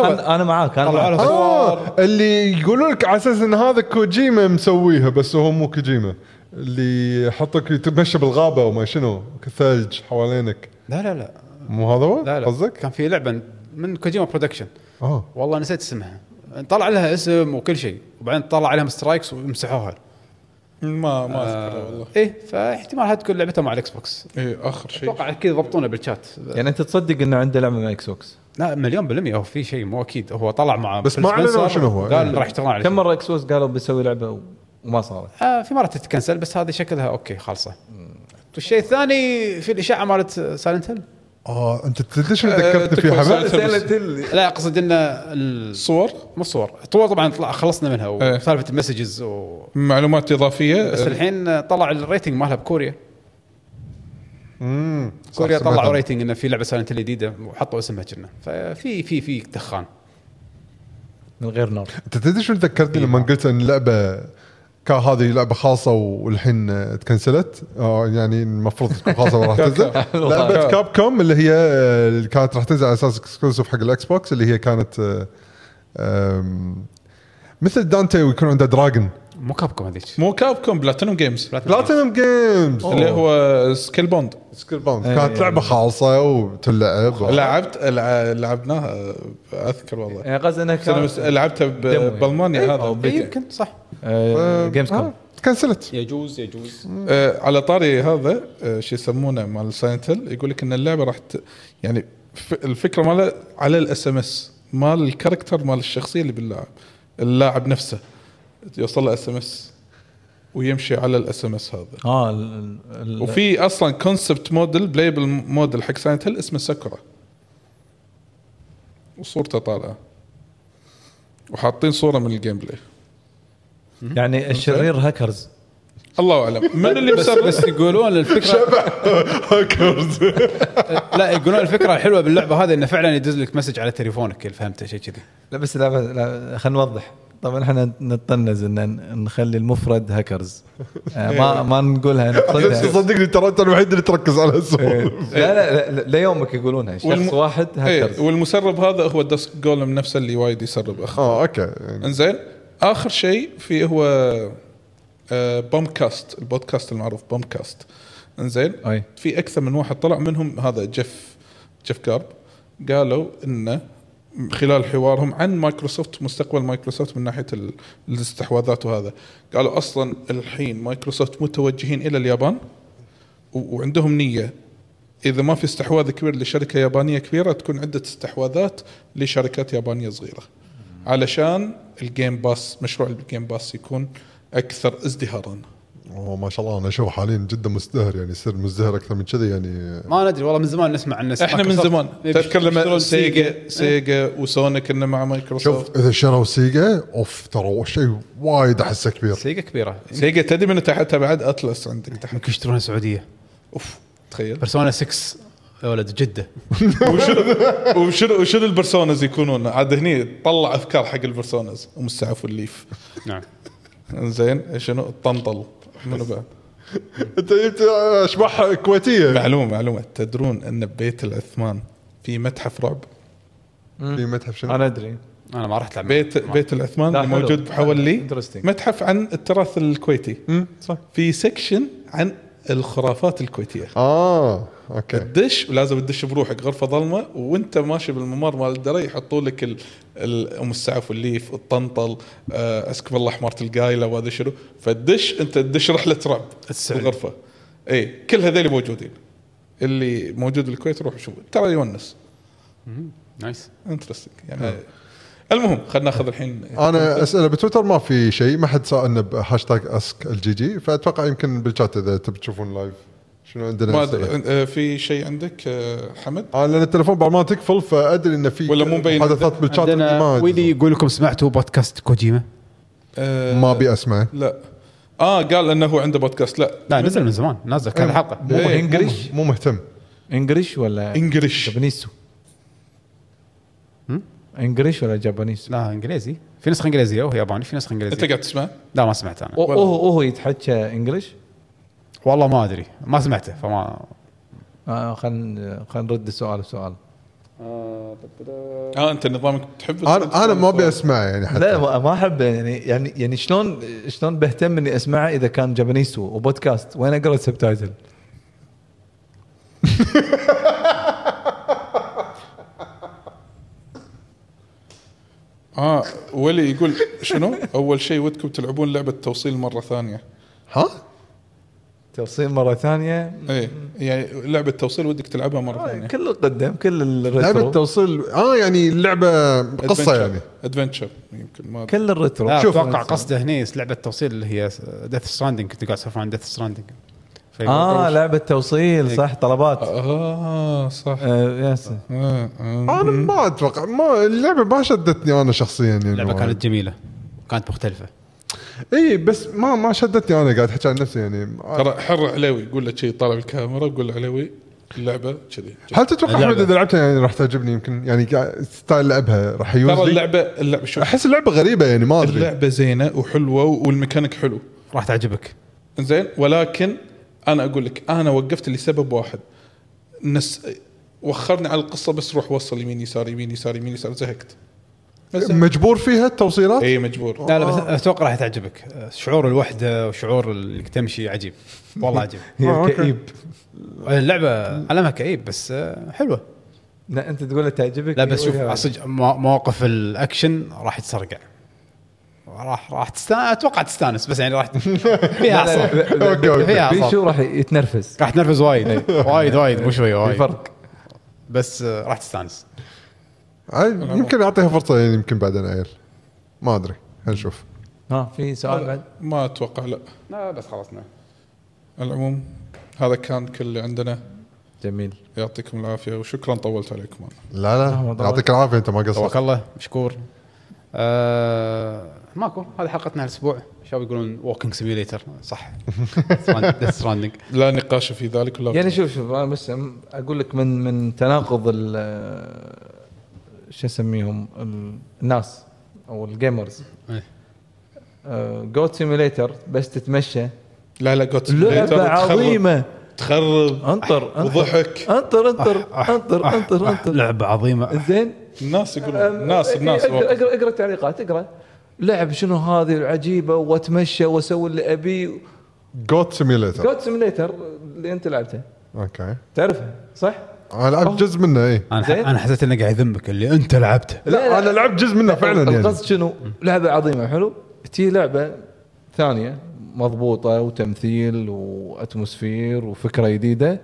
S6: انا أنا معاك انا
S2: طلعوا
S6: معاك.
S2: له
S3: آه اللي يقولوا لك على اساس ان هذا كوجيما مسويها بس هو مو كوجيما اللي يحطك تمشى بالغابه وما شنو ثلج حوالينك
S2: لا لا لا
S3: مو هذا هو؟
S2: لا لا
S3: قصدك؟
S2: كان في لعبه من كوجيما برودكشن
S3: اه
S2: والله نسيت اسمها طلع لها اسم وكل شيء وبعدين طلع عليهم سترايكس ومسحوها
S4: ما ما اذكره والله
S2: ايه فاحتمال تكون لعبتهم على الاكس بوكس
S4: ايه اخر شيء
S2: اتوقع اكيد يضبطونه بالشات
S6: يعني انت تصدق انه عنده لعبه من اكس بوكس
S2: لا مليون بالمئة هو في شيء مو اكيد هو طلع مع
S3: بس
S2: فيل
S3: ما أعلنوا
S2: سبنسر،
S3: شنو هو.
S2: قال راح يشتغلون على
S6: كم
S2: شيء.
S6: مره اكس بوكس قالوا بنسوي لعبه و- وما صارت
S2: آه في مرة تتكنسل بس هذه شكلها اوكي خالصة والشيء الثاني في الاشاعة مالت سايلنت هيل
S3: اه انت تدري شنو
S2: أه،
S4: آه،
S3: ذكرتني فيه
S4: تكفى
S3: حمد؟
S4: سالفة.
S2: لا اقصد ان ال-
S4: صور
S2: مو الصور الصور طبعا طلع خلصنا منها
S4: إيه.
S2: وسالفة المسجز و...
S4: معلومات اضافيه
S2: بس
S4: آه،
S2: الحين طلع الريتنج مالها بكوريا كوريا
S3: صح، سمعت
S2: طلعوا
S3: عنه.
S2: ريتنج انه في لعبه سايلنت جديده وحطوا اسمها كنا ففي في في تخان
S6: من غير نار
S3: انت تدري شنو ذكرتني
S4: إيه.
S3: لما قلت ان لعبه كان هذه لعبه خاصه والحين آه، تكنسلت آه، يعني المفروض تكون خاصه وراح تنزل لعبه كاب كوم اللي هي آه، اللي كانت راح تنزل على اساس اكسكلوسيف حق الاكس بوكس اللي هي كانت آه، آم، مثل دانتي ويكون عنده دراجون
S2: مو كابكم هذيك
S4: مو كاب كوم بلاتينوم جيمز
S3: بلاتينم جيمز
S4: اللي هو إيه. سكيل بوند
S3: سكيل باوند
S6: أي-
S3: Oh, كانت لعبه خالصه وتلعب
S4: لعبت لع- لعبناها اذكر والله
S6: يعني قصدي انها
S4: بس أنا بس لعبتها ب-
S6: ديمو يعني.
S4: بالمانيا هذا
S2: إيه، يمكن صح
S3: آه،
S6: جيمز كوم
S3: آه، تكنسلت
S2: يجوز يجوز
S4: آه، على طاري هذا آه، شو يسمونه مال ساينت هيل يقول لك ان اللعبه راح ت... يعني ف... الفكره ماله على الاس ام اس مال الكاركتر مال الشخصيه اللي باللاعب اللاعب نفسه يوصل له اس ام اس ويمشي على الاس ام اس هذا
S6: اه ال- ال-
S4: وفي اصلا كونسبت موديل بلايبل موديل حق ساينت هيل اسمه ساكورا وصورته طالعه وحاطين صوره من الجيم بلاي
S6: يعني الشرير هاكرز
S4: الله اعلم من اللي
S2: بس
S4: مسرب
S2: بس يقولون الفكره
S3: هاكرز
S2: لا يقولون الفكره الحلوه باللعبه هذه انه فعلا يدز لك مسج على تليفونك اللي فهمته شيء كذي
S6: لا بس لا, لا خلينا نوضح طبعا احنا نتطنز ان نخلي المفرد هاكرز آه، ما ما نقولها نقصدها إيه.
S3: صدقني ترى انت الوحيد اللي تركز على
S4: إيه.
S3: السؤال
S6: لا لا لا ليومك يقولونها شخص
S4: والم-
S6: واحد
S4: ايه
S6: هاكرز
S4: والمسرب هذا هو الدسك جولم نفسه اللي وايد يسرب اخ
S3: اه اوكي يعني
S4: انزين اخر شيء في هو آه، بومكاست البودكاست المعروف بومكاست انزين
S6: أي.
S4: في اكثر من واحد طلع منهم هذا جيف جيف كارب قالوا انه خلال حوارهم عن مايكروسوفت مستقبل مايكروسوفت من ناحيه ال- الاستحواذات وهذا قالوا اصلا الحين مايكروسوفت متوجهين الى اليابان و- وعندهم نيه اذا ما في استحواذ كبير لشركه يابانيه كبيره تكون عده استحواذات لشركات يابانيه صغيره علشان الجيم باس مشروع الجيم باس يكون اكثر ازدهارا
S3: اوه ما شاء الله انا اشوف حاليا جدا مزدهر يعني يصير مزدهر اكثر من كذا يعني
S2: ما ندري والله من زمان نسمع عن
S4: احنا من زمان تذكر لما سيجا
S2: سيجا إيه.
S4: سيجا وسونيك كنا مع
S3: شوف
S4: مايكروسوفت
S3: اذا شروا سيجا اوف ترى شيء وايد احسه كبير
S2: سيجا كبيره
S4: سيجا تدري من تحتها بعد اتلس عندك تحت
S2: يمكن يشترونها سعوديه
S4: اوف تخيل
S2: بيرسونا 6 يا ولد جده
S4: وشنو وشنو البرسونز يكونون عاد هني طلع افكار حق البرسونز ومستعف والليف
S2: نعم
S4: زين شنو الطنطل منو بعد
S3: انت جبت اشباح كويتيه
S4: معلومه معلومه تدرون ان ببيت العثمان في متحف رعب
S3: في متحف يعني شنو؟
S6: انا ادري
S2: انا ما رحت لعب
S4: بيت بيت العثمان
S6: لا،
S4: اللي
S6: حلو.
S4: موجود بحوالي
S6: Interesting.
S4: متحف عن التراث الكويتي
S6: صح
S4: في سكشن عن الخرافات الكويتيه
S3: اه اوكي
S4: تدش ولازم تدش بروحك غرفه ظلمه وانت ماشي بالممر مال الدرع يحطوا لك ال- ال- ام السعف والليف الطنطل آه، اسكب الله حمارة القايله وهذا شنو فتدش انت تدش رحله رعب
S2: السعودي.
S4: الغرفه اي كل هذول موجودين اللي موجود بالكويت روح شوف ترى يونس
S2: نايس
S4: انترستنج يعني المهم خلينا ناخذ الحين
S3: انا اسئله بتويتر ما في شيء ما حد سالنا بهاشتاج اسك الجي جي فاتوقع يمكن بالشات اذا تبي تشوفون لايف شنو عندنا
S4: ما
S3: أسئلة.
S4: أدري، آه، في شيء عندك آه، حمد
S3: انا لان التليفون بعد ما تقفل فادري انه في
S4: ولا مو مبين.
S3: حدثات بالشات
S2: عندنا
S3: ما
S2: ويلي يقول لكم سمعتوا بودكاست كوجيما
S4: آه،
S3: ما ابي اسمعه
S4: لا اه قال انه عنده بودكاست لا
S2: لا نزل من زمان نازل كذا حلقه
S3: مو
S4: إيه،
S6: إنجليش.
S3: مو مهتم
S6: انجلش ولا
S4: انجلش
S6: جابانيسو انجلش ولا جابانيسو
S2: لا انجليزي في نسخه انجليزيه وهي ياباني في نسخه
S4: انت
S2: انجليزيه
S4: قاعد تسمع
S2: لا ما سمعت انا
S6: وهو وهو يتحكى انجلش
S2: والله ما ادري ما سمعته فما
S6: آه خلينا خلينا نرد السؤال بسؤال
S4: اه انت نظامك تحب
S3: انا انا ما ابي اسمعه يعني حتى
S6: لا ما- ما احب يعني يعني يعني شلون شلون بهتم اني اسمعه اذا كان جابانيسو وبودكاست وين اقرا السبتايتل؟
S4: آه، اه ولي يقول شنو؟ اول شيء ودكم تلعبون لعبه توصيل مره ثانيه
S3: ها؟
S6: توصيل مره ثانيه
S4: اي يعني لعبه توصيل ودك تلعبها مره ثانيه
S6: كل القدم كل
S3: لعبه
S6: الريترو
S3: توصيل اه يعني اللعبه قصه يعني
S4: ادفنشر يمكن ما
S6: كل الريترو
S2: لا
S3: شوف.
S2: اتوقع قصده هني لعبه توصيل اللي هي ديث ستراندنج كنت قاعد اسولف عن ديث ستراندنج آه،
S6: اه لعبه توصيل صح طلبات
S4: اه صح
S6: آه، يس
S4: آه، آه.
S3: انا ما اتوقع ما اللعبه ما شدتني انا شخصيا يعني
S2: اللعبه كانت جميله كانت مختلفه
S3: اي بس ما ما شدتني انا قاعد احكي عن نفسي يعني
S4: ترى حر علوي قول له شي طلع الكاميرا وقول له علوي اللعبه كذي
S3: هل تتوقع
S2: اللعبة.
S3: احمد اذا لعبتها يعني راح تعجبني يمكن يعني قاعد- ستايل لعبها راح
S4: ترى
S3: يوز
S4: اللعبه اللعبه شوف
S3: احس اللعبه غريبه يعني ما ادري
S4: اللعبه زينه وحلوه والميكانيك حلو
S2: راح تعجبك
S4: زين ولكن انا اقول لك انا وقفت لسبب واحد نس وخرني على القصه بس روح وصل يمين يسار يمين يسار يمين يسار زهقت
S3: مجبور فيها التوصيلات
S4: اي مجبور
S2: لا لا
S6: آه.
S2: بس اتوقع راح تعجبك شعور الوحده وشعور انك تمشي عجيب والله عجيب
S3: آه،
S6: هي
S3: أوكي.
S6: الكئيب
S2: اللعبه علمها كئيب بس آه، حلوه
S6: لا انت تقول له تعجبك
S2: لا بس شوف
S6: يقول لها-
S2: صدق مو- مواقف الاكشن راح تسرقع راح راح تستانس اتوقع تستانس بس يعني راح ت- فيها
S6: لا، لا،
S2: عصب
S6: لا، لا، إيه.
S3: أوكي، أوكي.
S2: فيها
S6: في
S2: عصب
S6: شو راح يتنرفز
S2: راح تنرفز وايد وايد وايد مو شويه
S6: في
S2: وايد
S6: فرق
S2: بس آه، راح تستانس
S3: عاد يمكن اعطيها فرصه يعني يمكن بعدين عيل ما ادري هنشوف
S6: ها في سؤال بعد
S4: ما اتوقع لا
S2: لا بس خلصنا
S4: على العموم هذا كان كل اللي عندنا
S6: جميل
S4: يعطيكم العافيه وشكرا طولت عليكم انا
S3: لا
S6: ما
S3: لا
S6: ضروري.
S3: يعطيك العافيه انت ما
S2: توكل
S3: قصرت
S2: الله مشكور آه ماكو هذه حلقتنا الاسبوع شباب يقولون ووكينج سيميوليتر صح ستراندنج
S4: لا نقاش في ذلك ولا
S6: يعني شوف شوف انا بس أم- اقول لك من من تناقض ال شو اسميهم ال- الناس او الجيمرز
S2: إيه.
S6: جوت سيميوليتر بس تتمشى
S4: لا لا جوت
S6: لعبه عظيمه
S4: تخرب
S6: انطر انطر
S4: وضحك
S6: انطر انطر انطر انطر انطر
S2: لعبه عظيمه
S6: زين
S4: الناس يقولون
S6: أم-
S4: الناس
S6: إيه،
S4: الناس
S6: اقرا
S4: واقف.
S6: اقرا اقرا التعليقات اقرا لعب شنو هذه العجيبه واتمشى واسوي اللي ابيه
S3: جوت سيميليتر
S6: جوت سيميوليتر اللي انت لعبته
S3: اوكي
S6: تعرفها صح؟
S3: انا لعبت جزء منه اي
S2: انا ح-
S6: زين.
S2: انا حسيت انه قاعد يذمك اللي انت لعبته
S6: لا،
S3: لا
S6: لا.
S3: انا لعبت جزء منه فعلا يعني
S6: القصد شنو؟ لعبه عظيمه حلو؟ تي لعبه ثانيه مضبوطه وتمثيل واتموسفير وفكره جديده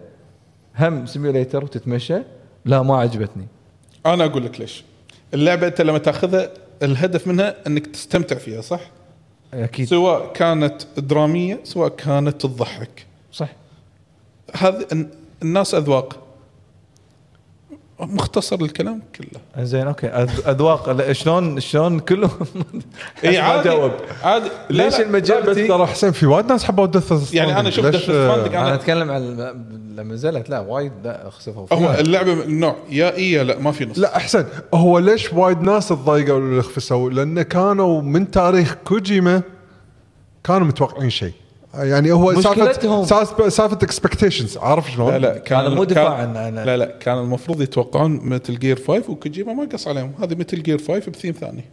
S6: هم سيميوليتر وتتمشى لا ما عجبتني
S4: انا اقول لك ليش اللعبه انت لما تاخذها الهدف منها انك تستمتع فيها صح؟
S6: اكيد
S4: سواء كانت دراميه سواء كانت تضحك
S6: صح
S4: هذه الن- الناس اذواق مختصر الكلام كله
S6: زين اوكي أذ- اذواق لا، شلون شلون كلهم
S4: اي
S6: ما
S4: إيه، عادي
S6: جاوب
S4: عادي لا
S6: إيه، ليش
S4: لا،
S6: المجال
S4: لا، بس
S6: بتي-
S3: ترى حسين في وايد ناس حبوا دث
S4: يعني أنا شفت Death Stranding،
S6: انا
S4: أنا-
S6: اتكلم عن لما نزلت لا وايد لا خسفوا
S4: هو اللعبه من النوع يا اي يا لا ما في نص
S3: لا احسن هو ليش وايد ناس تضايقوا ولا خفسوا؟ لانه كانوا من تاريخ كوجيما كانوا متوقعين شيء يعني هو
S6: مشكلتهم.
S3: سالفه سالفه- سالفه اكسبكتيشنز عارف شلون؟
S4: لا لا كان
S6: هذا مو
S4: كان-
S6: دفاع عن- عن-
S4: لا لا كان المفروض يتوقعون مثل جير 5 وكوجيما ما قص عليهم هذه مثل جير 5 بثيم ثاني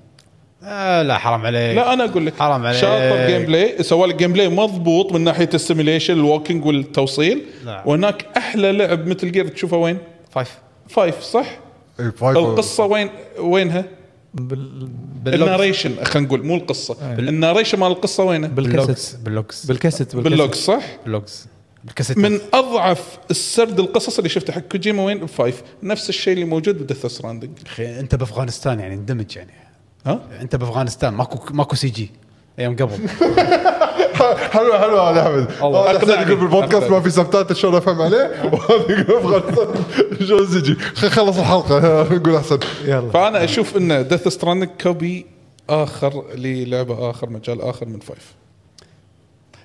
S2: آه لا حرام عليك
S4: لا انا اقول لك
S2: حرام عليك.
S4: شاطر جيم بلاي سوى لك جيم بلاي مضبوط من ناحيه السيميليشن الووكينج والتوصيل
S2: نعم.
S4: وهناك احلى لعب مثل جير تشوفه وين؟
S2: فايف
S4: فايف صح؟
S3: إيه،
S2: أيوه.
S3: فايف-
S4: القصه وين وينها؟
S6: بال...
S4: الناريشن خلينا نقول مو القصه
S2: أيوه.
S4: الناريشن مال القصه وينه؟
S6: بالكاسيت
S2: باللوكس باللوكس
S6: بالكاسيت
S4: باللوج صح؟
S2: باللوكس بالكاسيت
S4: من اضعف السرد القصص اللي شفته حق كوجيما وين بفايف نفس الشيء اللي موجود بدث ستراندنج
S2: اخي انت بافغانستان يعني اندمج يعني
S4: ها؟
S2: انت بافغانستان ماكو ماكو سي جي ايام قبل
S3: حلوه حلوه يا احمد
S4: الله.
S3: هذا حسين يقول
S4: أقنعني.
S3: بالبودكاست ما
S4: أقنعني.
S3: في سبتات شلون افهم عليه وهذا يقول افغانستان شلون يجي خلص الحلقه نقول احسن
S6: يلا
S4: فانا اشوف ان دث ستراندنج كوبي اخر للعبه اخر مجال اخر من فايف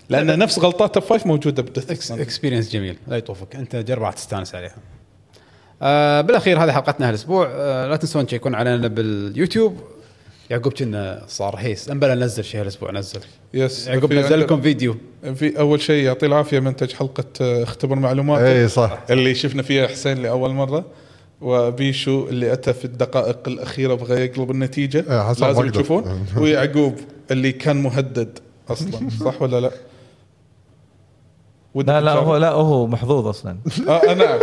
S4: لان نفس غلطات فايف موجوده بدث ستراندنج
S2: اكسبيرينس جميل لا يطوفك انت جرب راح تستانس عليها آه بالاخير هذه حلقتنا هالاسبوع آه لا تنسون تشيكون علينا باليوتيوب يعقوب كنا صار هيس امبلا نزل شيء هالاسبوع نزل
S4: يس
S2: يعقوب
S4: في
S2: نزل لكم
S4: عندنا-
S2: فيديو
S4: في اول شيء يعطيه العافيه منتج حلقه آه، اختبر معلوماتك
S3: اي إيه، صح
S4: اللي شفنا فيها حسين لاول مره وبيشو اللي اتى في الدقائق الاخيره بغى يقلب النتيجه
S3: إيه، حسب ما
S4: لازم
S3: أقدر.
S4: تشوفون ويعقوب اللي كان مهدد اصلا صح ولا لا؟ ودك
S6: لا لا
S4: تشارك؟
S6: هو لا هو محظوظ اصلا
S4: آه نعم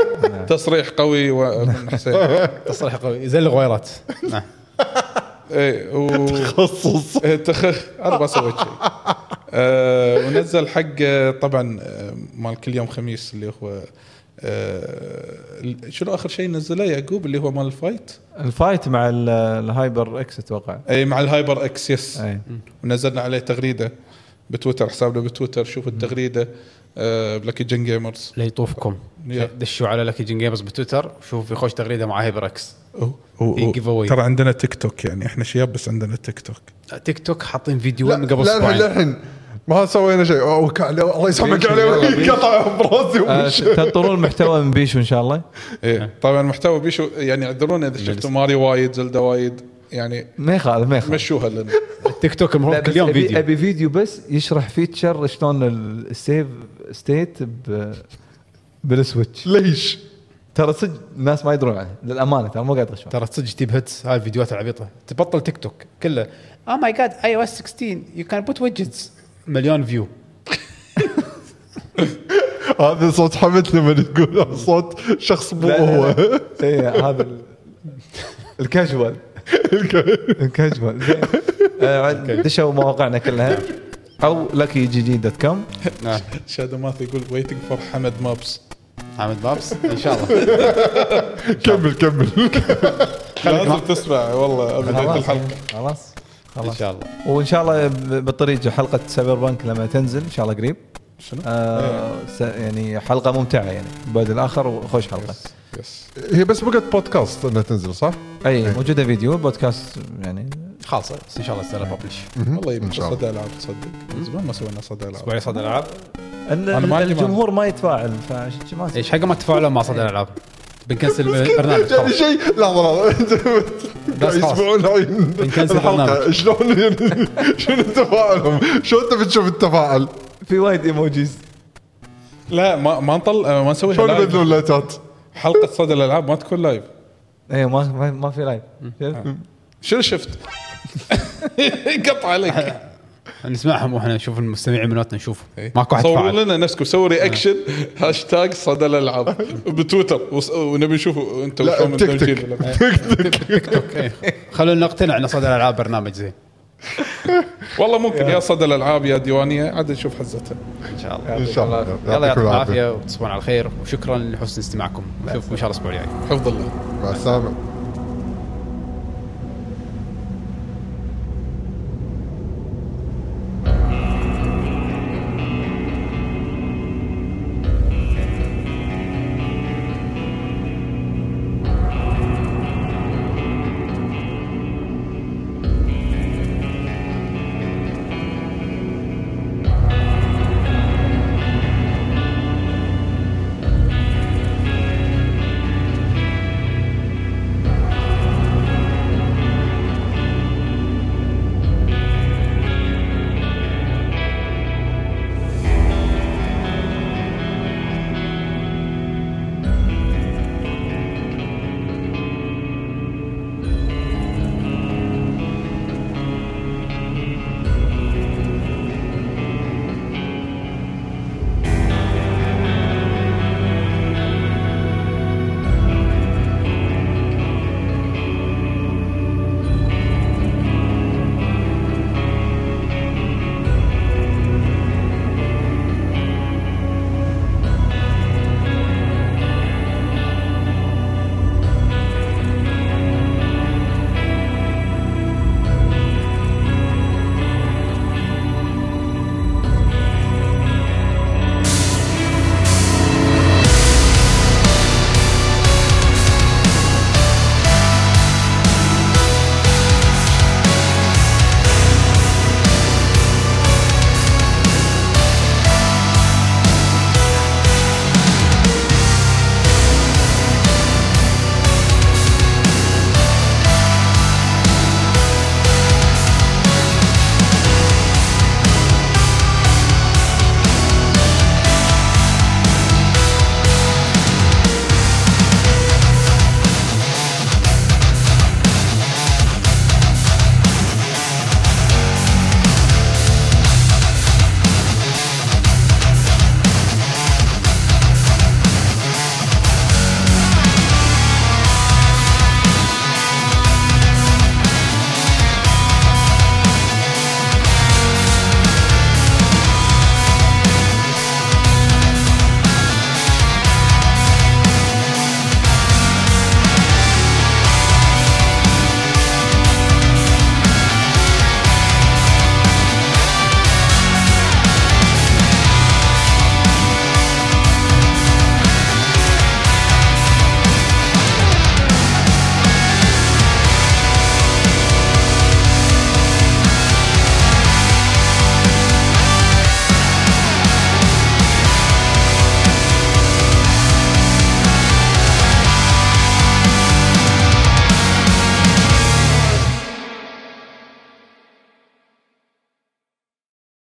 S4: تصريح قوي و- من حسين
S2: تصريح قوي زي الغويرات نعم
S4: اي و
S3: خصص
S4: إيه، تخ... انا ما سويت شيء آه ونزل حق آه، طبعا آه، مال كل يوم خميس اللي هو آه شنو اخر شيء نزله يعقوب اللي هو مال الفايت
S6: الفايت مع ال- الهايبر إيه. اكس اتوقع
S4: اي مع الهايبر اكس يس
S6: اي
S4: ونزلنا عليه تغريده بتويتر حسابنا بتويتر شوف التغريده آه بلاكي جن جيمرز
S2: ليطوفكم
S4: يا.
S2: دشوا على لكي جين جيمرز بتويتر شوف في خوش تغريده مع هايبر اكس في give away.
S4: ترى عندنا تيك توك يعني احنا شياب بس عندنا تيك توك
S2: تيك توك حاطين فيديو
S3: لا
S2: من قبل
S3: لا الحين
S2: اسبوعين
S3: للحين ما سوينا شيء أوه، وك- الله يسامحك
S6: بيشو، يلا
S3: عليه
S6: بيشو.
S3: قطع براسي
S6: آه،
S3: ومشى.
S6: تنطرون المحتوى من بيشو ان شاء الله
S4: ايه طبعا المحتوى بيشو يعني اعذرونا اذا شفتوا ماري وايد زلدا وايد يعني
S6: ما يخالف ما يخالف
S4: مشوها لنا
S2: التيك توك المهم
S6: لا
S2: كل
S6: بس
S2: يوم
S6: ابي
S2: فيديو
S6: ابي فيديو بس يشرح فيتشر شلون السيف ستيت ب بالسويتش
S3: ليش؟
S6: ترى صدق الناس ما يدرون عنه للامانه ترى مو قاعد اغش
S2: ترى تصدق تجيب هيتس هاي الفيديوهات العبيطه تبطل تيك توك كله Oh او ماي جاد اي او اس 16 يو كان بوت ويدجتس مليون فيو
S3: هذا صوت حمد لما تقول صوت شخص مو هو
S6: اي إيه، هذا ال- الكاجوال الكاجوال زين آه، عاد دشوا مواقعنا كلها او لكي جي جي دوت كوم
S2: نعم.
S4: شادو ماث يقول ويتنج فور حمد مابس
S2: حامد بابس ان شاء الله
S3: كمل كمل
S4: لازم تسمع والله بدايه
S6: خلاص
S4: الحلقه
S6: خلاص
S2: ان
S6: خلاص
S2: شاء الله
S6: وان شاء الله ب- بالطريق حلقه سايبر بانك لما تنزل ان شاء الله قريب
S4: شنو؟ إيه.
S6: آه س- يعني حلقه ممتعه يعني بعد الاخر وخوش حلقه
S4: يس
S3: هي بس بقت بودكاست انها تنزل صح؟
S4: إيه.
S6: اي موجوده فيديو البودكاست يعني
S2: خالصه بس ان شاء الله استلم ببلش
S4: والله يبقى
S3: شاء الله.
S4: صدى العاب تصدق من زمان ما سوينا صدى العاب
S2: اسبوعي صدى العاب
S6: ال-
S4: أنا ما عندي
S6: الجمهور ما يتفاعل فعشان كذي ما
S2: ايش حق ما تفاعلوا مع صدى الالعاب بنكنسل البرنامج
S3: يعني
S2: خلاص
S3: شيء لحظه لحظه
S2: خلاص.
S3: يسمعون هاي الحلقه
S2: البرنامج.
S3: شلون يعني- شنو تفاعلهم؟ شلون انت بتشوف التفاعل؟
S6: في وايد ايموجيز
S4: لا ما ما نطل ما نسويها
S3: شلون
S4: لايف.
S3: يبدلون اللاتات؟
S4: حلقه صدى الالعاب ما تكون لايف
S6: اي إيه، ما ما, ما في لايف
S4: آه. شنو شفت؟ قطع عليك
S2: نسمعهم واحنا نشوف المستمعين مالتنا نشوف
S4: إيه.
S2: ماكو احد
S4: صوروا
S2: فاعل
S4: لنا نفسكم سووا رياكشن هاشتاج صدى الالعاب بتويتر وس- ونبي نشوف انت
S3: لا،
S4: وشلون
S3: تيك
S4: متدمجين.
S2: إيه. خلونا نقتنع ان صدى الالعاب برنامج زين
S4: والله ممكن يا صدى الالعاب يا ديوانيه عاد نشوف حزتها
S2: ان شاء الله
S3: ان شاء الله
S2: يلا
S3: يعطيكم
S2: يعطيكم العافيه وتصبحون على الخير وشكرا لحسن استماعكم نشوفكم ان شاء الله الاسبوع الجاي
S4: حفظ الله
S3: مع السلامه